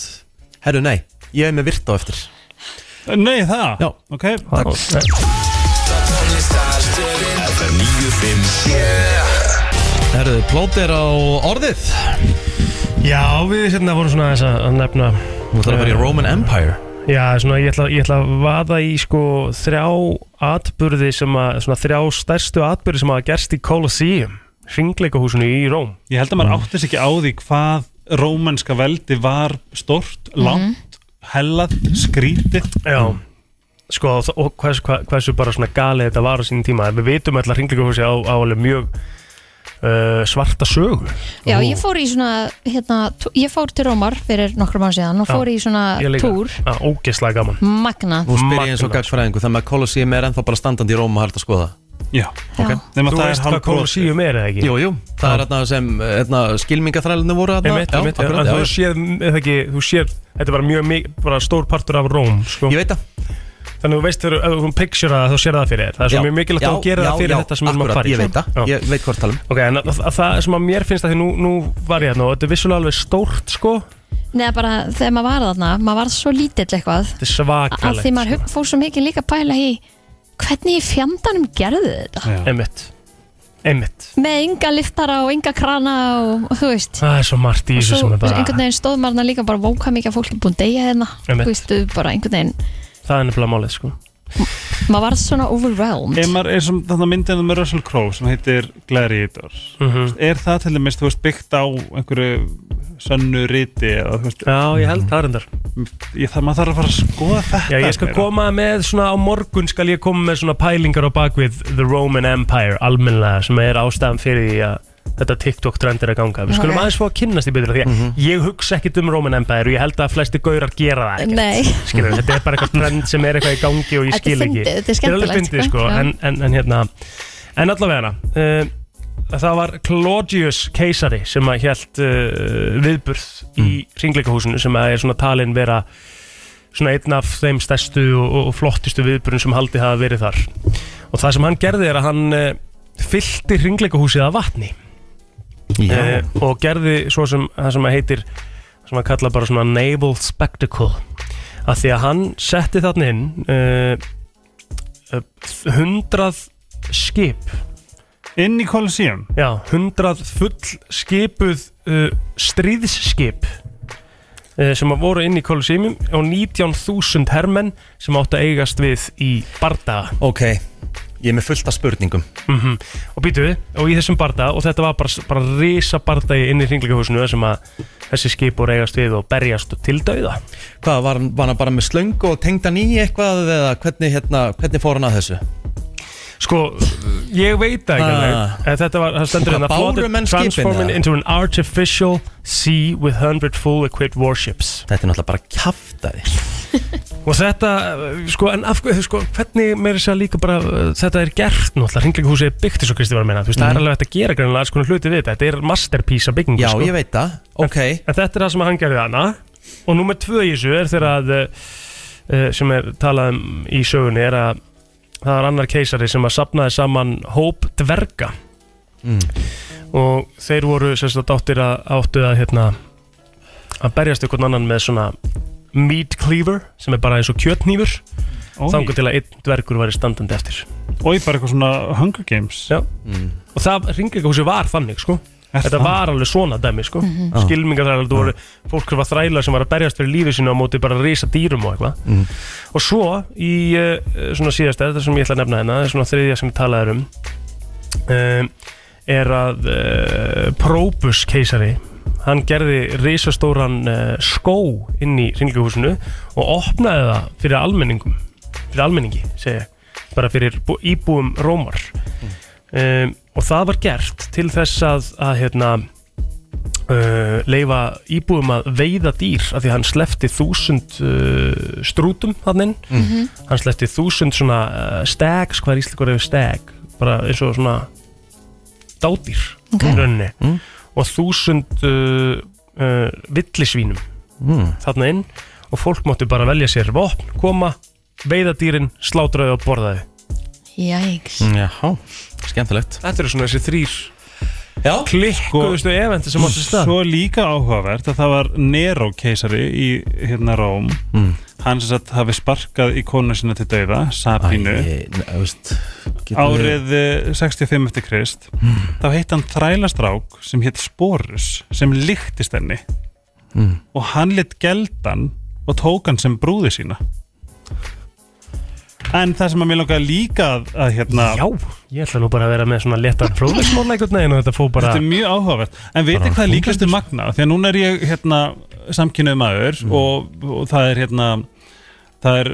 Herru, nei, ég er með virt á eftir Nei, það? Já. Ok, Takk. FM 957 Herru, plót er á orðið Já, við hérna vorum svona þess að að nefna Nú þarf að fara í Roman Empire Já, svona ég ætla, ég ætla að vaða í sko þrjá atburði sem að svona þrjá stærstu atburði sem að hafa gerst í Colosseum hringleikahúsinu í Róm Ég held að maður átti sig ekki á því hvað rómanska veldi var stort, Mhm. langt, hellað, skrítið Já Sko, og þ- og hversu, hva- hversu bara svona galið þetta var á sínum tíma Við vitum alltaf hringleikahúsi á, á alveg mjög uh, svarta sögu Já, ég fór í svona, hérna, tú- ég fór til Rómar fyrir nokkrum án síðan og Já, fór í svona Ég líka. túr Já, ógeðslega gaman Magnað, Nú spyr ég eins og Magnað. gagfræðingu Þannig að Colosseum er ennþá bara standandi í Róm og hægt að skoða Já, já, nema Þú það er veist hvað hálf brotið Colosseum er eða ekki? Jú, jú, það er hérna sem hérna, skilmingaþrælinu voru hérna Einmitt, einmitt, já, en þú séð, eða ekki, þú séð, þetta var mjög mik- bara stór partur af Róm sko. Ég veit það Þannig að þú veist þegar ef þú picture það þá sér það fyrir þér Það er svo Já, mjög mikilvægt að já, þú gera það já, fyrir já, þetta sem við erum að akkúrat, fara í Ég veit það, Já. ég veit hvort um. talum sko. Ok, en að, að, að það sem að mér finnst að því nú, nú var ég hérna og þetta er vissulega alveg stórt sko Þetta neða bara þegar maður var þarna maður var svo lítill eitthvað er að svakalegt sko. því maður hug- fór svo mikið líka að pæla í hvernig í fjandanum gerðu þið þetta Já. Einmitt Einmitt með enga liftara og enga krana og, og þú veist Það er svo margt í og þessu svo sem er bara einhvern veginn stóð maður þarna líka bara vóka mikið að fólk er búin að deyja hérna Einmitt. þú veist, þú bara einhvern veginn Það er nefnilega málið sko maður var svona overwhelmed Ef maður er sem þarna myndinu með Russell Crowe sem heitir Gladiator Mhm. Er það til dæmis, þú veist, byggt á einhverju sönnu riti eða, þú veist, Já, ég held það reyndar ég þarf, maður þarf að fara að skoða þetta Já, ég skal meira. koma með svona á morgun skal ég koma með svona pælingar á bakvið The Roman Empire almennilega sem er ástæðan fyrir því að þetta TikTok trend er að ganga Við skulum Ok. aðeins fá að kynnast í betur af því að ég hugsa ekkit um Roman Empire og ég held að flesti gaurar gera það ekkert Nei. Skilur, þetta er bara eitthvað trend sem er eitthvað í gangi og ég Þetta er skil ekki fyndið, þetta er alveg skemmtilegt, fyndið sko, sko, já. en, en, en hérna En allavega hana uh, Það var Claudius keisari sem eh, að hjælt uh, viðburð í ringleikahúsinu sem að er svona talin vera svona einn af þeim stærstu og, og- og flottustu viðburðum sem haldið hafa verið þar og það sem hann gerði er að hann uh, fyllti hringleikahúsið af vatni Já, um. uh, og gerði svo sem það sem að heitir sem að kalla bara svona naval spectacle að því að hann setti þarna inn uh, uh, 100 skip Inn í Colosseum já, 100 full skipuð uh, stríðsskip uh, sem að voru inn í Colosseumum og 19.000 hermenn sem áttu að eigast við í bardaga ok Ég er með fullt af spurningum Mhm. og býtu, og í þessum barda og þetta var bara, bara risa barda inn í hringleikahúsinu þar sem að þessi skip voru eigast við og berjast til dauða Hvað, var, hann- var hann bara með slöngu og tengd hann í eitthvað eða hvernig, hérna, hvernig fór hann að þessu? sko, ég veit það ekki Ah. alveg en þetta var, það stendur Og hvað, hérna, báru floated menn skipin, transforming eða? into an artificial sea with 100 full equipped warships Þetta er náttúrulega bara kjaftaði og þetta, eh, sko, en af hverju sko, hvernig meira sér líka bara eh, þetta er gert náttúrulega, hringleikahúsið er byggt eins og Kristi var að menna, þú veist, það er alveg hægt að gera greinlega alls konar hluti við þetta, þetta er masterpiece af byggingu Já, sko. ég veit það, ok En þetta er það sem hann gerði hana Og nummer tvö í þessu er þegar að uh, sem er talað um í sögunni er að það var annar keisari sem að sapnaði saman hóp dverga og þeir voru sem sagt áttir að áttu að hérna að berjast ykkur annan með svona meat cleaver sem er bara eins og kjötnýfur Og þangur til að einn dvergur væri standandi eftir ég bara eitthvað svona Hunger Games Já. og það ringleikahúsi var þannig sko Er Þetta það? var alveg svona dæmi sko mm -hmm. Skilmingarþrælar, þú voru fólk sem var þrælar sem var að berjast fyrir lífi sínu á móti bara að risa dýrum og eitthvað Og svo í uh, svona síðasta, þetta sem ég ætla að nefna hérna Svona þriðja sem ég talaði um um Er að uh, Probus keisari Hann gerði risastóran uh, skó inn í ringleikahúsinu Og opnaði það fyrir almenningum Fyrir almenningi, segi ég Bara fyrir bú- íbúum Rómar um, og það var gert til þess að, að hérna, uh, leifa íbúum að veiða dýr af því að hann slefti þúsund uh, strútum þannig mm hann slefti þúsund svona uh, stags, hvað er íslikur ef stag bara eins og svona dádýr Ok. í rauninni og þúsund uh, uh, villisvínum mm. þarna inn og fólk mátti bara velja sér vopn, koma, veiða dýrin slátraði og borðaði Jæks Jaha, skemmtilegt Þetta eru svona þessi þrýr Já, klikkuðustu eventi sem átti stað Svo líka áhugavert að það var Nero keisari í hérna Róm mm. hann sem sagt hafi sparkað í konu sína til dauða, Sabínu Æ, ne- þú veist, getur við- árið eh, 65 eftir Krist þá heitt hann þrælastrák sem hétt Sporus sem líktist henni og hann lit geldan og tók hann sem brúði sína en það sem að mér langaði líka að, að hérna Já, ég ætla nú bara að vera með svona léttan fróðismóla einhvern veginn og þetta fór bara Þetta er mjög áhugavert En veitir hvað líkast er magna Því að núna er ég hérna, samkynnuð maður Mm. og, og það er hérna Það er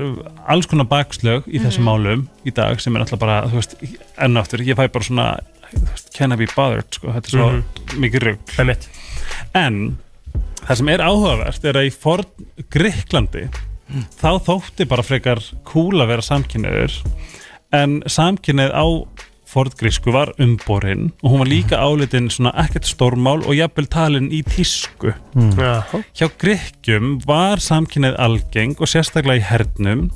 alls konar bakslög í þessum málum í dag sem er alltaf bara, þú veist, enn og aftur, ég fæ bara svona, þú veist, can I be bothered, sko, þetta er svo Mhm. mikið rugg. Það er mitt En það sem er áhugavert er að í forn Greiklandi þá þótti bara frekar cool að vera samkynniður en samkynnið á forngrísku var umborinn og hún var líka álitin svona ekkert stórmál og jafnvel talin í tísku. Mm. Já, Hjá Grekjum var samkynnið algeng og sérstaklega í hernum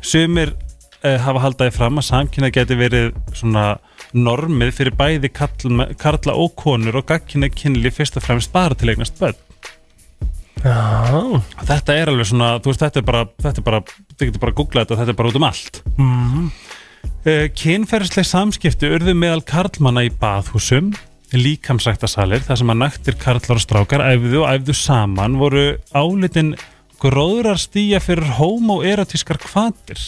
sumir eh, hafa haldaði fram að samkynnið geti verið svona normið fyrir bæði karl, karla og konur og gagkynnið kynli fyrst og fremst bara til eignast börn já Og þetta er alveg svona, þú veist, þetta er bara þetta er bara, þetta getur bara að googla þetta og þetta er bara út um allt uh, Kynferðisleg samskipti urðu meðal karlmanna í baðhúsum líkamsræktasalir, þar sem að nættir karlar og strákar æfðu og æfðu saman voru álitin gróðrar stíja fyrir homoerotískar kvatir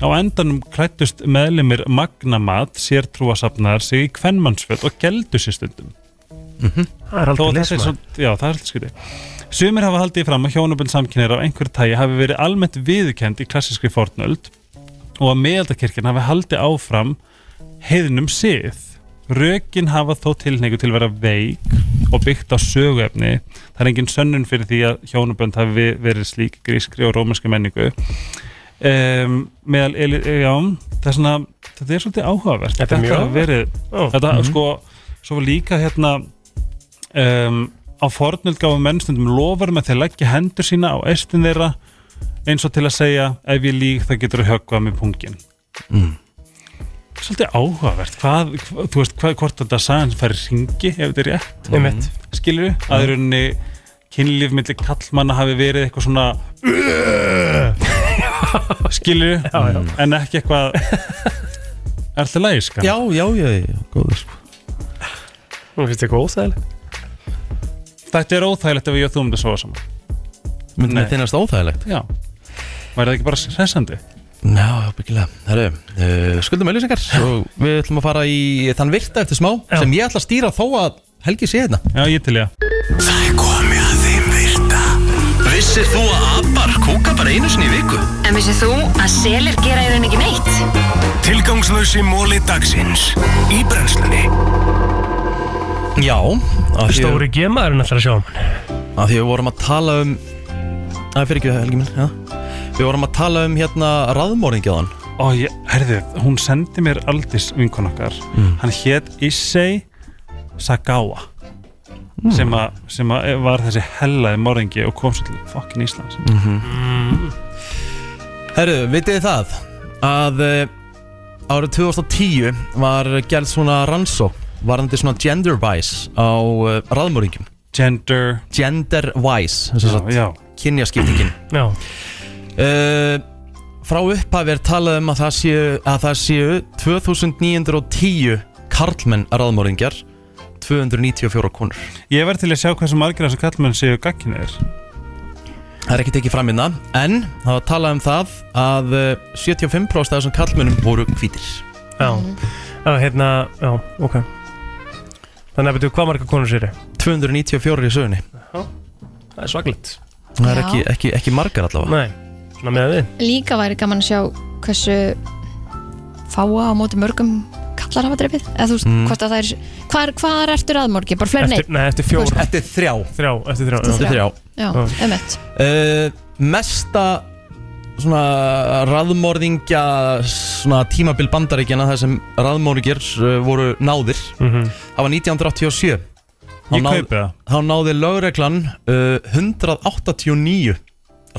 Á endanum klættust meðlimir magnamat, sértrúasafnar sig í kvenmannsfjöld og geldu sér stundum Það er þó aldrei að þessi er lesma svo, já það er alltaf skrítið Sumir hafa haldið fram að hjónabönd samkynir af einhverju tægi hafi verið almennt viðurkend í klassískri fornöld og að meðaldakirkjan hafi haldið áfram heiðnum sið Rökin hafa þó tilneigu til að vera veik og byggt á söguefni það er engin sönnun fyrir því að hjónabönd hafi verið slík í grískri og rómanskri menningu um, meðal, eli- já, það er svona þetta er svolítið áhugavert Þetta er mjög hafi verið Já, þetta sko, svo var líka hérna um, á fornöld gáðu mennstundum lofar með þeir leggja hendur sína á estin þeirra eins og til að segja ef ég lík það getur að höggva með pungin svolítið áhugavert hvað, hva, þú veist, hvað, hvort þetta sagan fær ringi ef þetta er rétt Einmitt. skilur við, að í rauninni kynlíf milli kallmanna hafi verið eitthvað svona skilur við, en ekki eitthvað er alltaf lægi skan Já, já, já, já, góður sko Nú finnst þið góð þegar þetta er óþægilegt ef ég og þú um þetta svo saman Myndi Nei. með þinnast óþægilegt já, væri það ekki bara hressandi Já, já, byggilega Herru, uh, skuldum auðlýsingar og við ætlum að fara í þann virta eftir smá Já. sem ég ætla að stýra þó að Helgi sé hérna já, ég til ég Það er komið að þeim virta Vissir þú að abar kúka bara einu sinni í viku? En vissið þú að selir gera í rauninni ekki neitt? Tilgangslösi móli dagsins Í brennslunni Já, af því, Stóri gemaðurinn ætlar að sjá um hann af því við vorum að tala um Æ, fyrir ekki Helgi minn, já Við vorum að tala um hérna raðmóringjaðan Ó, ég, herðu, hún sendi mér aldis vinkon okkar Hann hét Issei Sagawa sem, að, sem að var þessi hellaði morðingi og kom svo til fokkin Íslands Herru, vitið þið það að uh, árið 2010 var gerð svona rannsók varandi svona gender wise á uh, raðmóringjum Gender gender wise já, já, kynjaskiptingin Já, uh, frá upphafi er talað um að það séu, að það séu 2910 karlmenn raðmóringjar 294 konur Ég verð til að sjá hversu margir þessu kallmenn séu gagkinir það er ekki tekið fram innan en það var talað um það að uh, 75% af þessum karlmennum voru hvítir já, já, hérna, já, ok Þannig að betur hvað marga konur sér 294 í sögunni Það er svaglitt það er Já. ekki, ekki, ekki margar allavega Nei, svona með við Líka væri gaman að sjá hversu fáa á móti mörgum kallar hafa dreipið eða þú veist, hvort að það er hvað, er- hvað ertu raðmorgi, bara fleiri Mm. eftir, neitt Nei, eftir fjóra Þetta er þrjá Þrjá, eftir þrjá Þetta já. er þrjá Já, um eitt uh, Mesta svona raðmorðingja svona tímabil bandaríkjana þar sem raðmorðingjur uh, voru náðir Mhm. það var 1987 Þá Ég náð- kaupi það Þá náði lögreglan uh, 189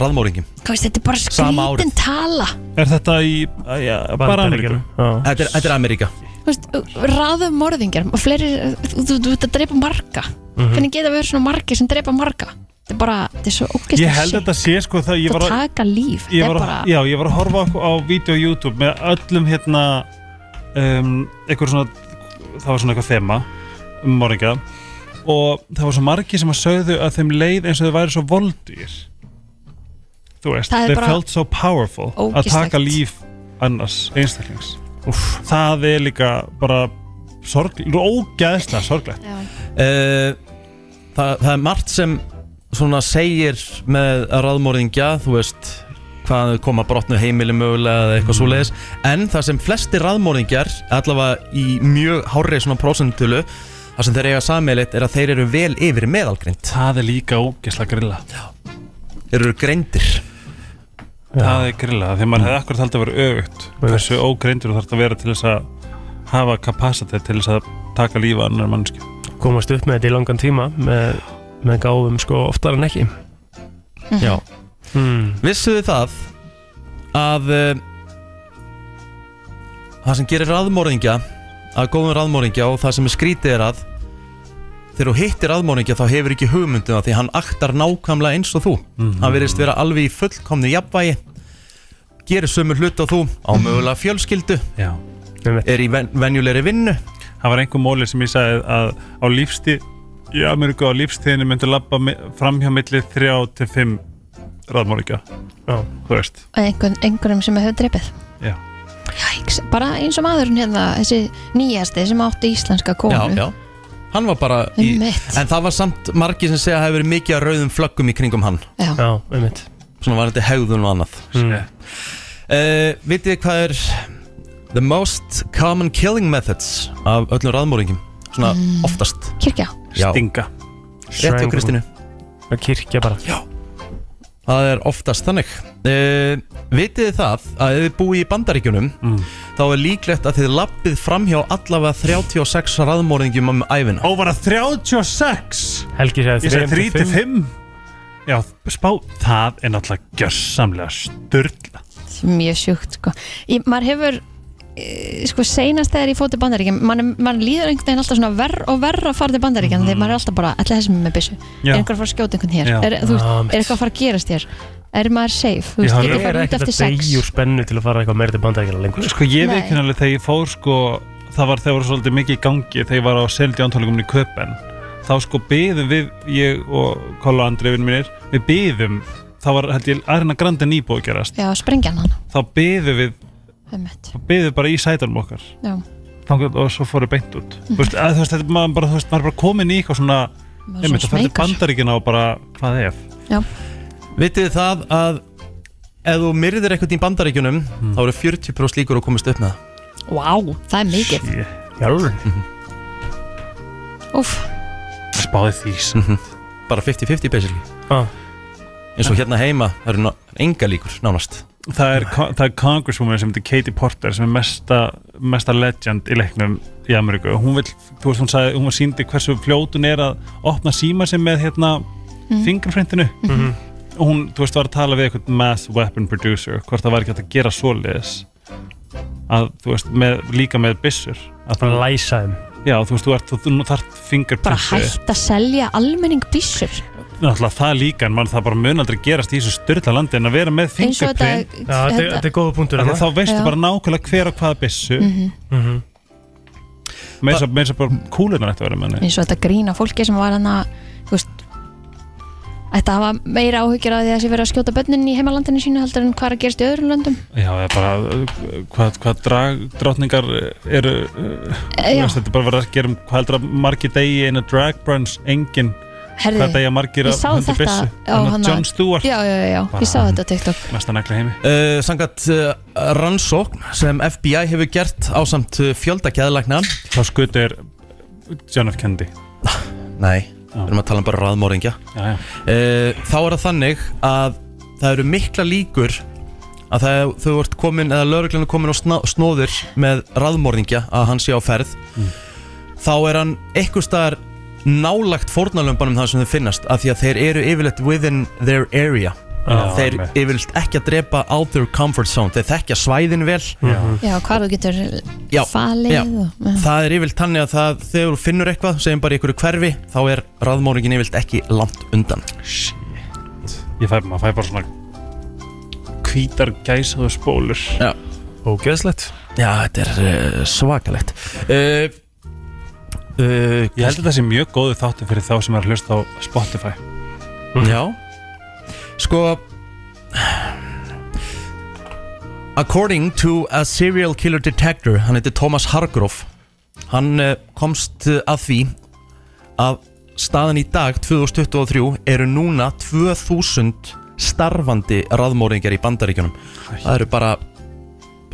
raðmóringum Hvað veist, þetta er bara Sama árið. skrítin tala Er þetta í, að, já, bara Ameríku Bandaríkjunum, já. Þetta er, þetta er Ameríka Þú veist, raðmorðingar og fleiri, þú þú- þú ert að dreipa marga Mhm. hvernig geta við verið svona margi sem dreipa marga þetta er bara, þetta er svo ógæst Ég held að þetta sé sko það Ég að var að, taka líf, ég þetta er var að, bara já, ég var að horfa á, á vídeo á YouTube með öllum hérna um, eitthvað svona það var svona eitthvað þema um morga og það var svo margi sem að sögðu að þeim leið eins og þau væri svo voldýr þú veist, Það er they bara felt so powerful að ógeðslegt. taka líf annars einstaklings Úf, það er líka bara sorg, ógæðslega sorglegt Já. uh, það, það er margt sem svona segir með raðmóringja, þú veist hvað þau koma brotnu heimili mögulega eða eitthvað svoleiðis, en það sem flesti raðmóringjar, allavega í mjög hárri svona prósentölu það sem þeir eiga sammeilitt er að þeir eru vel yfir meðalgrind, það er líka ógæðslega grilla þeir eru grindir Það er grillað, þegar maður hefði akkur taldi að vera aukt hversu ógreindur þú þarf að vera til þess að hafa kapasitið til þess að taka lífa annar mannskju Komast upp með þetta í langan tíma með, með gáfum sko oftar en ekki Mhm. Já. hmm. Vissuðu það að uh, það sem gerir raðmóringja að góðum raðmóringja og það sem er skrítið er að þegar þú hittir raðmóringja þá hefur ekki hugmyndina því hann aktar nákvæmlega eins og þú hann verðist vera alveg í fullkomni jafnvægi gerir sömu hlut og þú á mögulega fjölskyldu Já er í ven venjulegri vinnu Það var einhver móli sem ég sagði að á lífstíð í Ameríku á lífstíðinu myndi labba mi- framhjá milli 3 til 5 ráðmóríka Já. Þú veist að einhvern, einhverjum sem hefur dreipið Já. Jæks, bara eins og maðurinn hérna þessi nýjasti sem átti íslenska konu já, já. Mhm. hann var bara í, Einmitt. en það var samt margir sem segja að það hefur verið mikið að rauðum flöggum í kringum hann Já. Já, einmitt svona var þetta hegðun og annað mm. Uh, vitið þið hvað er The most common killing methods Af öllum raðmóringum Svona oftast kirkja, Já. Stinga Rétt hjá Kristínu Að kirkja bara Það er oftast þannig uh, Vitið þið það að ef þið búið í bandaríkjunum Þá er líklegt að þið lappið framhjá Allavega 36 raðmóringjum um æfina Ó, var það 36? Helgi Ég segði sagði 3 til 5 Já, spá, það er náttúrulega gjörsamlega styrla mjög sjúkt sko. ég, maður hefur eh, sko seinast þegar ég fótt til bandaríkjum mann, mann líður einhvern veginn alltaf svona verð og verð að fara til bandaríkjum Mhm. mm. þegar maður er alltaf bara, ætla þessum með byssu Já. er einhver að fara að skjóta einhvern hér Já. er, þú veist, Ah, mitt. er eitthvað að fara að gerast hér er maður safe, þú Já, veist, hann ég er Ég er fara út ekkert eftir að degjur sex spennu til að fara eitthvað meira til bandaríkjana lengur Sko ég Nei. veit kynarlega þegar ég fór sko það var þegar var svolítið mikið í gangi þegar ég var á seldjántónleikumni í Köpen þá sko byðum við, ég og Kolla Andri vinnum mínir, við byðum þá var held ég aðrina grandi nýbúið að gerast já, sprengja hann þá byðum við, einmitt. byðum bara í sætanum okkar já, þangað og svo fóru beint út mm. veist, að, þú veist, þetta er maður bara, þú veist, maður er bara komin í eitthvað svona, maður er einmitt, svona það fætti smeykur bandaríkina og bara, hvað ef Vitið þið það að ef þú myrðir eitthvað í bandaríkjunum þá eru 40% líkur að komast upp með það wow, það er mikið, Shit, Jálfur úff, spáði því sem bara 50-50 basically Ah. eins og hérna heima það eru ná- enga líkur nánast það er, það er congresswoman sem heitir Katie Porter sem er mesta, mesta legend í leiknum í Ameríku hún, vill, þú veist, hún, sagði, hún var síndi hversu fljót hún er að opna síma sem með hérna, Mhm. fingerprintinu og hún þú veist, var að tala við eitthvað mass weapon producer hvort það var ekki hægt að gera svoleiðis að þú veist með, líka með byssur að Mm. Bara þú, læsa þeim já, þú veist, þú, ert, þú, þú þarft bara fingerprinti hætt að selja almenning byssur, náttúrulega það líka en mann það bara mun aldrei gerast í þessu styrla landi en að vera með eins og fingerprint þetta, Já, þetta er- þetta er góða punktur Af því þarna. að þá veistu Já. bara nákvæmlega hver og hvaða byssu Mhm. með þess að meira þess að bara kúlunar ætti að vera með henni eins og þetta grína fólki sem var hann að þú veist ætti að hafa meira áhyggjur af því að þessi verið að skjóta bönnin í heimalandinu sínu heldur en hvað er að gerast í öðrum löndum já, eða bara uh, hvað, hvað drag, drátningar eru uh, e, þú Já, veist, þetta er bara verið að gera um hvað heldur að margir degi einu drag brunch engin, hvað herði, degi að margir ég af sá hundi þetta byssu á Þannig að hana- John Stewart, já, já, já, já, ég sá þetta á TikTok mesta negla heimi uh, Sangat uh, rannsókn sem FBI hefur gert eh, á samt fjöldakæðlagna þá skutur John F. Kennedy Nei, við erum að tala um bara ráðmóringja já, já. uh, Þá er það þannig að það eru mikla líkur að það, þau vart komin eða lögreglun er komin og sná, snóðir með ráðmóringja að hann sé á ferð þá er hann eitthvað staðar nálagt fórnalömbanum það sem þau finnast af því að þeir eru yfirleitt within their area Já, þeir einmitt. yfirleitt ekki að drepa out their comfort zone, þeir þekkja svæðin vel Mhm. Já, hvað þú getur Já, falið já. og, já. það er yfirleitt þannig að það, þegar þú finnur eitthvað segjum bara í ykkur hverfi, þá er ráðmóringin yfirleitt ekki langt undan ég fæ, maður fæ bara svona hvítar gæsaðu spólur Ógeðslegt Já, þetta er uh, svakalegt uh, uh, ég held að það sé mjög góðu þáttu fyrir þá sem er að hlusta á Spotify Já Sko According to a serial killer detector Hann heitir Thomas Hargrove Hann eh, komst eh, að því að staðan í dag 2023 eru núna 2000 starfandi raðmóringjar í bandaríkjunum Það eru bara,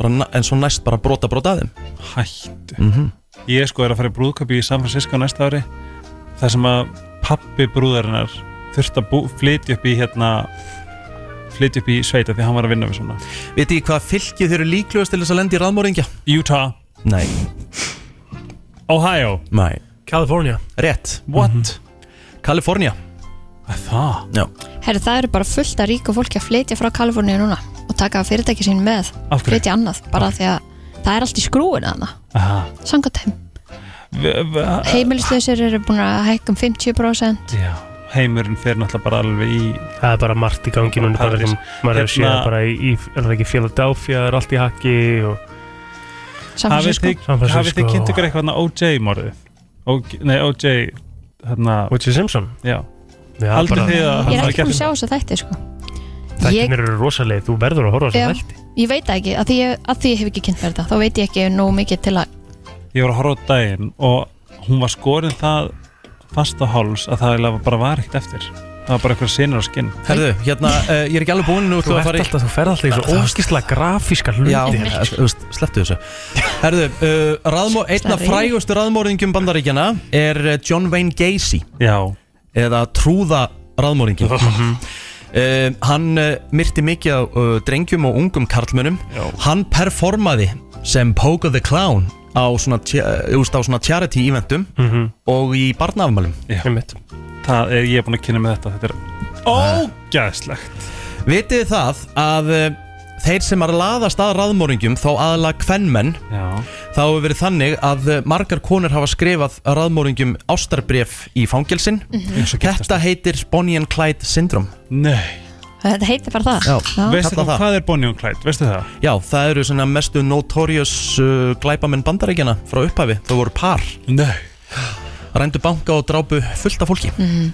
bara na- en svo næst bara brota brota að þeim hættu Mhm. ég sko er að fara í brúðköpi í San Francisco næsta ári þar sem að pappi brúðarinnar þurft að bú- flytja upp í hérna flytja upp í sveita því hann var að vinna við svona Vitið þið hvað fylkið þeir eru líklegust til þess að lenda í raðmóringja? Utah, Nei, Ohio, nei California Rétt, Mhm. what? Kalifornia það, Herði, það eru bara fullt að ríku fólki að flytja frá Kaliforníu núna og taka fyrirtæki sín með af hverju? flytja annað, bara því að það er allt í skrúinu þarna, Aha. sangat heim V- v- Heimilislausir eru búin að hækka um 50% Já, heimurinn fer náttúrulega bara alveg í Það er bara margt í gangi núna bara Paradís. sem maður er að sé Hérna- bara í, í, er það ekki Philadelphia, er allt í hakki og San hafið Francisco. þið, San Francisco. hafið þið kynnt ykkur eitthvað hérna OJ morðið O- nei OJ hérna, O.J. Simpson já, Já, haldið bara- þið sko. að Ég hann er hafi ekki búin að gert sjá þess þetta? að þætti sko. ég, Þættirnir eru rosalegir, þú verður að horfa á Já. þessu þætti ég veit það ekki, að því, ég- að því ég hef ekki kynnt mér þetta þá veit ég ekki nógu mikið til að ég var að horfa á daginn og hún var skorin það fast á háls að það eiginlega bara var ekkert eftir það var bara eitthvað sinur á skinn Herðu, hérna, uh, ég er ekki alveg búinn Nú Þú, ætlum við að ert fara í alltaf, þú ferð alltaf í Það- svo það- óskislega grafíska hluti Já, eh, þú veist, slepptu þessu Herðu, uh, raðmó, einn af Snorri. frægustu raðmóringjum bandaríkjana er eh, John Wayne Gacy já, eða trúða raðmóringin uh, Mhm. Hann uh, myrti mikið á uh, drengjum og ungum karlmönum Já. Hann performaði sem Pogo the Clown á svona, tja- eh, þú veist, á svona charity Mhm. eventum og í barnaafmælum Einmitt. það er ég er búin að kynna með þetta þetta er Ógæðslegt Vitið þið það að eh, þeir sem er laðast að raðmóringjum þá aðalega kvenmenn Já, þá hefur verið þannig að eh, margar konur hafa skrifað raðmóringjum ástarbref í fangelsin Mhm. eins og giftast Þetta heitir Bonnie and Clyde syndrom Nei, Þetta heitir bara það Já. veistu kalla þá það. hvað er Bonnie og Clyde, veistu það? Já, það eru svona mestu notorious uh, glæpamenn bandarækjana frá upphafi þau voru par, Nei rændu banka og drápu fullt af fólki Mm.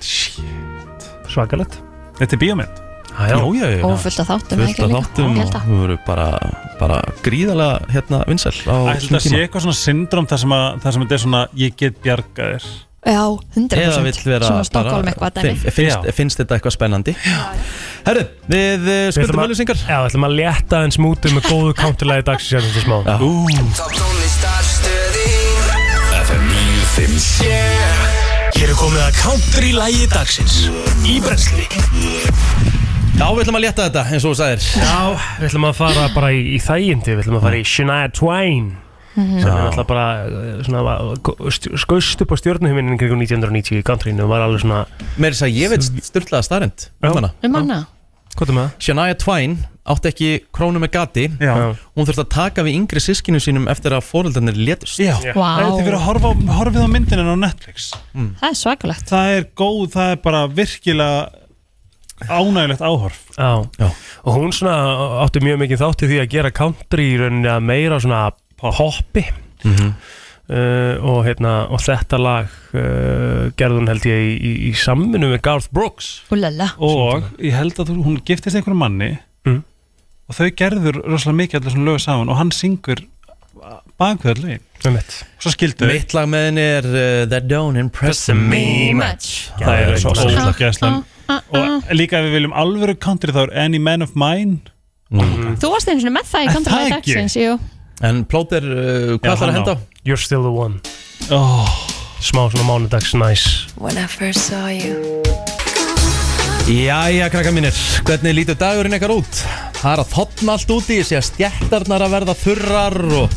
Svakalett Þetta er bíómynd Já, já, já, Og fullt af þáttum fullt af ekki líka? þáttum Ég og held að. þau voru bara, bara gríðalega hérna vinsæl á Ætli þessum þetta sé tíma eitthvað svona syndrom þar sem, að, þar sem þetta er svona ég get bjargaðir Já, 100% eða vill vera Svona Stockholm eitthvað dæmi fin- finnst, Já. finnst þetta eitthvað spennandi Herru, við uh, skuldum að- öllusingar Já, við ætlum að létta eins mútið með góðu kántulæði dagsins hérna til smá Já. Top tónlist af stöðin FM 957 Hér er komið að country lægi dagsins Í brensli Já, við ætlum að létta þetta eins og þú sagðir Já, við ætlum að fara bara í, í þægindi Við ætlum að fara í Shania Twain Mhm. sem er alltaf bara eh, svona, skaust upp á stjórnuhuminn kringum 1990 í countryinu og var alveg svona Mér er þess að ég veit styrlaða starrend um hana. Um hana Hvað er með það? Shania Twain átti ekki krónu með gati Já, Hún þurfti að taka við yngri sískinu sínum eftir að fóröldarnir létust já Vá, Þetta er verið að horfa, á- horfið á myndinni á Netflix það er svakalegt Það er góð, það er bara virkilega ánægilegt áhorf Já. Já. og hún svona átti mjög mikið þátti því að gera country í rauninni að meira svona poppi Mhm. uh, og, hérna, og þetta lag uh, gerði hún held ég í, í, í samvinnu með Garth Brooks Úlala og ég held að þú- hún giftist einhverjum manni Mm. og þau gerður rosalega mikið allir svona lög saman og hann syngur bakveðar lögin og svo skildu þau. Mitt lag með henni er uh, That don't impress me Much það er svo rosalegt. ógæslan og líka ef við viljum alvöru country þá er Any Man of Mine Mhm. Þú varst einu sinni með það í Er Country það Life ekki? Dagsins Jú Mm. En plóter, uh, Já, hvað ætlar að hann henda á? á. You're Still the One oh, smá svona mánudags næs When I first saw you Jæja, krakka mínir, hvernig lítur dagurinn ekkar út? Það er að þotna allt úti, ég sé að stjættarnar að verða þurrar og...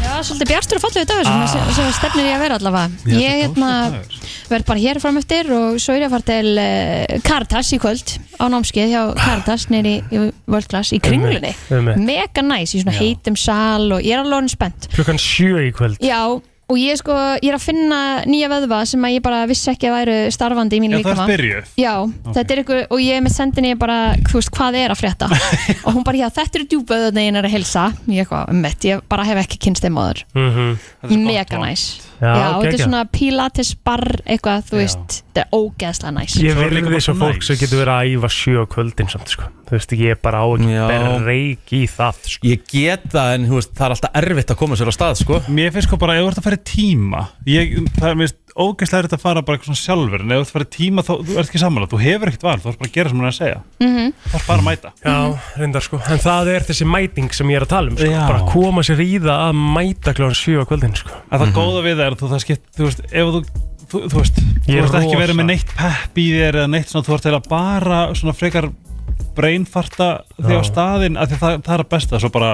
Já, svolítið bjartur og fallið dagur Ah. sem, sem, sem stefnir ég að vera allavega Ég hérna verð bara hér fram eftir og svo er ég að fara til uh, Caritas í kvöld á námskeið hjá Ah. Caritas nýri í World Class í kringlunni Einmitt, einmitt. Mega næs í svona heitum sal og ég er alveg orðin spennt klukkan sjö í kvöld Já, og ég, sko, ég er að finna nýja vöðva sem að ég bara vissi ekki að væru starfandi í mínu já það er líkama byrjuð Já, þetta er ykkur, og ég með sendinni bara, þú veist, hvað er að frétta og hún bara, já, þetta eru djúböðunni en er að helsa ég eitthvað, um mitt, ég bara hef ekki kynst þeim áður mm -hmm. Þetta er svo mega gott lag. næs Já, þetta er geggjað. svona pilates bar eitthvað, þú Já. veist, þetta er ógeðslega næs ég Svo er vil líka því bara svo svo fólk næs. sem getur verið að æfa sjö á kvöldin samt sko. þú veist ég er bara á Já. ekki berð reik í það sko. Ég get það, en þú veist, það er alltaf erfitt að koma sér á stað, sko. mér finnst sko bara ef þú ert að fara í tíma ég, það er mér ógæslega erfitt að fara bara eitthvað svona sjálfur en ef þú ert að fara í tíma þá þú ert ekki sammála þú hefur ekkert val, þú ert bara að gera sem hún er að segja þú ert bara að mæta Já, reyndar sko, en það er þessi mæting sem ég er að tala um sko. Já. bara koma sér í það að mæta kljóðan 7 á kvöldin sko. að það góða við það er að þú það skipt þú veist, ef þú Þú, þú veist, þú Ég er veist ekki verið rosa. með neitt pepp í þér eða neitt svona, þú ert eiginlega bara svona frekar breinfarta Já. þegar á staðinn, af því það, það er að besta svo bara,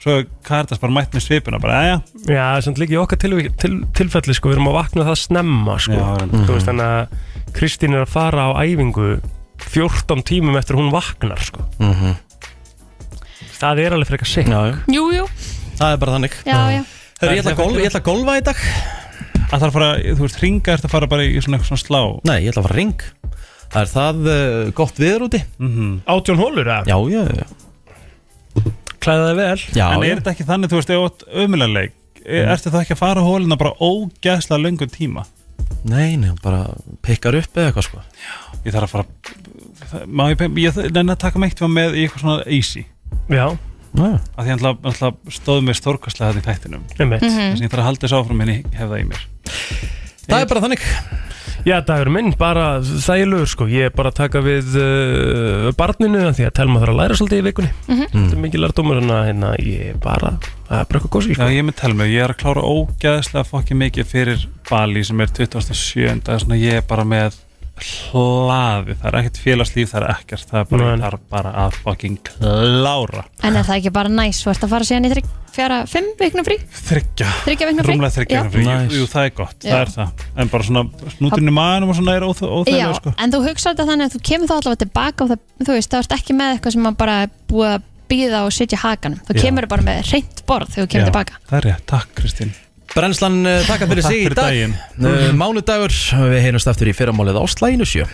svo Karitas bara mætt með svipuna bara, aðja, Já, samt líka í okkar til, til, tilfelli sko, við erum að vakna það snemma sko. Já, reyndar. Þú veist, þannig að Kristín er að fara á æfingu 14 tímum eftir hún vaknar sko. Það er alveg frekar sikk Já, já. Jú, jú, Það er bara þannig. já, já Hörru, ég ætla að gól- ég ætla að golfa í dag. að það er að fara, þú veist, ringa ert að fara bara í svona eitthvað svona slá Nei, ég ætla að fara ring. Það er það uh, gott viður úti. Átjón hólur, eða? Já, já, já. Klæða það vel Já, já. en er þetta ekki þannig, þú veist, ef ömulegleik Mhm. mm. ertu það ekki að fara á hólina bara ógæslega löngum tíma Nei, nei, bara pikkar upp eða eitthvað, sko. ég þarf að fara það- má ég, ég, ég nenni að taka meitt með í eitthvað svona easy Já, Já, já. af því hann alltaf stóð mér stórkastlega þetta í þættinum einmitt Mm. þess að ég þarf að halda þessu áfram en ég hef það í mér Það er bara þannig. Já, dagur minn, bara þægilegur sko Ég er bara að taka við uh, barninu af Því að telma þarf að læra svolítið í vikunni Þetta er mikið lærdómur en að hérna, ég er bara Það er bara eitthvað góðsík Já, ég er með telmu, ég er að klára ógæðslega fokkið mikið fyrir Bali sem er 27. Svona, ég er bara með hlaði, það er ekkert félagslíf, það er ekkert, það er bara, Nei. það er bara að fucking klára. En er það ekki bara næs, þú ert að fara síðan í þrygg, fjara, fimm vikna frí? Þryggja, Þriggja vikna frí? rúmlega þryggja Já. vikna frí, Nice. jú, jú, það er gott, Já. það er það. En bara svona snúturinn í maðurum og svona er óþægilega, Já, sko. en þú hugsaður þetta þannig að þú kemur þá allavega tilbaka og það, þú veist, það ert ekki með eitthvað sem maður bara er búið að býða og sitja í hakanum þú Já. kemur bara með reynt borð þegar þú Já, kemur tilbaka það er rétt, takk Kristín. eh, Brennslan uh, takka fyrir Takk sig í fyrir dag daginn. uh, Mánudagur, við heyrjumst aftur í fyrramálið á slæðinu sjö